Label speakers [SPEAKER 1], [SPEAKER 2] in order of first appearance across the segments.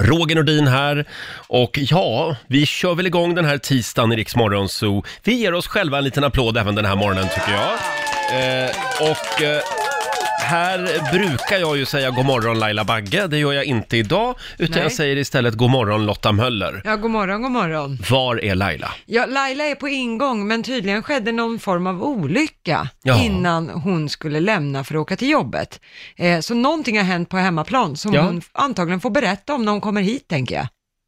[SPEAKER 1] Roger Nordin här. Och ja, vi kör väl igång den här tisdagen i Rix Morgon Zoo. Vi ger oss själva en liten applåd även den här morgonen tycker jag. Eh, och eh, här brukar jag ju säga god morgon Laila Bagge. Det gör jag inte idag, utan
[SPEAKER 2] Nej.
[SPEAKER 1] jag säger istället god morgon Lotta Möller.
[SPEAKER 2] Ja, god morgon, god morgon.
[SPEAKER 1] Var är Laila?
[SPEAKER 2] Ja, Laila är på ingång, men tydligen skedde någon form av olycka
[SPEAKER 1] Ja.
[SPEAKER 2] innan hon skulle lämna för att åka till jobbet. Eh, så någonting har hänt på hemmaplan som
[SPEAKER 1] Ja.
[SPEAKER 2] hon antagligen får berätta om när hon kommer hit, tänker jag.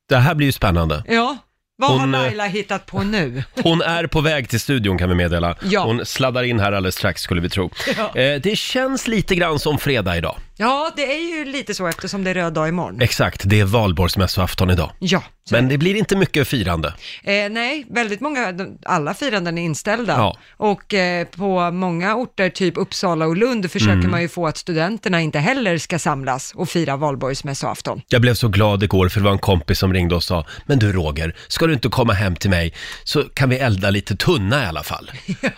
[SPEAKER 1] Det här blir ju spännande.
[SPEAKER 2] Ja, vad har
[SPEAKER 1] Hon, eh,
[SPEAKER 2] Laila hittat på nu?
[SPEAKER 1] Hon är på väg till studion kan vi meddela.
[SPEAKER 2] Ja.
[SPEAKER 1] Hon sladdar in här alldeles strax skulle vi tro.
[SPEAKER 2] Ja.
[SPEAKER 1] Eh, det känns lite grann som fredag idag.
[SPEAKER 2] Ja, det är ju lite så eftersom det är röd dag imorgon.
[SPEAKER 1] Exakt, det är valborgsmässoafton idag.
[SPEAKER 2] Ja, så
[SPEAKER 1] Men det blir inte mycket firande.
[SPEAKER 2] Eh, nej, väldigt många, de- alla firanden är inställda.
[SPEAKER 1] Ja.
[SPEAKER 2] Och eh, på många orter, typ Uppsala och Lund, försöker
[SPEAKER 1] Mm.
[SPEAKER 2] man ju få att studenterna inte heller ska samlas och fira valborgsmässoafton.
[SPEAKER 1] Jag blev så glad igår för det var en kompis som ringde och sa Men du Roger, ska du inte komma hem till mig så kan vi elda lite tunna i alla fall.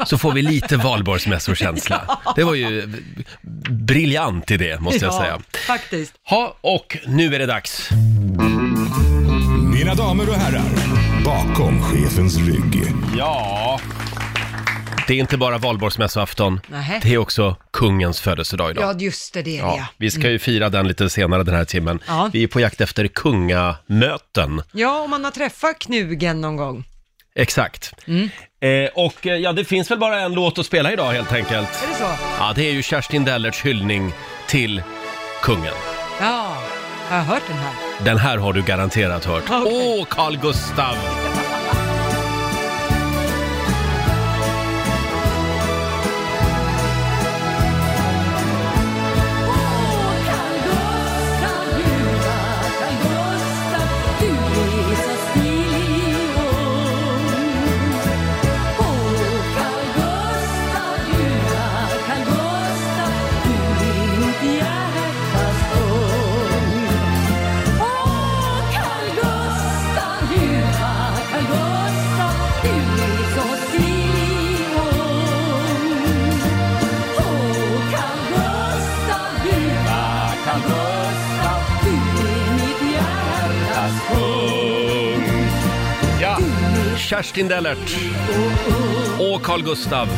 [SPEAKER 1] Så får vi lite valborgsmässokänsla. Det var ju b- briljant idé måste jag säga.
[SPEAKER 2] faktiskt.
[SPEAKER 1] Ha, och nu är det dags.
[SPEAKER 3] Mina damer och herrar, bakom chefens rygg.
[SPEAKER 1] Ja. Det är inte bara valborgsmässoafton,
[SPEAKER 2] Nähä.
[SPEAKER 1] det är också kungens födelsedag idag.
[SPEAKER 2] Ja, just det, det är det.
[SPEAKER 1] Ja, vi ska ju fira den lite senare den här timmen.
[SPEAKER 2] Ja.
[SPEAKER 1] Vi är på jakt efter kungamöten.
[SPEAKER 2] Ja, om man har träffat knugen någon gång.
[SPEAKER 1] Exakt. Eh, och eh, ja, det finns väl bara en låt att spela idag helt enkelt.
[SPEAKER 2] Är det så?
[SPEAKER 1] Ja, det är ju Kerstin Dellerts hyllning till kungen.
[SPEAKER 2] Ja, jag har hört den här.
[SPEAKER 1] Den här har du garanterat hört. Åh,
[SPEAKER 2] Okej.
[SPEAKER 1] Carl Gustav! Ja, Kerstin Dellert och Carl Gustav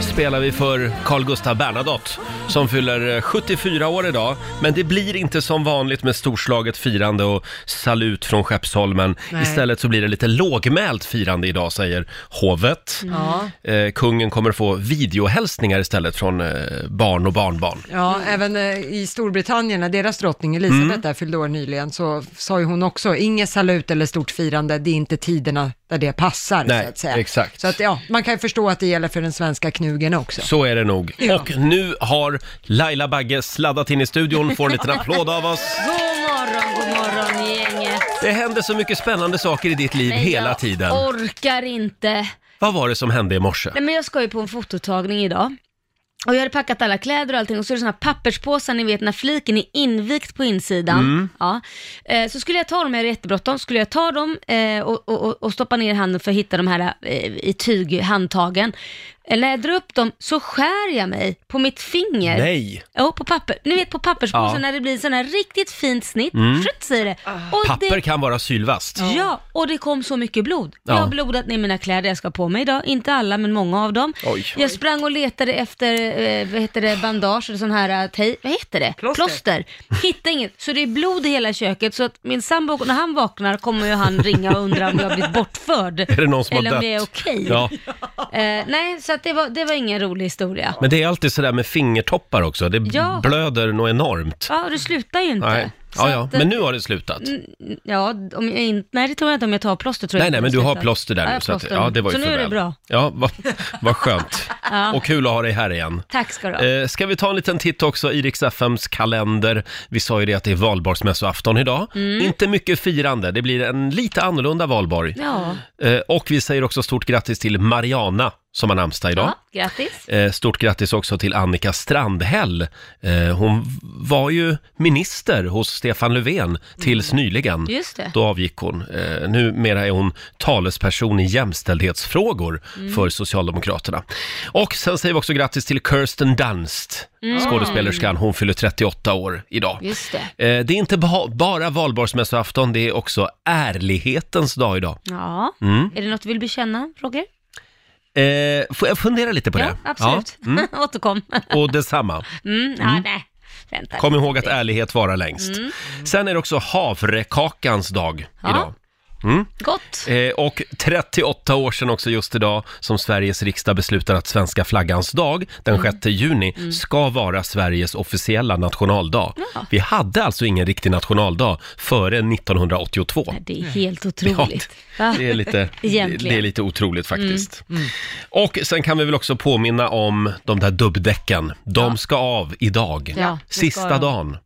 [SPEAKER 1] spelar vi för Carl Gustav Bernadotte som fyller eh, 74 år idag. Men det blir inte som vanligt med storslaget firande och salut från Skeppsholmen.
[SPEAKER 2] Nej.
[SPEAKER 1] Istället så blir det lite lågmält firande idag, säger hovet.
[SPEAKER 2] Mm. Ja,
[SPEAKER 1] Eh, kungen kommer få videohälsningar istället från eh, barn och barnbarn.
[SPEAKER 2] ja även eh, i Storbritannien, när deras drottning Elisabeth
[SPEAKER 1] Mm.
[SPEAKER 2] där fyllde år nyligen, så sa ju hon också, inget salut eller stort firande, det är inte tiderna där det passar,
[SPEAKER 1] Nej,
[SPEAKER 2] så att säga.
[SPEAKER 1] exakt.
[SPEAKER 2] Så att, ja, man kan ju förstå att det gäller för den svenska knugen också.
[SPEAKER 1] Så är det nog.
[SPEAKER 2] Ja.
[SPEAKER 1] Och nu har Laila Bagge sladdat in i studion, får en liten applåd av oss.
[SPEAKER 4] God morgon, god morgon gänget.
[SPEAKER 1] Det händer så mycket spännande saker i ditt liv
[SPEAKER 4] Nej,
[SPEAKER 1] hela
[SPEAKER 4] jag
[SPEAKER 1] tiden.
[SPEAKER 4] orkar inte.
[SPEAKER 1] Vad var det som hände i morse?
[SPEAKER 4] Nej men jag ska ju på en fototagning idag. Och jag hade packat alla kläder och allting och så är det såna här papperspåsar ni vet när fliken är invikt på insidan.
[SPEAKER 1] Mm.
[SPEAKER 4] Ja. Eh, så skulle jag ta dem, jag hade jättebråttom, skulle jag ta dem eh, och, och- och, och stoppa ner handen för att hitta de här eh, i tyghandtagen. Eh, när jag drar upp dem så skär jag mig på mitt finger.
[SPEAKER 1] Nej!
[SPEAKER 4] Ja, på papper. Ni vet på papperspåsen
[SPEAKER 1] Ja.
[SPEAKER 4] när det blir sån här riktigt fint snitt.
[SPEAKER 1] Mm.
[SPEAKER 4] Skjuts säger det. Och
[SPEAKER 1] Papper
[SPEAKER 4] det
[SPEAKER 1] kan vara sylvast.
[SPEAKER 4] Ja, och det kom så mycket blod.
[SPEAKER 1] Ja.
[SPEAKER 4] Jag har blodat ner mina kläder jag ska på mig idag. Inte alla, men många av dem.
[SPEAKER 1] Oj.
[SPEAKER 4] Jag sprang och letade efter, eh, vad heter det, bandage eller sån här eh, tej... Vad heter det?
[SPEAKER 2] Plåster.
[SPEAKER 4] Hittade inget. Så det är blod i hela köket. Så att min sambo, när han vaknar kommer ju han ringa och undra om jag har blivit bortförd.
[SPEAKER 1] Är det någon som har
[SPEAKER 4] eller om
[SPEAKER 1] dött?
[SPEAKER 4] det är okej.
[SPEAKER 1] Ja.
[SPEAKER 4] Eh, nej, så att det, var, det var ingen rolig historia.
[SPEAKER 1] Men det är alltid sådär med fingertoppar också. Det
[SPEAKER 4] Ja.
[SPEAKER 1] blöder nog enormt.
[SPEAKER 4] Ja, och det slutar ju inte.
[SPEAKER 1] Nej.
[SPEAKER 4] Så
[SPEAKER 1] Ja, ja.
[SPEAKER 4] att, eh,
[SPEAKER 1] Men nu har det slutat.
[SPEAKER 4] Ja, om jag inte, nej det tror jag inte om jag tar plåster tror jag
[SPEAKER 1] Nej,
[SPEAKER 4] inte
[SPEAKER 1] nej, men du
[SPEAKER 4] det
[SPEAKER 1] har
[SPEAKER 4] slutar.
[SPEAKER 1] plåster där
[SPEAKER 4] Ja,
[SPEAKER 1] nu.
[SPEAKER 4] jag
[SPEAKER 1] Så, att,
[SPEAKER 4] plåster.
[SPEAKER 1] ja, det var ju
[SPEAKER 4] så nu
[SPEAKER 1] för
[SPEAKER 4] är det
[SPEAKER 1] väl.
[SPEAKER 4] bra.
[SPEAKER 1] Ja, vad vad skönt.
[SPEAKER 4] Ja.
[SPEAKER 1] Och kul att ha dig här igen.
[SPEAKER 4] Tack ska du ha.
[SPEAKER 1] Eh, ska vi ta en liten titt också i Rix FMs kalender? Vi sa ju det att det är valborgsmässoafton idag. Inte mycket firande, det blir en lite annorlunda valborg.
[SPEAKER 4] Ja,
[SPEAKER 1] Eh, och vi säger också stort grattis till Mariana som har namnsdag idag.
[SPEAKER 4] Ja, grattis.
[SPEAKER 1] Eh, Stort grattis också till Annika Strandhäll. Eh, Hon var ju minister hos Stefan Löfven tills nyligen.
[SPEAKER 4] Mm. Just det.
[SPEAKER 1] Då avgick hon. Eh, Numera är hon talesperson i jämställdhetsfrågor
[SPEAKER 4] Mm.
[SPEAKER 1] för Socialdemokraterna. Och sen säger vi också grattis till Kirsten Dunst, skådespelerskan. Hon fyller 38 år idag.
[SPEAKER 4] Mm. Just det.
[SPEAKER 1] Eh, Det är inte ba- bara valborgsmässoafton, det är också ärlighetens dag idag.
[SPEAKER 4] Ja.
[SPEAKER 1] Mm.
[SPEAKER 4] Är det något du vill bekänna, Roger?
[SPEAKER 1] Eh, får jag fundera lite på det?
[SPEAKER 4] Ja, absolut.
[SPEAKER 1] Ja. Mm.
[SPEAKER 4] Återkom.
[SPEAKER 1] Och detsamma.
[SPEAKER 4] Mm, ja, nej. Vänta.
[SPEAKER 1] Kom ihåg att ärlighet varar längst. Sen är det också havrekakans dag
[SPEAKER 4] Ja.
[SPEAKER 1] idag.
[SPEAKER 4] Gott.
[SPEAKER 1] Eh, och 38 år sedan också just idag som Sveriges riksdag beslutar att svenska flaggans dag,
[SPEAKER 4] Mm.
[SPEAKER 1] den 6 juni, ska vara Sveriges officiella nationaldag.
[SPEAKER 4] Ja.
[SPEAKER 1] Vi hade alltså ingen riktig nationaldag före 1982.
[SPEAKER 4] Nej, Det är helt otroligt.
[SPEAKER 1] Ja,
[SPEAKER 4] Va?
[SPEAKER 1] det, är lite,
[SPEAKER 4] Egentligen. Mm.
[SPEAKER 1] det är lite otroligt faktiskt. Och sen kan vi väl också påminna om de där dubbdäcken. De ska av idag.
[SPEAKER 4] Ja, det ska Mm.
[SPEAKER 1] Sista
[SPEAKER 4] de.
[SPEAKER 1] dagen.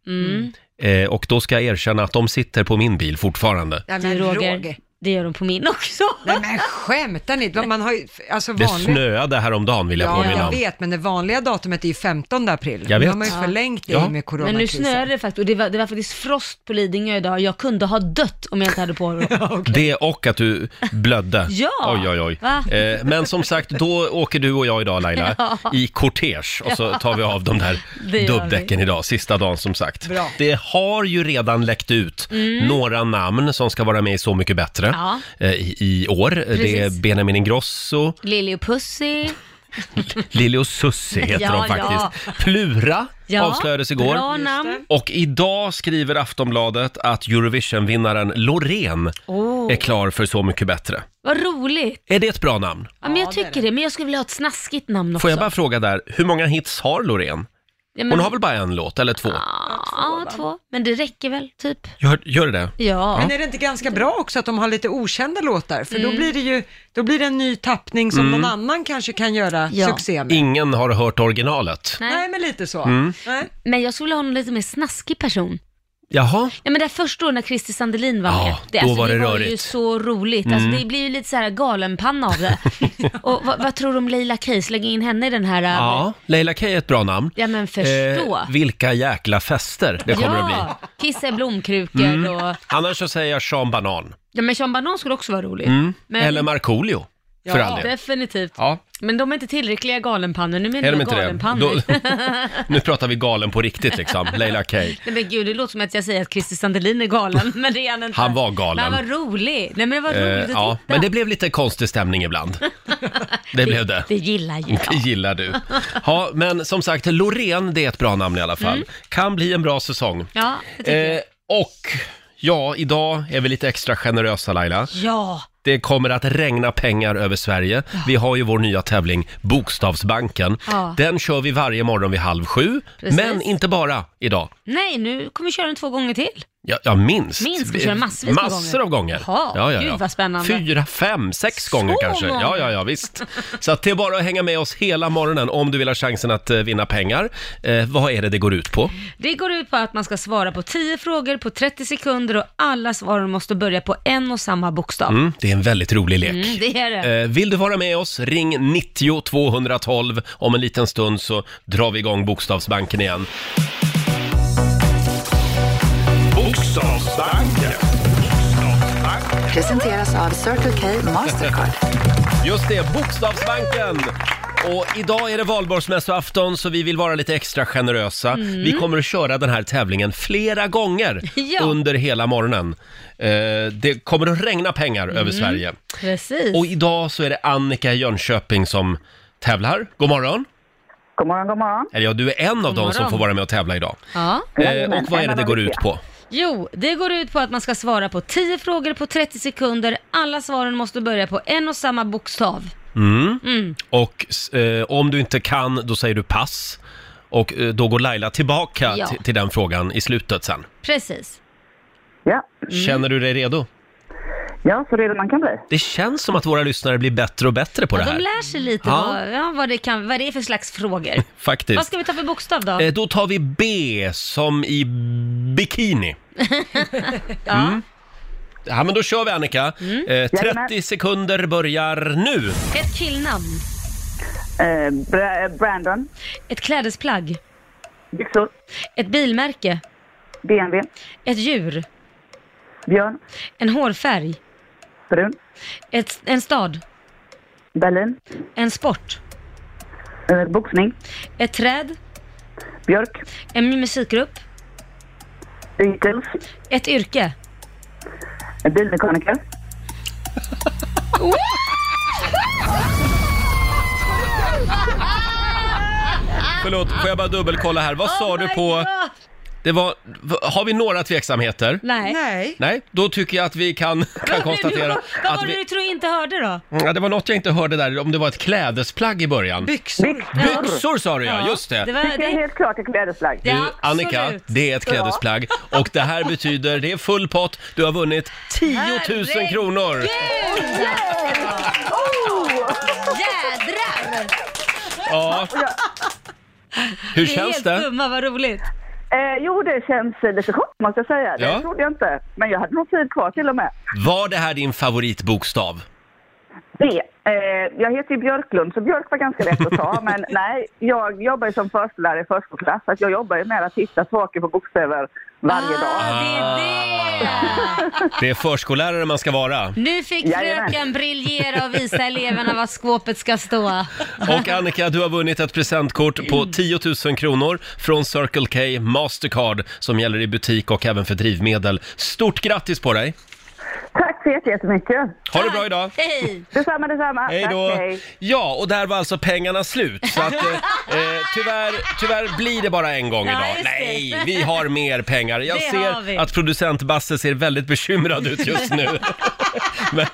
[SPEAKER 1] Eh, och då ska jag erkänna att de sitter på min bil fortfarande.
[SPEAKER 2] Nej, men
[SPEAKER 4] Du,
[SPEAKER 2] Roger.
[SPEAKER 4] Roger, det gör de på min också.
[SPEAKER 2] Nej men skämtar ni? Man har ju, alltså
[SPEAKER 1] Det
[SPEAKER 2] vanligt...
[SPEAKER 1] snöade häromdagen vill jag
[SPEAKER 2] Ja,
[SPEAKER 1] påminna
[SPEAKER 2] jag
[SPEAKER 1] om.
[SPEAKER 2] vet, men det vanliga datumet är ju 15 april.
[SPEAKER 1] Jag vet.
[SPEAKER 2] Nu har man ju förlängt det
[SPEAKER 1] Ja.
[SPEAKER 2] i med
[SPEAKER 4] Men nu
[SPEAKER 2] coronakrisen.
[SPEAKER 4] snöade det faktiskt och det var, det var faktiskt frost på Lidingö idag. Jag kunde ha dött om jag inte hade på det.
[SPEAKER 1] Det och att du blödde.
[SPEAKER 4] Ja.
[SPEAKER 1] Oj, oj,
[SPEAKER 4] Va?
[SPEAKER 1] oj. Eh, men som sagt, då åker du och jag idag Laila i kortege och så tar vi av de där
[SPEAKER 4] Det gör
[SPEAKER 1] dubbdäcken idag, sista dagen som sagt.
[SPEAKER 2] Bra.
[SPEAKER 1] Det har ju redan läckt ut några namn som ska vara med i Så mycket bättre
[SPEAKER 4] Mm. Ja.
[SPEAKER 1] eh, i, i år. Det är
[SPEAKER 4] Precis.
[SPEAKER 1] Benjamin Ingrosso,
[SPEAKER 4] Lili och Pussy.
[SPEAKER 1] Lili och Susie heter
[SPEAKER 4] Ja,
[SPEAKER 1] de faktiskt. Plura
[SPEAKER 4] Ja,
[SPEAKER 1] avslöjades igår.
[SPEAKER 4] Bra namn.
[SPEAKER 1] Och idag skriver Aftonbladet att Eurovision-vinnaren Loreen
[SPEAKER 4] Åh,
[SPEAKER 1] är klar för Så mycket bättre.
[SPEAKER 4] Vad roligt.
[SPEAKER 1] Är det ett bra namn?
[SPEAKER 4] Ja, men jag
[SPEAKER 2] Ja, det är
[SPEAKER 4] tycker det, men jag skulle vilja ha ett snaskigt namn också.
[SPEAKER 1] Får jag bara fråga där, hur många hits har Loreen?
[SPEAKER 4] ja, men,
[SPEAKER 1] Hon har väl bara en låt, eller två?
[SPEAKER 4] Ja, två, Men det räcker väl, typ.
[SPEAKER 1] Gör, gör det det?
[SPEAKER 4] Ja. Mm.
[SPEAKER 2] Men är det inte ganska bra också att de har lite okända låtar? För då blir det ju, då blir det en ny tappning
[SPEAKER 1] Mm.
[SPEAKER 2] som någon annan kanske kan göra
[SPEAKER 4] Ja.
[SPEAKER 2] succé med.
[SPEAKER 1] Ingen har hört originalet.
[SPEAKER 4] Nej.
[SPEAKER 2] Nej, men lite så.
[SPEAKER 1] Mm.
[SPEAKER 2] Nej.
[SPEAKER 4] Men jag skulle vilja ha någon lite mer snaskig person.
[SPEAKER 1] Jaha,
[SPEAKER 4] Ja, men det här första året när Christer Sandelin var
[SPEAKER 1] Ja,
[SPEAKER 4] med, alltså,
[SPEAKER 1] då var det
[SPEAKER 4] var ju
[SPEAKER 1] rörigt. Mm.
[SPEAKER 4] så roligt. Alltså, det blir ju lite så här galenpanna av det. och vad, vad tror du om Leila Keys? Lägg in henne i den här... äh,
[SPEAKER 1] ja. Leila K är ett bra namn.
[SPEAKER 4] Ja men förstå.
[SPEAKER 1] Eh, vilka jäkla fester det kommer
[SPEAKER 4] ja,
[SPEAKER 1] att bli. Mm.
[SPEAKER 4] kissa i blomkrukor och...
[SPEAKER 1] Annars så säger jag Sean Banan.
[SPEAKER 4] Ja men Sean Banan skulle också vara rolig. Men,
[SPEAKER 1] Mm. Eller Markoolio, för
[SPEAKER 2] Ja.
[SPEAKER 1] all del.
[SPEAKER 4] Definitivt.
[SPEAKER 1] Ja,
[SPEAKER 4] Men de är inte tillräckliga galenpannor. Nu menar
[SPEAKER 1] är de
[SPEAKER 4] jag
[SPEAKER 1] inte det?
[SPEAKER 4] galenpannor.
[SPEAKER 1] Då, nu pratar vi galen på riktigt liksom, Leila K.
[SPEAKER 4] Nej men gud, det låter som att jag säger att Christer Sandelin är galen, men det är han inte.
[SPEAKER 1] Han var galen.
[SPEAKER 4] Men han var rolig. Nej men det var
[SPEAKER 1] Eh,
[SPEAKER 4] roligt att
[SPEAKER 1] ja,
[SPEAKER 4] titta.
[SPEAKER 1] men det blev lite konstig stämning ibland. Det blev det.
[SPEAKER 4] Det gillar ju
[SPEAKER 1] Det
[SPEAKER 4] jag.
[SPEAKER 1] gillar du. Ja, men som sagt, Loreen, det är ett bra namn i alla fall.
[SPEAKER 4] Mm.
[SPEAKER 1] Kan bli en bra säsong.
[SPEAKER 4] Ja, det tycker jag.
[SPEAKER 1] Eh, och, ja, idag är vi lite extra generösa Laila.
[SPEAKER 4] Ja,
[SPEAKER 1] Det kommer att regna pengar över Sverige. Vi har ju vår nya tävling Bokstavsbanken.
[SPEAKER 4] Ja.
[SPEAKER 1] Den kör vi varje morgon vid halv sju.
[SPEAKER 4] Precis.
[SPEAKER 1] Men inte bara idag.
[SPEAKER 4] nej nu kommer vi köra den två gånger till.
[SPEAKER 1] Ja, ja minst.
[SPEAKER 4] Minst, vi kör massvis med
[SPEAKER 1] massor av gånger.
[SPEAKER 4] Jaha, gud vad spännande.
[SPEAKER 1] Fyra, fem, sex gånger kanske.
[SPEAKER 4] många.
[SPEAKER 1] Ja, ja, ja, visst. Så att det är bara att hänga med oss hela morgonen om du vill ha chansen att eh, vinna pengar. Eh, vad är det det går ut på?
[SPEAKER 4] Det går ut på att man ska svara på 10 frågor på 30 sekunder och alla svaren måste börja på en och samma bokstav.
[SPEAKER 1] Mm, det är en väldigt rolig lek.
[SPEAKER 4] Mm, det är det.
[SPEAKER 1] Eh, vill du vara med oss, ring 90 212. Om en liten stund så drar vi igång Bokstavsbanken igen.
[SPEAKER 3] Bokstavsbanken.
[SPEAKER 5] Presenteras av Circle K Mastercard.
[SPEAKER 1] Just det, Bokstavsbanken! Och idag är det valborgsmässoafton så vi vill vara lite extra generösa. Vi kommer att köra den här tävlingen flera gånger
[SPEAKER 4] Mm. Ja.
[SPEAKER 1] under hela morgonen. Eh, det kommer att regna pengar över Sverige.
[SPEAKER 4] Mm. Precis.
[SPEAKER 1] Och idag så är det Annika i Jönköping som tävlar. God morgon!
[SPEAKER 6] God morgon, god morgon.
[SPEAKER 1] Eller ja, du är en av dem som
[SPEAKER 4] morgon.
[SPEAKER 1] får vara med och tävla idag.
[SPEAKER 4] Ja.
[SPEAKER 1] Eh,
[SPEAKER 6] Jajamän,
[SPEAKER 1] och vad är
[SPEAKER 6] en
[SPEAKER 1] det
[SPEAKER 6] av
[SPEAKER 1] det
[SPEAKER 6] de
[SPEAKER 1] går ut
[SPEAKER 6] viktiga.
[SPEAKER 1] på?
[SPEAKER 4] Jo, det går ut på att man ska svara på 10 frågor på 30 sekunder. Alla svaren måste börja på en och samma bokstav.
[SPEAKER 1] Mm.
[SPEAKER 4] Mm.
[SPEAKER 1] Och eh, om du inte kan, då säger du pass. Och eh, då går Laila tillbaka
[SPEAKER 4] Ja.
[SPEAKER 1] till- till den frågan i slutet sen.
[SPEAKER 4] Precis.
[SPEAKER 6] Ja,
[SPEAKER 1] Känner du dig redo?
[SPEAKER 6] ja så redo man kan bli.
[SPEAKER 1] Det känns som att våra lyssnare blir bättre och bättre på det
[SPEAKER 4] De
[SPEAKER 1] här.
[SPEAKER 4] lär sig lite
[SPEAKER 1] Ja.
[SPEAKER 4] vad, ja, vad, det kan, vad det är för slags frågor. Vad
[SPEAKER 1] Faktiskt.
[SPEAKER 4] ska vi ta för bokstav då?
[SPEAKER 1] Eh, Då tar vi B som i bikini. Mm. Ja,
[SPEAKER 4] Mm.
[SPEAKER 1] men då kör vi Annika. Eh, 30
[SPEAKER 6] Jajamän.
[SPEAKER 4] Ah,
[SPEAKER 1] sekunder börjar nu.
[SPEAKER 4] Ett killnamn.
[SPEAKER 6] Eh, Bra- eh, Brandon.
[SPEAKER 4] Ett klädesplagg.
[SPEAKER 6] Byxor.
[SPEAKER 4] Ett bilmärke.
[SPEAKER 6] BMW.
[SPEAKER 4] Ett djur.
[SPEAKER 6] Björn.
[SPEAKER 4] En hårfärg.
[SPEAKER 6] Brun.
[SPEAKER 4] Ett, en stad.
[SPEAKER 6] Berlin.
[SPEAKER 4] En sport.
[SPEAKER 6] Eh, boxning.
[SPEAKER 4] Ett träd.
[SPEAKER 6] Björk.
[SPEAKER 4] En musikgrupp.
[SPEAKER 6] Beatles.
[SPEAKER 4] Ett yrke.
[SPEAKER 6] Eh, Bilmekaniker.
[SPEAKER 1] Förlåt, får jag bara dubbelkolla här. Vad sa
[SPEAKER 4] ah. Oh
[SPEAKER 1] du
[SPEAKER 4] my
[SPEAKER 1] på...
[SPEAKER 4] God!
[SPEAKER 1] Det var... v- Har vi några tveksamheter?
[SPEAKER 4] Nej.
[SPEAKER 2] Nej.
[SPEAKER 1] Nej, då tycker jag att vi kan, kan konstatera
[SPEAKER 4] Vad var
[SPEAKER 1] att
[SPEAKER 4] det du
[SPEAKER 1] vi... Mm,
[SPEAKER 4] tror jag inte hörde då?
[SPEAKER 1] Ja, det var något jag inte hörde där, om det var ett klädesplagg i början.
[SPEAKER 2] Byxor.
[SPEAKER 1] Byxor sa du ja, just det.
[SPEAKER 4] Det var,
[SPEAKER 6] Det är
[SPEAKER 4] det,
[SPEAKER 6] helt klart ett klädesplagg.
[SPEAKER 4] det,
[SPEAKER 1] Du, Annika,
[SPEAKER 4] absolut.
[SPEAKER 1] det är ett klädesplagg och det här betyder, det är full pott, du har vunnit 10 000 kronor!
[SPEAKER 4] Gud! Oh! Jädrar!
[SPEAKER 1] Ja. Hur
[SPEAKER 4] Vi är
[SPEAKER 1] känns
[SPEAKER 4] helt
[SPEAKER 1] det?
[SPEAKER 4] skumma, vad roligt.
[SPEAKER 6] Eh, jo, det känns eh, lite chock måste jag säga. Det
[SPEAKER 1] Ja.
[SPEAKER 6] trodde jag inte. Men jag hade nog tid kvar till och med.
[SPEAKER 1] Var det här din favoritbokstav?
[SPEAKER 6] B. Eh, jag heter ju Björklund, så Björk var ganska lätt att ta. men nej, jag jobbar ju som förskollärare i förskoleklass, så att jag jobbar ju med att hitta saker på bokstäver varje dag.
[SPEAKER 4] Ah, det är det!
[SPEAKER 1] Ah. Det är förskollärare man ska vara.
[SPEAKER 4] Nu fick
[SPEAKER 6] Jajamän.
[SPEAKER 4] fröken briljera och visa eleverna var skåpet ska stå.
[SPEAKER 1] Och Annika, du har vunnit ett presentkort på 10 000 kronor från Circle K Mastercard som gäller i butik och även för drivmedel. Stort grattis på dig!
[SPEAKER 6] Tack så jätte- jättemycket.
[SPEAKER 1] Ha det bra idag!
[SPEAKER 4] Hej!
[SPEAKER 6] Detsamma, detsamma.
[SPEAKER 1] Hej
[SPEAKER 6] Tack,
[SPEAKER 1] då! Ja, och där var alltså pengarna slut. Så att, eh, eh, tyvärr, tyvärr blir det bara en gång
[SPEAKER 4] Ja,
[SPEAKER 1] idag.
[SPEAKER 4] just det.
[SPEAKER 1] Nej, vi har mer pengar. Jag
[SPEAKER 4] Det har vi.
[SPEAKER 1] ser att producent Basse ser väldigt bekymrad ut just nu. men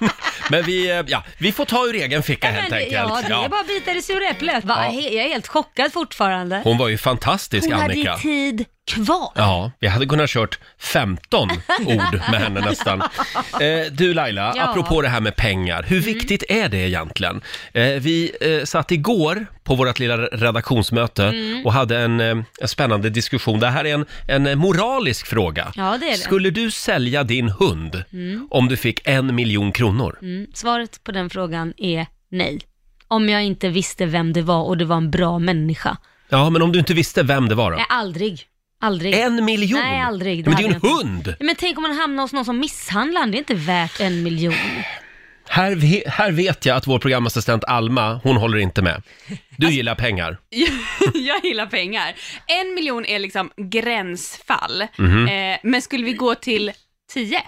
[SPEAKER 1] men vi, eh, ja, vi får ta ur egen ficka
[SPEAKER 4] Men
[SPEAKER 1] helt
[SPEAKER 4] det,
[SPEAKER 1] enkelt.
[SPEAKER 4] ja, det är bara att bita i det sura äpplet. Va,
[SPEAKER 1] Ja.
[SPEAKER 4] he- Jag är helt chockad fortfarande.
[SPEAKER 1] Hon var ju fantastisk,
[SPEAKER 4] Hon hade
[SPEAKER 1] Annika.
[SPEAKER 4] ju tid kvar.
[SPEAKER 1] Ja, vi hade kunnat kört 15 ord med henne nästan. Eh, du Laila,
[SPEAKER 4] Ja. Mm.
[SPEAKER 1] apropå det här med pengar, hur viktigt är det egentligen? Eh, vi eh, satt igår på vårt lilla redaktionsmöte
[SPEAKER 4] Mm.
[SPEAKER 1] och hade en, eh, en spännande diskussion. Det här är en, en moralisk fråga.
[SPEAKER 4] Ja, det är det.
[SPEAKER 1] Skulle du sälja din hund om du fick en miljon kronor?
[SPEAKER 4] Mm, Svaret på den frågan är nej. Om jag inte visste vem det var och det var en bra människa.
[SPEAKER 1] Ja, men om du inte visste vem det var då?
[SPEAKER 4] Nej, aldrig. Aldrig.
[SPEAKER 1] En miljon?
[SPEAKER 4] Nej, aldrig. Det
[SPEAKER 1] Men det är ju en
[SPEAKER 4] hade jag inte.
[SPEAKER 1] hund!
[SPEAKER 4] Men tänk om man hamnar hos någon som misshandlar en. Det är inte värt en miljon.
[SPEAKER 1] Här, ve- här vet jag att vår programassistent Alma, hon håller inte med. Du
[SPEAKER 4] Alltså-
[SPEAKER 1] gillar pengar.
[SPEAKER 7] jag gillar pengar. En miljon är liksom gränsfall.
[SPEAKER 1] Mhm.
[SPEAKER 7] Eh, men skulle vi gå till tio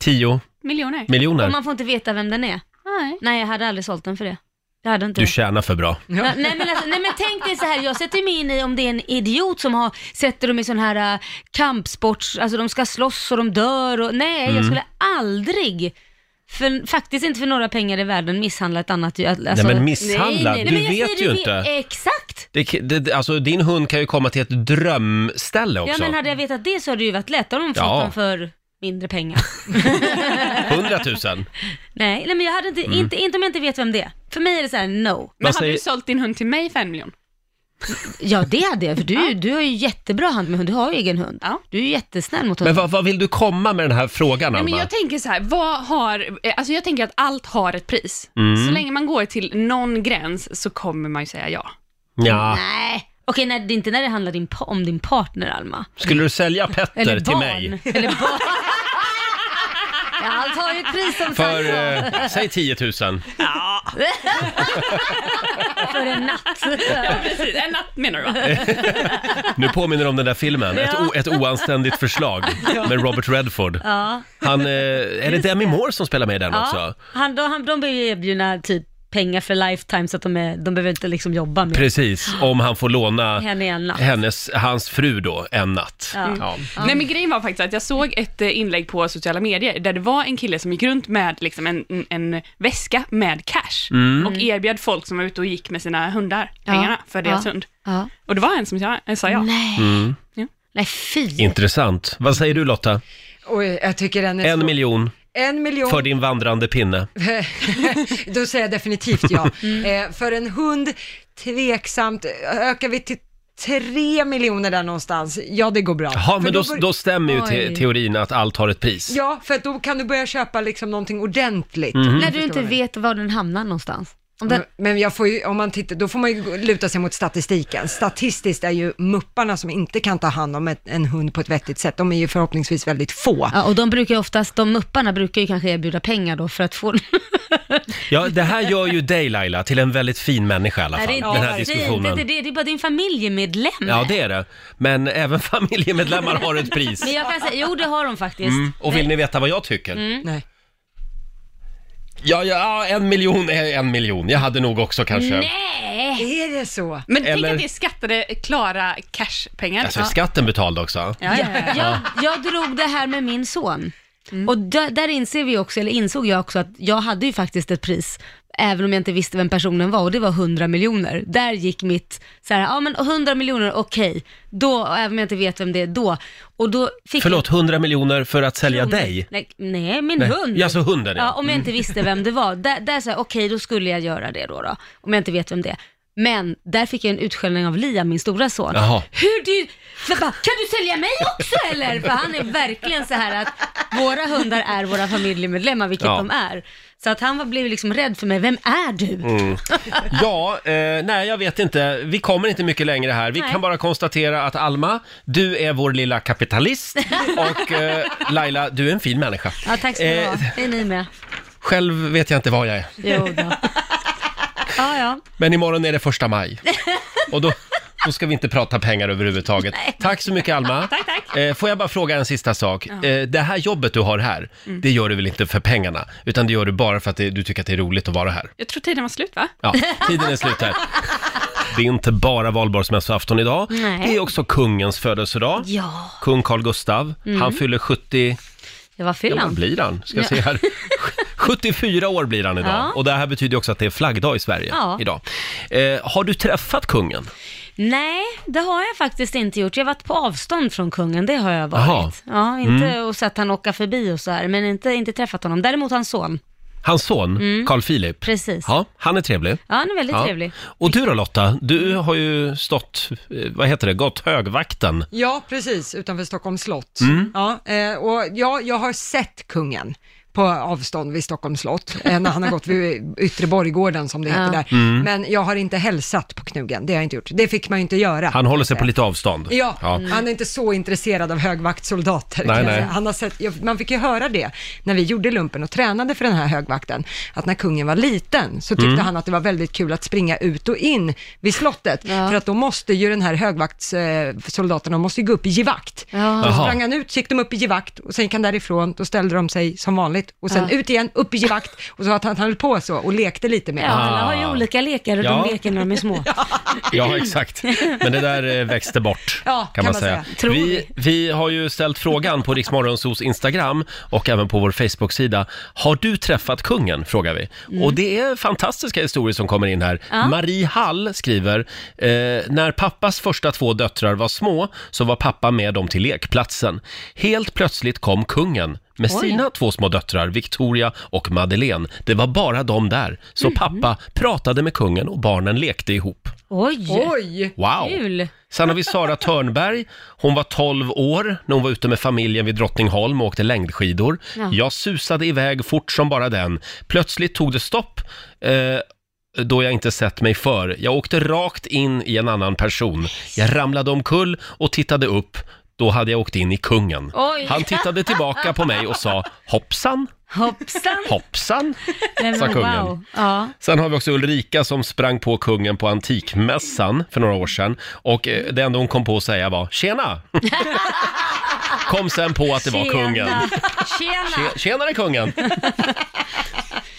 [SPEAKER 1] 10
[SPEAKER 7] miljoner?
[SPEAKER 4] Och
[SPEAKER 1] miljoner.
[SPEAKER 4] man får inte veta vem den är.
[SPEAKER 7] Nej.
[SPEAKER 4] Nej, jag hade aldrig sålt den för det. Jag hade inte
[SPEAKER 1] Du
[SPEAKER 4] det.
[SPEAKER 1] tjänar för bra.
[SPEAKER 4] Ja, nej, men alltså, nej men tänk dig så här, jag sätter mig in i om det är en idiot som har, sätter dem i sån här äh, kampsports, alltså de ska slåss och de dör och nej
[SPEAKER 1] Mm.
[SPEAKER 4] jag skulle aldrig, för, faktiskt inte för några pengar i världen misshandla ett annat djur. Alltså,
[SPEAKER 1] nej men misshandla,
[SPEAKER 4] nej, nej,
[SPEAKER 1] du
[SPEAKER 4] men jag
[SPEAKER 1] vet
[SPEAKER 4] säger
[SPEAKER 1] ju
[SPEAKER 4] det-
[SPEAKER 1] inte.
[SPEAKER 4] Exakt!
[SPEAKER 1] Det, k- det, alltså, din hund kan ju komma till ett drömställe
[SPEAKER 4] Ja
[SPEAKER 1] också.
[SPEAKER 4] men hade jag vetat det så hade det ju varit lätt, då hade de fått
[SPEAKER 1] Ja.
[SPEAKER 4] dem för mindre pengar.
[SPEAKER 1] 100 000.
[SPEAKER 4] nej, nej men jag hade inte,
[SPEAKER 1] Mm.
[SPEAKER 4] inte, inte om jag inte vet vem det är. För mig är det så här, no.
[SPEAKER 7] Men
[SPEAKER 1] Vad
[SPEAKER 7] hade
[SPEAKER 1] säger-
[SPEAKER 7] du sålt din hund till mig för en miljon?
[SPEAKER 4] Ja det hade jag, för du, du har ju jättebra hand med hund, du har ju egen hund.
[SPEAKER 7] Ja.
[SPEAKER 4] Du är ju jättesnäll mot
[SPEAKER 1] Men
[SPEAKER 4] hunden.
[SPEAKER 1] vad, vad vill du komma med den här frågan,
[SPEAKER 7] Nej, men
[SPEAKER 1] Alma?
[SPEAKER 7] jag tänker så här, vad har, eh, alltså jag tänker att allt har ett pris.
[SPEAKER 1] Mm.
[SPEAKER 7] Så länge man går till någon gräns så kommer man ju säga ja.
[SPEAKER 1] Ja.
[SPEAKER 4] Nej. Okej, nej, det är inte när det handlar din pa- om din partner Alma.
[SPEAKER 1] Skulle du sälja
[SPEAKER 4] Eller
[SPEAKER 1] Petter
[SPEAKER 4] barn.
[SPEAKER 1] till mig?
[SPEAKER 4] Eller barn. Ja, Allt har ju ett pris som
[SPEAKER 1] För,
[SPEAKER 4] sagt var.
[SPEAKER 1] eh, säg 10 000.
[SPEAKER 4] för en natt.
[SPEAKER 7] Precis, en natt menar du va?
[SPEAKER 1] Nu påminner det om den där filmen, ett,
[SPEAKER 4] Ja.
[SPEAKER 1] o, ett oanständigt förslag med Robert Redford.
[SPEAKER 4] Ja.
[SPEAKER 1] Han, eh, är det Demi Moore som spelar med i den
[SPEAKER 4] Ja.
[SPEAKER 1] också?
[SPEAKER 4] Han, de, han, de blir ju erbjudna typ pengar för lifetime så att de, är, de behöver inte liksom jobba med
[SPEAKER 1] Precis, om han får låna
[SPEAKER 4] henne i en natt.
[SPEAKER 1] hennes, hans fru då, en natt.
[SPEAKER 4] Ja.
[SPEAKER 1] Ja.
[SPEAKER 7] Nej men grejen var faktiskt att jag såg ett eh, inlägg på sociala medier där det var en kille som gick runt med liksom en, en väska med cash
[SPEAKER 1] Mm.
[SPEAKER 7] och erbjöd folk som var ute och gick med sina hundar pengarna för deras
[SPEAKER 4] Ja.
[SPEAKER 7] hund.
[SPEAKER 4] Ja.
[SPEAKER 7] Och det var en som sa, eh, sa ja.
[SPEAKER 4] Nej.
[SPEAKER 7] Ja.
[SPEAKER 4] Nej, fy.
[SPEAKER 1] Mm. Intressant. Vad säger du Lotta?
[SPEAKER 2] Oj, jag tycker den är
[SPEAKER 1] En
[SPEAKER 2] svår.
[SPEAKER 1] miljon
[SPEAKER 2] en miljon.
[SPEAKER 1] för din vandrande pinne.
[SPEAKER 2] Då säger jag definitivt ja.
[SPEAKER 1] Mm.
[SPEAKER 2] Eh, för en hund, tveksamt, ökar vi till tre miljoner där någonstans, ja det går bra.
[SPEAKER 1] Jaha,
[SPEAKER 2] För
[SPEAKER 1] men då,
[SPEAKER 2] bör-
[SPEAKER 1] då stämmer ju te-
[SPEAKER 4] Oj.
[SPEAKER 1] teorin att allt har ett pris. Mhm.
[SPEAKER 2] Ja, för att då kan du börja köpa liksom någonting ordentligt.
[SPEAKER 4] När du inte vet var den hamnar någonstans. Om den,
[SPEAKER 2] Men- Men jag får ju, om man tittar, då får man ju gå- luta sig mot statistiken. Statistiskt är ju mupparna som inte kan ta hand om ett, en hund på ett vettigt sätt, de är ju förhoppningsvis väldigt få.
[SPEAKER 4] ja, och de brukar ju oftast, de mupparna brukar ju kanske erbjuda pengar då för att få
[SPEAKER 1] Ja, det här gör ju dig Laila till en väldigt fin människa i alla fall,
[SPEAKER 4] Nej, det är inte
[SPEAKER 1] den här
[SPEAKER 4] fint,
[SPEAKER 1] diskussionen. Mm.
[SPEAKER 4] Det, är det, det är bara din familjemedlem.
[SPEAKER 1] Ja, det är det. Men även familjemedlemmar har ett pris.
[SPEAKER 4] Men jag kan säga, jo det har de faktiskt.
[SPEAKER 1] Mm. Och vill ni veta vad jag tycker?
[SPEAKER 4] Mm.
[SPEAKER 2] Nej.
[SPEAKER 1] Ja, ja, en miljon är en miljon. Jag hade nog också kanske...
[SPEAKER 4] Nej!
[SPEAKER 2] Är det så?
[SPEAKER 7] Men tänk
[SPEAKER 1] Eller-
[SPEAKER 7] att det är skattade, klara cashpengar.
[SPEAKER 1] Alltså, är
[SPEAKER 7] Ja.
[SPEAKER 1] skatten betald också?
[SPEAKER 7] Ja, ja, ja. Mm.
[SPEAKER 4] Jag, jag drog det här med min son. Och där, där inser vi också, eller insåg jag också att jag hade ju faktiskt ett pris, även om jag inte visste vem personen var och det var 100 miljoner. Där gick mitt, så här, ja men 100 miljoner, okej, då, även om jag inte vet vem det är då. Och då fick
[SPEAKER 1] Förlåt, 100 miljoner för att
[SPEAKER 4] jag...
[SPEAKER 1] sälja dig?
[SPEAKER 4] Nej, nej min
[SPEAKER 1] Nej.
[SPEAKER 4] hund.
[SPEAKER 1] Ja, så hunden, ja.
[SPEAKER 4] Ja, om jag
[SPEAKER 1] Mm.
[SPEAKER 4] inte visste vem det var. Där, där sa jag, okej då skulle jag göra det då, då. Om jag inte vet vem det är. Men där fick jag en utskällning av Liam, min stora son.
[SPEAKER 1] Jaha.
[SPEAKER 4] Hur du, för bara, kan du sälja mig också eller? För han är verkligen så här att våra hundar är våra familjemedlemmar, vilket
[SPEAKER 1] Ja.
[SPEAKER 4] de är. Så att han var, blev liksom rädd för mig, vem är du?
[SPEAKER 1] Mm. Ja, eh, nej jag vet inte. Vi kommer inte mycket längre här. Vi
[SPEAKER 4] Nej.
[SPEAKER 1] kan bara konstatera att Alma, du är vår lilla kapitalist och eh, Laila, du är en fin människa.
[SPEAKER 4] Ja, tack ska du ha.
[SPEAKER 1] Eh,
[SPEAKER 4] Det är ni med.
[SPEAKER 1] Själv vet jag inte vad jag är,
[SPEAKER 4] Jo då. Ja, ja.
[SPEAKER 1] men imorgon är det första maj. Och då, då ska vi inte prata pengar överhuvudtaget. Tack så mycket Alma.
[SPEAKER 7] Tack, tack.
[SPEAKER 1] Eh, får jag bara fråga en sista sak? Eh, det här jobbet du har här,
[SPEAKER 7] Mm.
[SPEAKER 1] det gör du väl inte för pengarna? Utan det gör du bara för att det, du tycker att det är roligt att vara här?
[SPEAKER 7] Jag tror tiden var slut va?
[SPEAKER 1] Ja, tiden är slut här. Det är inte bara valborgsmässoafton idag.
[SPEAKER 4] Nej.
[SPEAKER 1] Det är också kungens födelsedag.
[SPEAKER 4] Ja,
[SPEAKER 1] Kung Carl Gustav. Han fyller 70...
[SPEAKER 4] jag var
[SPEAKER 1] Ja, vad
[SPEAKER 4] fyllan.
[SPEAKER 1] blir han? Ska
[SPEAKER 4] Ja.
[SPEAKER 1] se här. 74 år blir han idag.
[SPEAKER 4] Ja.
[SPEAKER 1] Och det här betyder också att det är flaggdag i Sverige
[SPEAKER 4] Ja.
[SPEAKER 1] idag. Eh, har du träffat kungen?
[SPEAKER 4] Nej, det har jag faktiskt inte gjort. Jag har varit på avstånd från kungen, det har jag varit. Ja, inte
[SPEAKER 1] Mm.
[SPEAKER 4] och sett han åka förbi och så här, men inte, inte träffat honom. Däremot hans son,
[SPEAKER 1] Hans son, Carl Philip.
[SPEAKER 4] Mm. precis. Ja,
[SPEAKER 1] Ja, han är trevlig.
[SPEAKER 4] han är väldigt
[SPEAKER 1] Ja.
[SPEAKER 4] trevlig.
[SPEAKER 1] Och du då Lotta, du har ju stått, eh, vad heter det, gått högvakten.
[SPEAKER 2] Ja, precis, utanför Stockholms slott. Ja, eh, och ja, jag har sett kungen på avstånd vid Stockholms slott, eh, när han har gått vid Yttre Borggården som det heter
[SPEAKER 4] Ja.
[SPEAKER 2] där.
[SPEAKER 1] Mm.
[SPEAKER 2] Men jag har inte hälsat på knugen, det har jag inte gjort. Det fick man ju inte göra.
[SPEAKER 1] Han håller sig på lite avstånd.
[SPEAKER 2] Ja,
[SPEAKER 4] Mm.
[SPEAKER 2] Mm. han är inte så intresserad av högvaktsoldater.
[SPEAKER 1] Nej,
[SPEAKER 2] kan jag
[SPEAKER 1] nej.
[SPEAKER 2] säga. Han har sett, ja, man fick ju höra det när vi gjorde lumpen och tränade för den här högvakten, att när kungen var liten så tyckte
[SPEAKER 1] Mm.
[SPEAKER 2] han att det var väldigt kul att springa ut och in vid slottet,
[SPEAKER 4] Ja.
[SPEAKER 2] för att då måste ju den här högvaktssoldaterna, de måste ju gå upp i givakt.
[SPEAKER 4] Ja.
[SPEAKER 2] Då
[SPEAKER 1] Jaha.
[SPEAKER 2] sprang han ut, så gick de upp i givakt och sen gick han därifrån, då ställde de sig som vanligt och sen
[SPEAKER 4] Ja.
[SPEAKER 2] ut igen, upp i givakt och så att han höll på så och lekte lite med
[SPEAKER 4] Ja,
[SPEAKER 2] ja.
[SPEAKER 4] alla har ju
[SPEAKER 1] Ah.
[SPEAKER 4] olika lekar och
[SPEAKER 1] Ja.
[SPEAKER 4] de leker när de är små.
[SPEAKER 1] Ja, exakt. Men det där eh, växte bort,
[SPEAKER 2] Ja,
[SPEAKER 1] kan man säga.
[SPEAKER 4] Tror
[SPEAKER 1] Vi, vi har ju ställt frågan på Riksmorgonsos Instagram och även på vår Facebook-sida. Har du träffat kungen? frågar vi. Och det är fantastiska historier som kommer in här. Marie Hall skriver, eh, när pappas första två döttrar var små så var pappa med dem till lekplatsen. Helt plötsligt kom kungen med
[SPEAKER 4] Oj.
[SPEAKER 1] sina två små döttrar, Victoria och Madeleine. Det var bara de där, så pappa pratade med kungen och barnen lekte ihop.
[SPEAKER 4] Oj!
[SPEAKER 2] Oj!
[SPEAKER 1] Wow!
[SPEAKER 4] Kul!
[SPEAKER 1] Sen har vi Sara Törnberg. Hon var 12 år när hon var ute med familjen vid Drottningholm och åkte längdskidor.
[SPEAKER 4] Ja.
[SPEAKER 1] Jag susade iväg fort som bara den. Plötsligt tog det stopp. Eh, då jag inte sett mig för. Jag åkte rakt in i en annan person. Jag ramlade omkull och tittade upp. Då hade jag åkt in i kungen.
[SPEAKER 4] Oj.
[SPEAKER 1] Han tittade tillbaka på mig och sa hoppsan,
[SPEAKER 4] Hoppsan!
[SPEAKER 1] hoppsan.
[SPEAKER 4] Nej, men
[SPEAKER 1] sa kungen.
[SPEAKER 4] Ja.
[SPEAKER 1] Sen har vi också Ulrika som sprang på kungen på antikmässan för några år sedan. Och eh, det enda hon kom på att säga var “Tjena!” Kom sen på att det var kungen.
[SPEAKER 4] Tjena! Tjena.
[SPEAKER 1] Tje- Tjenare kungen!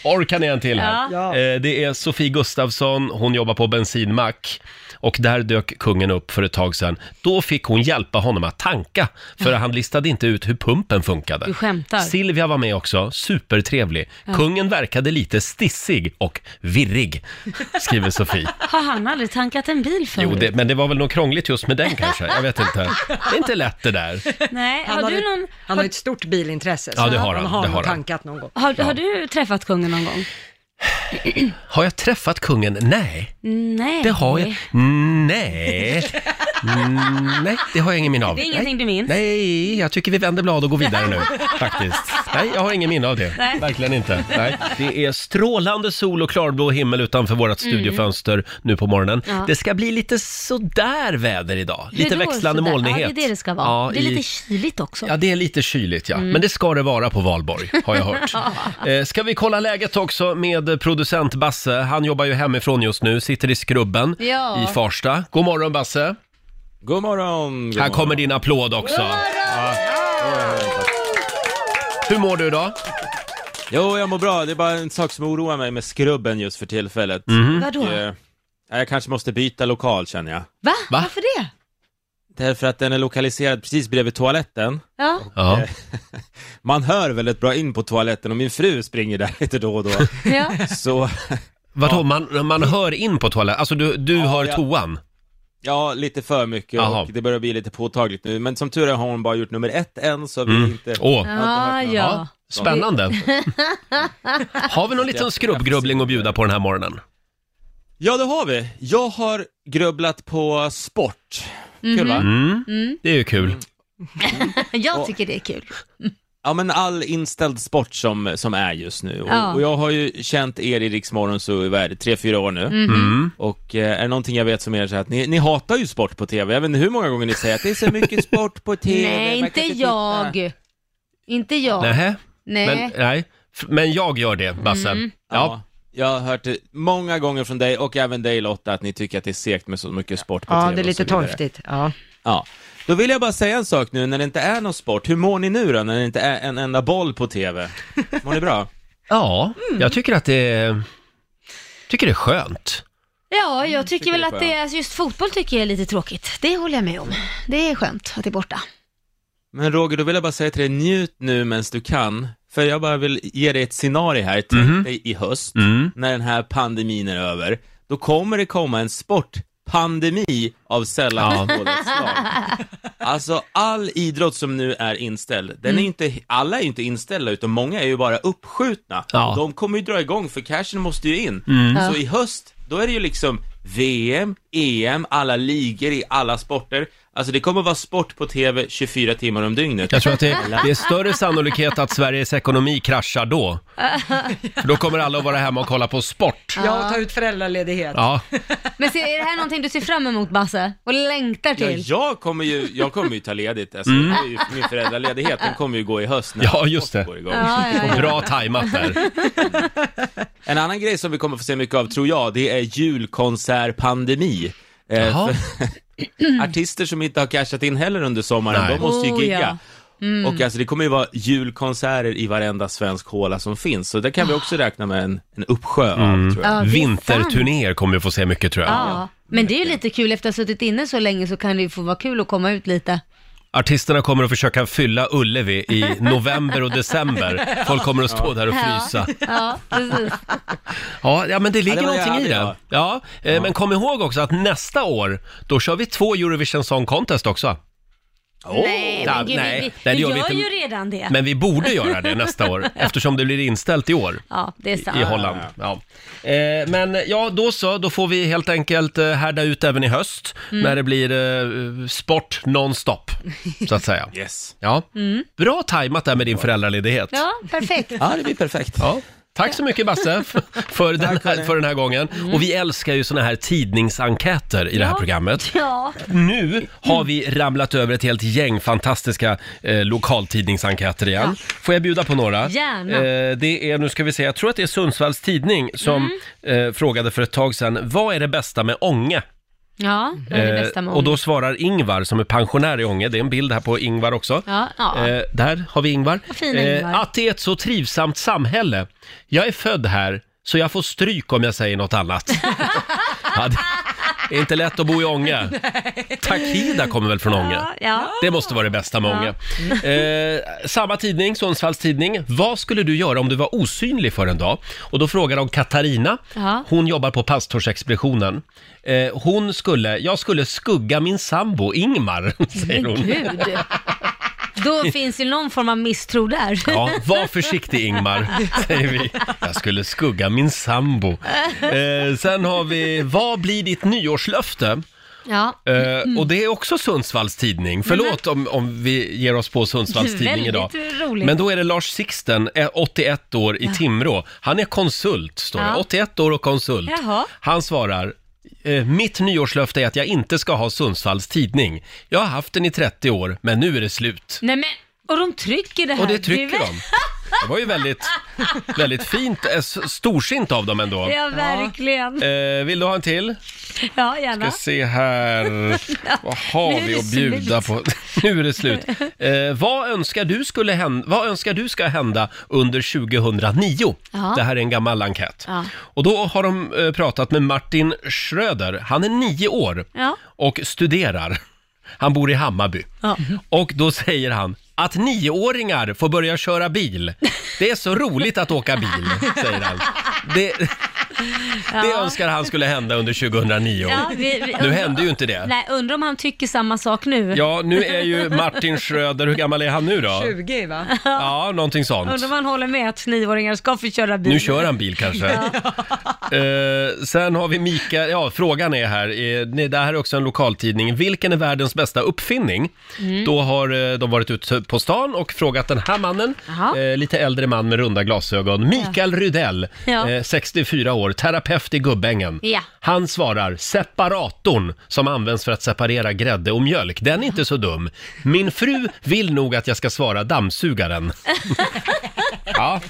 [SPEAKER 1] Orkar ni en till här? Eh, Det är Sofie Gustafsson, hon jobbar på bensinmack. Och där dök kungen upp för ett tag sedan. Då fick hon hjälpa honom att tanka, för han listade inte ut hur pumpen funkade.
[SPEAKER 4] Du skämtar.
[SPEAKER 1] Silvia var med också, supertrevlig. Kungen verkade lite stissig och virrig, skriver Sofie.
[SPEAKER 4] Har han aldrig tankat en bil förut?
[SPEAKER 1] Jo, det, men det var väl något krångligt just med den kanske, jag vet inte. Det är inte lätt det där.
[SPEAKER 4] Nej,
[SPEAKER 2] Han
[SPEAKER 4] har
[SPEAKER 2] har,
[SPEAKER 4] du
[SPEAKER 2] ett-
[SPEAKER 4] någon...
[SPEAKER 2] han har ett stort bilintresse,
[SPEAKER 1] Ja, det har han,
[SPEAKER 2] han har
[SPEAKER 1] det
[SPEAKER 2] nog
[SPEAKER 1] har han.
[SPEAKER 2] tankat någon gång.
[SPEAKER 4] Har, har du träffat kungen någon gång?
[SPEAKER 1] Har jag träffat kungen? Nej.
[SPEAKER 4] Nej.
[SPEAKER 1] Det har jag. Nej. Mm, Nej, det har jag ingen minne av.
[SPEAKER 4] Det är ingenting
[SPEAKER 1] Nej.
[SPEAKER 4] du minns?
[SPEAKER 1] Nej, jag tycker vi vänder blad och går vidare nu, faktiskt. Nej, jag har ingen minne av det.
[SPEAKER 4] Nej.
[SPEAKER 1] Verkligen inte. Nej. Det är strålande sol och klarblå himmel utanför vårt studiofönster nu på morgonen.
[SPEAKER 4] Mm. Ja.
[SPEAKER 1] Det ska bli lite sådär väder idag. Lite
[SPEAKER 4] Hur då,
[SPEAKER 1] växlande
[SPEAKER 4] sådär?
[SPEAKER 1] molnighet.
[SPEAKER 4] Ja, det är det det ska vara.
[SPEAKER 1] Ja,
[SPEAKER 4] det är
[SPEAKER 1] i-
[SPEAKER 4] lite kyligt Mm. också.
[SPEAKER 1] Ja, det är lite kyligt ja. Men det ska det vara på valborg, har jag hört. eh, ska vi kolla läget också med producent Basse? Han jobbar ju hemifrån just nu, sitter i skrubben
[SPEAKER 4] Ja.
[SPEAKER 1] i Farsta. God morgon Basse!
[SPEAKER 8] God morgon! God
[SPEAKER 1] Här
[SPEAKER 8] morgon.
[SPEAKER 1] kommer din applåd också. Ja. Hur mår du idag?
[SPEAKER 8] Jo, jag mår bra. Det är bara en sak som oroar mig med skrubben just för tillfället.
[SPEAKER 1] Mhm.
[SPEAKER 4] Vadå?
[SPEAKER 8] Och, eh, Jag kanske måste byta lokal känner jag.
[SPEAKER 4] Va?
[SPEAKER 1] Va?
[SPEAKER 4] Varför det?
[SPEAKER 8] Därför att den är lokaliserad precis bredvid toaletten. Eh,
[SPEAKER 4] Ja.
[SPEAKER 1] Ja.
[SPEAKER 8] Man hör väldigt bra in på toaletten och min fru springer där lite då och då.
[SPEAKER 4] ja.
[SPEAKER 8] Så,
[SPEAKER 1] Vadå, man, man hör in på toaletten? Alltså du, du hör
[SPEAKER 8] ja.
[SPEAKER 1] toan?
[SPEAKER 8] ja, lite för mycket
[SPEAKER 1] Jaha.
[SPEAKER 8] och det börjar bli lite påtagligt nu. Men som tur är har hon bara gjort nummer ett än, så vi
[SPEAKER 1] Mm.
[SPEAKER 8] inte...
[SPEAKER 1] Åh,
[SPEAKER 4] Ah, ja.
[SPEAKER 1] ja. spännande. Har vi någon liten skrubbgrubbling att bjuda på den här morgonen?
[SPEAKER 8] Ja, det har vi. Jag har grubblat på sport. Kul va?
[SPEAKER 1] Mm,
[SPEAKER 4] Mm-hmm. Mm.
[SPEAKER 1] det är ju kul.
[SPEAKER 4] Jag tycker det är kul.
[SPEAKER 8] Ja men all inställd sport som, som är just nu. Och,
[SPEAKER 4] Ja.
[SPEAKER 8] och jag har ju känt er i Riksmorgon så i vad är det, tre, fyra år nu.
[SPEAKER 4] Mhm.
[SPEAKER 1] Mm.
[SPEAKER 8] Och eh, är det någonting jag vet som er så här att ni, ni hatar ju sport på TV. Jag vet inte hur många gånger ni säger att det är så mycket sport på TV.
[SPEAKER 4] Nej,
[SPEAKER 8] man
[SPEAKER 4] inte
[SPEAKER 8] kan titta.
[SPEAKER 4] jag. Inte jag. Nej.
[SPEAKER 1] Nähä? Men, nej. F- Men jag gör det, Basse.
[SPEAKER 2] Mm.
[SPEAKER 1] Ja.
[SPEAKER 8] Ja. Jag har hört det många gånger från dig och även dig Lotta att ni tycker att det är segt med så mycket sport på
[SPEAKER 2] Ja,
[SPEAKER 8] TV.
[SPEAKER 2] det är
[SPEAKER 8] och
[SPEAKER 2] lite
[SPEAKER 8] så vidare.
[SPEAKER 2] torftigt. Ja.
[SPEAKER 8] Ja. Då vill jag bara säga en sak nu när det inte är någon sport. Hur mår ni nu då när det inte är en enda boll på TV? Mår ni bra?
[SPEAKER 1] Ja, jag tycker att det är... Tycker det är skönt.
[SPEAKER 4] Ja, jag tycker väl
[SPEAKER 8] det är
[SPEAKER 4] att det är, alltså just fotboll tycker jag är lite tråkigt. Det håller jag med om. Det är skönt att det är borta.
[SPEAKER 8] Men Roger, då vill jag bara säga till dig, njut nu medan du kan. För jag bara vill ge dig ett scenario här. Tänk dig i höst,
[SPEAKER 1] Mhm. Mm.
[SPEAKER 8] när den här pandemin är över. Då kommer det komma en sportpandemi av sällan ja. Alltså all idrott som nu är inställd, den
[SPEAKER 1] Mm.
[SPEAKER 8] är ju inte, alla är ju inte inställda utan många är ju bara uppskjutna.
[SPEAKER 1] Ja. Mm.
[SPEAKER 8] De kommer ju dra igång för cashen måste ju in. Så i höst, då är det ju liksom VM, EM, alla ligor i alla sporter. Alltså det kommer vara sport på TV 24 timmar om dygnet.
[SPEAKER 1] Jag tror att det, det är större sannolikhet att Sveriges ekonomi kraschar då. För då kommer alla att vara hemma och kolla på sport.
[SPEAKER 2] Jag tar ut föräldraledighet.
[SPEAKER 1] Ja,
[SPEAKER 4] Men se, är det här någonting du ser fram emot Basse? Och längtar
[SPEAKER 8] Ja,
[SPEAKER 4] till?
[SPEAKER 8] jag kommer ju, jag kommer ju ta ledigt, alltså, det är ju min föräldraledighet, den kommer ju gå i höst när
[SPEAKER 1] Mm. Ja, just det.
[SPEAKER 8] sport går igång.
[SPEAKER 4] Ja, ja, ja.
[SPEAKER 1] bra tajmat där.
[SPEAKER 8] En annan grej som vi kommer få se mycket av, tror jag, det är julkonsertpandemi. Eh,
[SPEAKER 1] Jaha.
[SPEAKER 8] för- Artister som inte har cashat in heller under sommaren,
[SPEAKER 1] Nej.
[SPEAKER 8] de måste ju
[SPEAKER 4] Oh,
[SPEAKER 8] gigga.
[SPEAKER 4] ja.
[SPEAKER 8] Och alltså det kommer ju vara julkonserter i varenda svensk håla som finns, så det kan vi också räkna med en, en uppsjö av, tror jag.
[SPEAKER 4] Ah. Ja, det är sant.
[SPEAKER 1] Mm. Vinterturnéer kommer vi få se mycket tror jag.
[SPEAKER 4] Ja, men det är ju lite kul. Efter att ha suttit inne så länge så kan det ju få vara kul att komma ut lite.
[SPEAKER 1] Artisterna kommer att försöka fylla Ullevi i november och december. Folk kommer att stå där och frysa.
[SPEAKER 4] Ja, precis.
[SPEAKER 1] Ja, ja men det ligger
[SPEAKER 8] Ja, det var
[SPEAKER 1] någonting i
[SPEAKER 8] jag hade
[SPEAKER 1] det.
[SPEAKER 8] idag.
[SPEAKER 1] Ja, eh, men kom ihåg också att nästa år, då kör vi två Eurovision Song Contest också.
[SPEAKER 4] nej,
[SPEAKER 1] Ja,
[SPEAKER 4] men gud,
[SPEAKER 1] nej,
[SPEAKER 4] vi,
[SPEAKER 1] nej, det
[SPEAKER 4] vi
[SPEAKER 1] gör
[SPEAKER 4] gör
[SPEAKER 1] vi inte.
[SPEAKER 4] ju redan det.
[SPEAKER 1] Men vi borde göra det nästa år, eftersom det blir inställt i år.
[SPEAKER 4] ja, det är sant.
[SPEAKER 1] I Holland. Ja. Eh, men ja, då så. Då får vi helt enkelt eh, härda ut även i höst
[SPEAKER 8] Mm.
[SPEAKER 1] när det blir eh, sport nonstop, så att säga.
[SPEAKER 8] Yes. Mm.
[SPEAKER 1] Ja. Bra tajmat där med din föräldraledighet.
[SPEAKER 4] Ja, perfekt.
[SPEAKER 8] Ja, det blir perfekt.
[SPEAKER 1] Ja. Tack så mycket Basse f- för den här, för den här gången. Och vi älskar ju såna här tidningsenkäter i det här
[SPEAKER 4] Mm. Ja.
[SPEAKER 1] programmet.
[SPEAKER 4] Ja,
[SPEAKER 1] Nu har vi ramlat över ett helt gäng fantastiska eh, lokaltidningsenkäter igen. Får jag bjuda på några?
[SPEAKER 4] Gärna.
[SPEAKER 1] Eh, det är, nu ska vi se, jag tror att det är Sundsvalls tidning som
[SPEAKER 4] Mm.
[SPEAKER 1] eh, frågade för ett tag sedan, vad är det bästa med Ånge?
[SPEAKER 4] ja det är det
[SPEAKER 1] Eh,
[SPEAKER 4] bästa med
[SPEAKER 1] och då svarar Ingvar som är pensionär i Ånge, det är en bild här på Ingvar också.
[SPEAKER 4] Ja, ja.
[SPEAKER 1] Eh, där har vi Ingvar. Eh,
[SPEAKER 4] fina Ingvar.
[SPEAKER 1] att det är ett så trivsamt samhälle. Jag är född här, så jag får stryk om jag säger något annat. ja, det är inte lätt att bo i Ånge. Takida kommer väl från Ånge?
[SPEAKER 4] Ja, ja.
[SPEAKER 1] Det måste vara det bästa med Ånge. Eh, samma tidning, Sundsvalls tidning. Vad skulle du göra om du var osynlig för en dag? Och då frågar de Katarina.
[SPEAKER 4] Ja.
[SPEAKER 1] Hon jobbar på pastorsexpeditionen. Eh, hon skulle, jag skulle skugga min sambo Ingmar, säger
[SPEAKER 4] Men
[SPEAKER 1] hon.
[SPEAKER 4] gud. Då finns ju någon form av misstro där.
[SPEAKER 1] Ja, var försiktig Ingmar, säger vi. Jag skulle skugga min sambo. Eh, sen har vi, vad blir ditt nyårslöfte?
[SPEAKER 4] Ja.
[SPEAKER 1] Eh, och det är också Sundsvalls tidning. Förlåt om, om vi ger oss på Sundsvalls tidning
[SPEAKER 4] Mm. Väldigt
[SPEAKER 1] idag.
[SPEAKER 4] roligt.
[SPEAKER 1] Men då är det Lars Sixten, eh, 81 år, i Timrå. Han är konsult, står det.
[SPEAKER 4] Ja.
[SPEAKER 1] 81 år och konsult.
[SPEAKER 4] Jaha.
[SPEAKER 1] Han svarar, eh, mitt nyårslöfte är att jag inte ska ha Sundsvalls tidning. Jag har haft den i 30 år, men nu är det slut.
[SPEAKER 4] Nej men, och de trycker det här.
[SPEAKER 1] Och det
[SPEAKER 4] är
[SPEAKER 1] trycker
[SPEAKER 4] väl-
[SPEAKER 1] de. Det var ju väldigt, väldigt fint, eh, s- storsint av dem ändå.
[SPEAKER 4] Ja, verkligen.
[SPEAKER 1] Eh, vill du ha en till?
[SPEAKER 4] Ja,
[SPEAKER 1] eh, ska
[SPEAKER 4] gärna.
[SPEAKER 1] se här. Vad
[SPEAKER 4] nu
[SPEAKER 1] har
[SPEAKER 4] är
[SPEAKER 1] vi
[SPEAKER 4] det
[SPEAKER 1] att bjuda på? nu är det slut. Eh, vad, önskar du skulle hända, vad önskar du ska hända under 2009?
[SPEAKER 4] Ja.
[SPEAKER 1] Det här är en gammal enkät.
[SPEAKER 4] Ja.
[SPEAKER 1] Och då har de eh, pratat med Martin Schröder. Han är nio år
[SPEAKER 4] Ja.
[SPEAKER 1] och studerar. Han bor i Hammarby.
[SPEAKER 4] Ja.
[SPEAKER 1] Och då säger han att nioåringar får börja köra bil. Det är så roligt att åka bil, säger han. Det, det önskar han skulle hända under 2009.
[SPEAKER 4] Ja, vi- vi-
[SPEAKER 1] Nu hände ju inte det.
[SPEAKER 4] Nej, undrar om han tycker samma sak nu.
[SPEAKER 1] Ja, nu är ju Martin Schröder, hur gammal är han nu då?
[SPEAKER 2] 20 va?
[SPEAKER 1] Ja, någonting sånt.
[SPEAKER 4] Undrar om han håller med att nioåringar ska få köra bil.
[SPEAKER 1] Nu kör han bil kanske. Eh, sen har vi Mikael, ja frågan är här, eh, nej, det här är också en lokaltidning, vilken är världens bästa uppfinning?
[SPEAKER 4] Mm.
[SPEAKER 1] Då har eh, de varit ute på stan och frågat den här mannen,
[SPEAKER 4] Jaha.
[SPEAKER 1] eh, lite äldre man med runda glasögon, Mikael Rydell,
[SPEAKER 4] Ja.
[SPEAKER 1] eh, 64 år, terapeut i Gubbängen.
[SPEAKER 4] Ja.
[SPEAKER 1] Han svarar separatorn som används för att separera grädde och mjölk. Den är inte så dum. Min fru vill nog att jag ska svara dammsugaren. ja.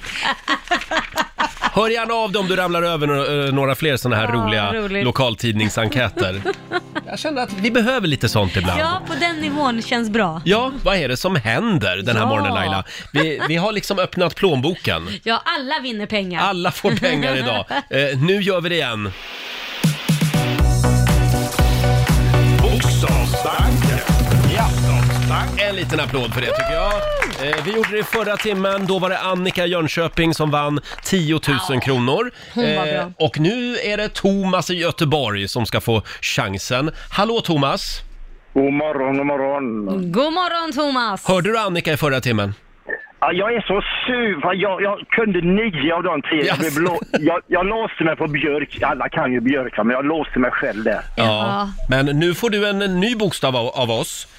[SPEAKER 1] Hör gärna av dig om du ramlar över några, eh, några fler sådana här
[SPEAKER 4] Ja,
[SPEAKER 1] roliga
[SPEAKER 4] roligt.
[SPEAKER 1] lokaltidningsenkäter. Jag känner att vi behöver lite sånt ibland.
[SPEAKER 4] Ja, på den nivån känns bra.
[SPEAKER 1] Ja, vad är det som händer den här
[SPEAKER 4] Ja.
[SPEAKER 1] morgonen Laila? Vi, vi har liksom öppnat plånboken.
[SPEAKER 4] Ja, alla vinner pengar.
[SPEAKER 1] Alla får pengar idag. Eh, nu gör vi det igen. En liten applåd för det tycker jag. Eh, vi gjorde det i förra timmen, då var det Annika i Jönköping som vann 10 000 kronor. Eh,
[SPEAKER 4] hon var bra.
[SPEAKER 1] och nu är det Thomas i Göteborg som ska få chansen. Hallå Thomas!
[SPEAKER 9] God morgon, god morgon.
[SPEAKER 4] God morgon Thomas!
[SPEAKER 1] Hörde du Annika i förra timmen?
[SPEAKER 9] Ja, jag är så sur. för Jag, jag kunde nio av de tio. Jag, blev
[SPEAKER 1] Jaså?
[SPEAKER 9] blå, jag, jag låste mig på Björk. Alla kan ju Björk, va, men jag låste mig själv där.
[SPEAKER 4] Ja.
[SPEAKER 1] Men nu får du en, ny bokstav av, av oss.
[SPEAKER 9] Ja,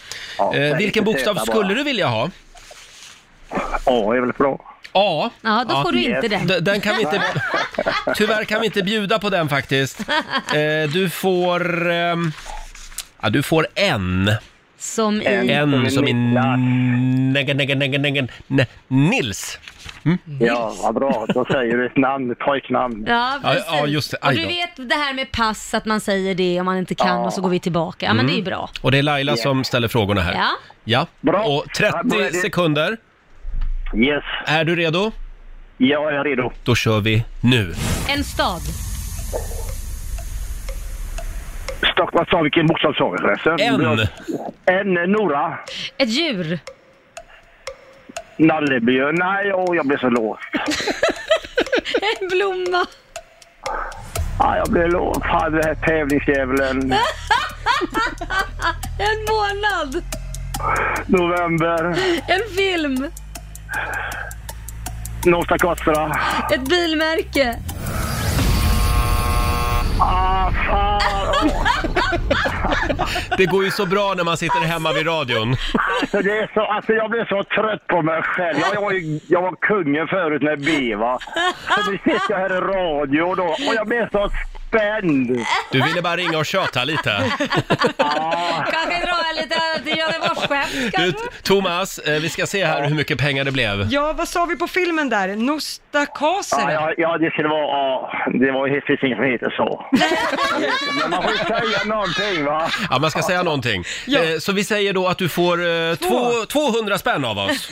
[SPEAKER 1] Eh, vilken bokstav skulle du vilja ha?
[SPEAKER 9] Ja, är väl bra.
[SPEAKER 1] A.
[SPEAKER 4] Ja, då får du
[SPEAKER 9] yes.
[SPEAKER 4] inte den.
[SPEAKER 1] D- Den kan vi inte... Tyvärr kan vi inte bjuda på den faktiskt. Eh, du får... ehm, Ja, du får en.
[SPEAKER 4] Som
[SPEAKER 9] En.
[SPEAKER 4] i...
[SPEAKER 1] En som
[SPEAKER 9] som
[SPEAKER 1] är
[SPEAKER 9] är
[SPEAKER 1] neg- neg- neg- neg- ne- Nils. Mm?
[SPEAKER 9] Ja, vad bra. Då säger du ett namn, ett pojknamn.
[SPEAKER 4] Ja,
[SPEAKER 1] Ja,
[SPEAKER 4] precis.
[SPEAKER 1] ja, just det. Aj
[SPEAKER 4] Och du
[SPEAKER 1] då.
[SPEAKER 4] vet det här med pass, att man säger det om man inte kan och så går vi tillbaka. Ja, men det är ju bra.
[SPEAKER 1] Och det är Laila som ställer frågorna Mm. här.
[SPEAKER 4] Ja.
[SPEAKER 1] Ja.
[SPEAKER 9] Bra.
[SPEAKER 1] Och
[SPEAKER 9] Ja, då är
[SPEAKER 1] 30
[SPEAKER 9] det-
[SPEAKER 1] sekunder.
[SPEAKER 9] Yes,
[SPEAKER 1] Är du redo?
[SPEAKER 9] jag är redo.
[SPEAKER 1] Då kör vi nu.
[SPEAKER 4] En stad.
[SPEAKER 9] Stockholm sa vilken bokstav sa vi förresten?
[SPEAKER 1] En.
[SPEAKER 9] En eh, Nora.
[SPEAKER 4] Ett djur.
[SPEAKER 9] Nallebjörn. Nej, åh, jag blev så låst.
[SPEAKER 4] En blomma.
[SPEAKER 9] Ja, jag blev låst. Fan, den här tävlingsdjävulen.
[SPEAKER 4] En månad.
[SPEAKER 9] November.
[SPEAKER 4] En film.
[SPEAKER 9] North Dakota.
[SPEAKER 4] Ett bilmärke.
[SPEAKER 9] Ah, fan.
[SPEAKER 1] Det går ju så bra när man sitter hemma vid radion.
[SPEAKER 9] Alltså, det är så, alltså jag blev så trött på mig själv. Jag, jag, var, ju, jag var kungen förut med B va. Så nu sitter jag här i radio då och jag blev så spänd.
[SPEAKER 1] Du ville bara ringa och tjata lite.
[SPEAKER 4] Kanske dra en liten Göteborgsskämt
[SPEAKER 1] Du,
[SPEAKER 4] kanske?
[SPEAKER 1] Thomas, eh, vi ska se här hur mycket pengar det blev.
[SPEAKER 2] Ja, vad sa vi på filmen där?
[SPEAKER 9] Ja,
[SPEAKER 2] Nostakaser?
[SPEAKER 9] ja, ja det skulle vara, ja, det var ju finns inget som heter så. Men man får ju säga någonting va.
[SPEAKER 1] Ja, man ska säga någonting. Eh, Så vi säger då att du får eh, två, 200 spänn av oss.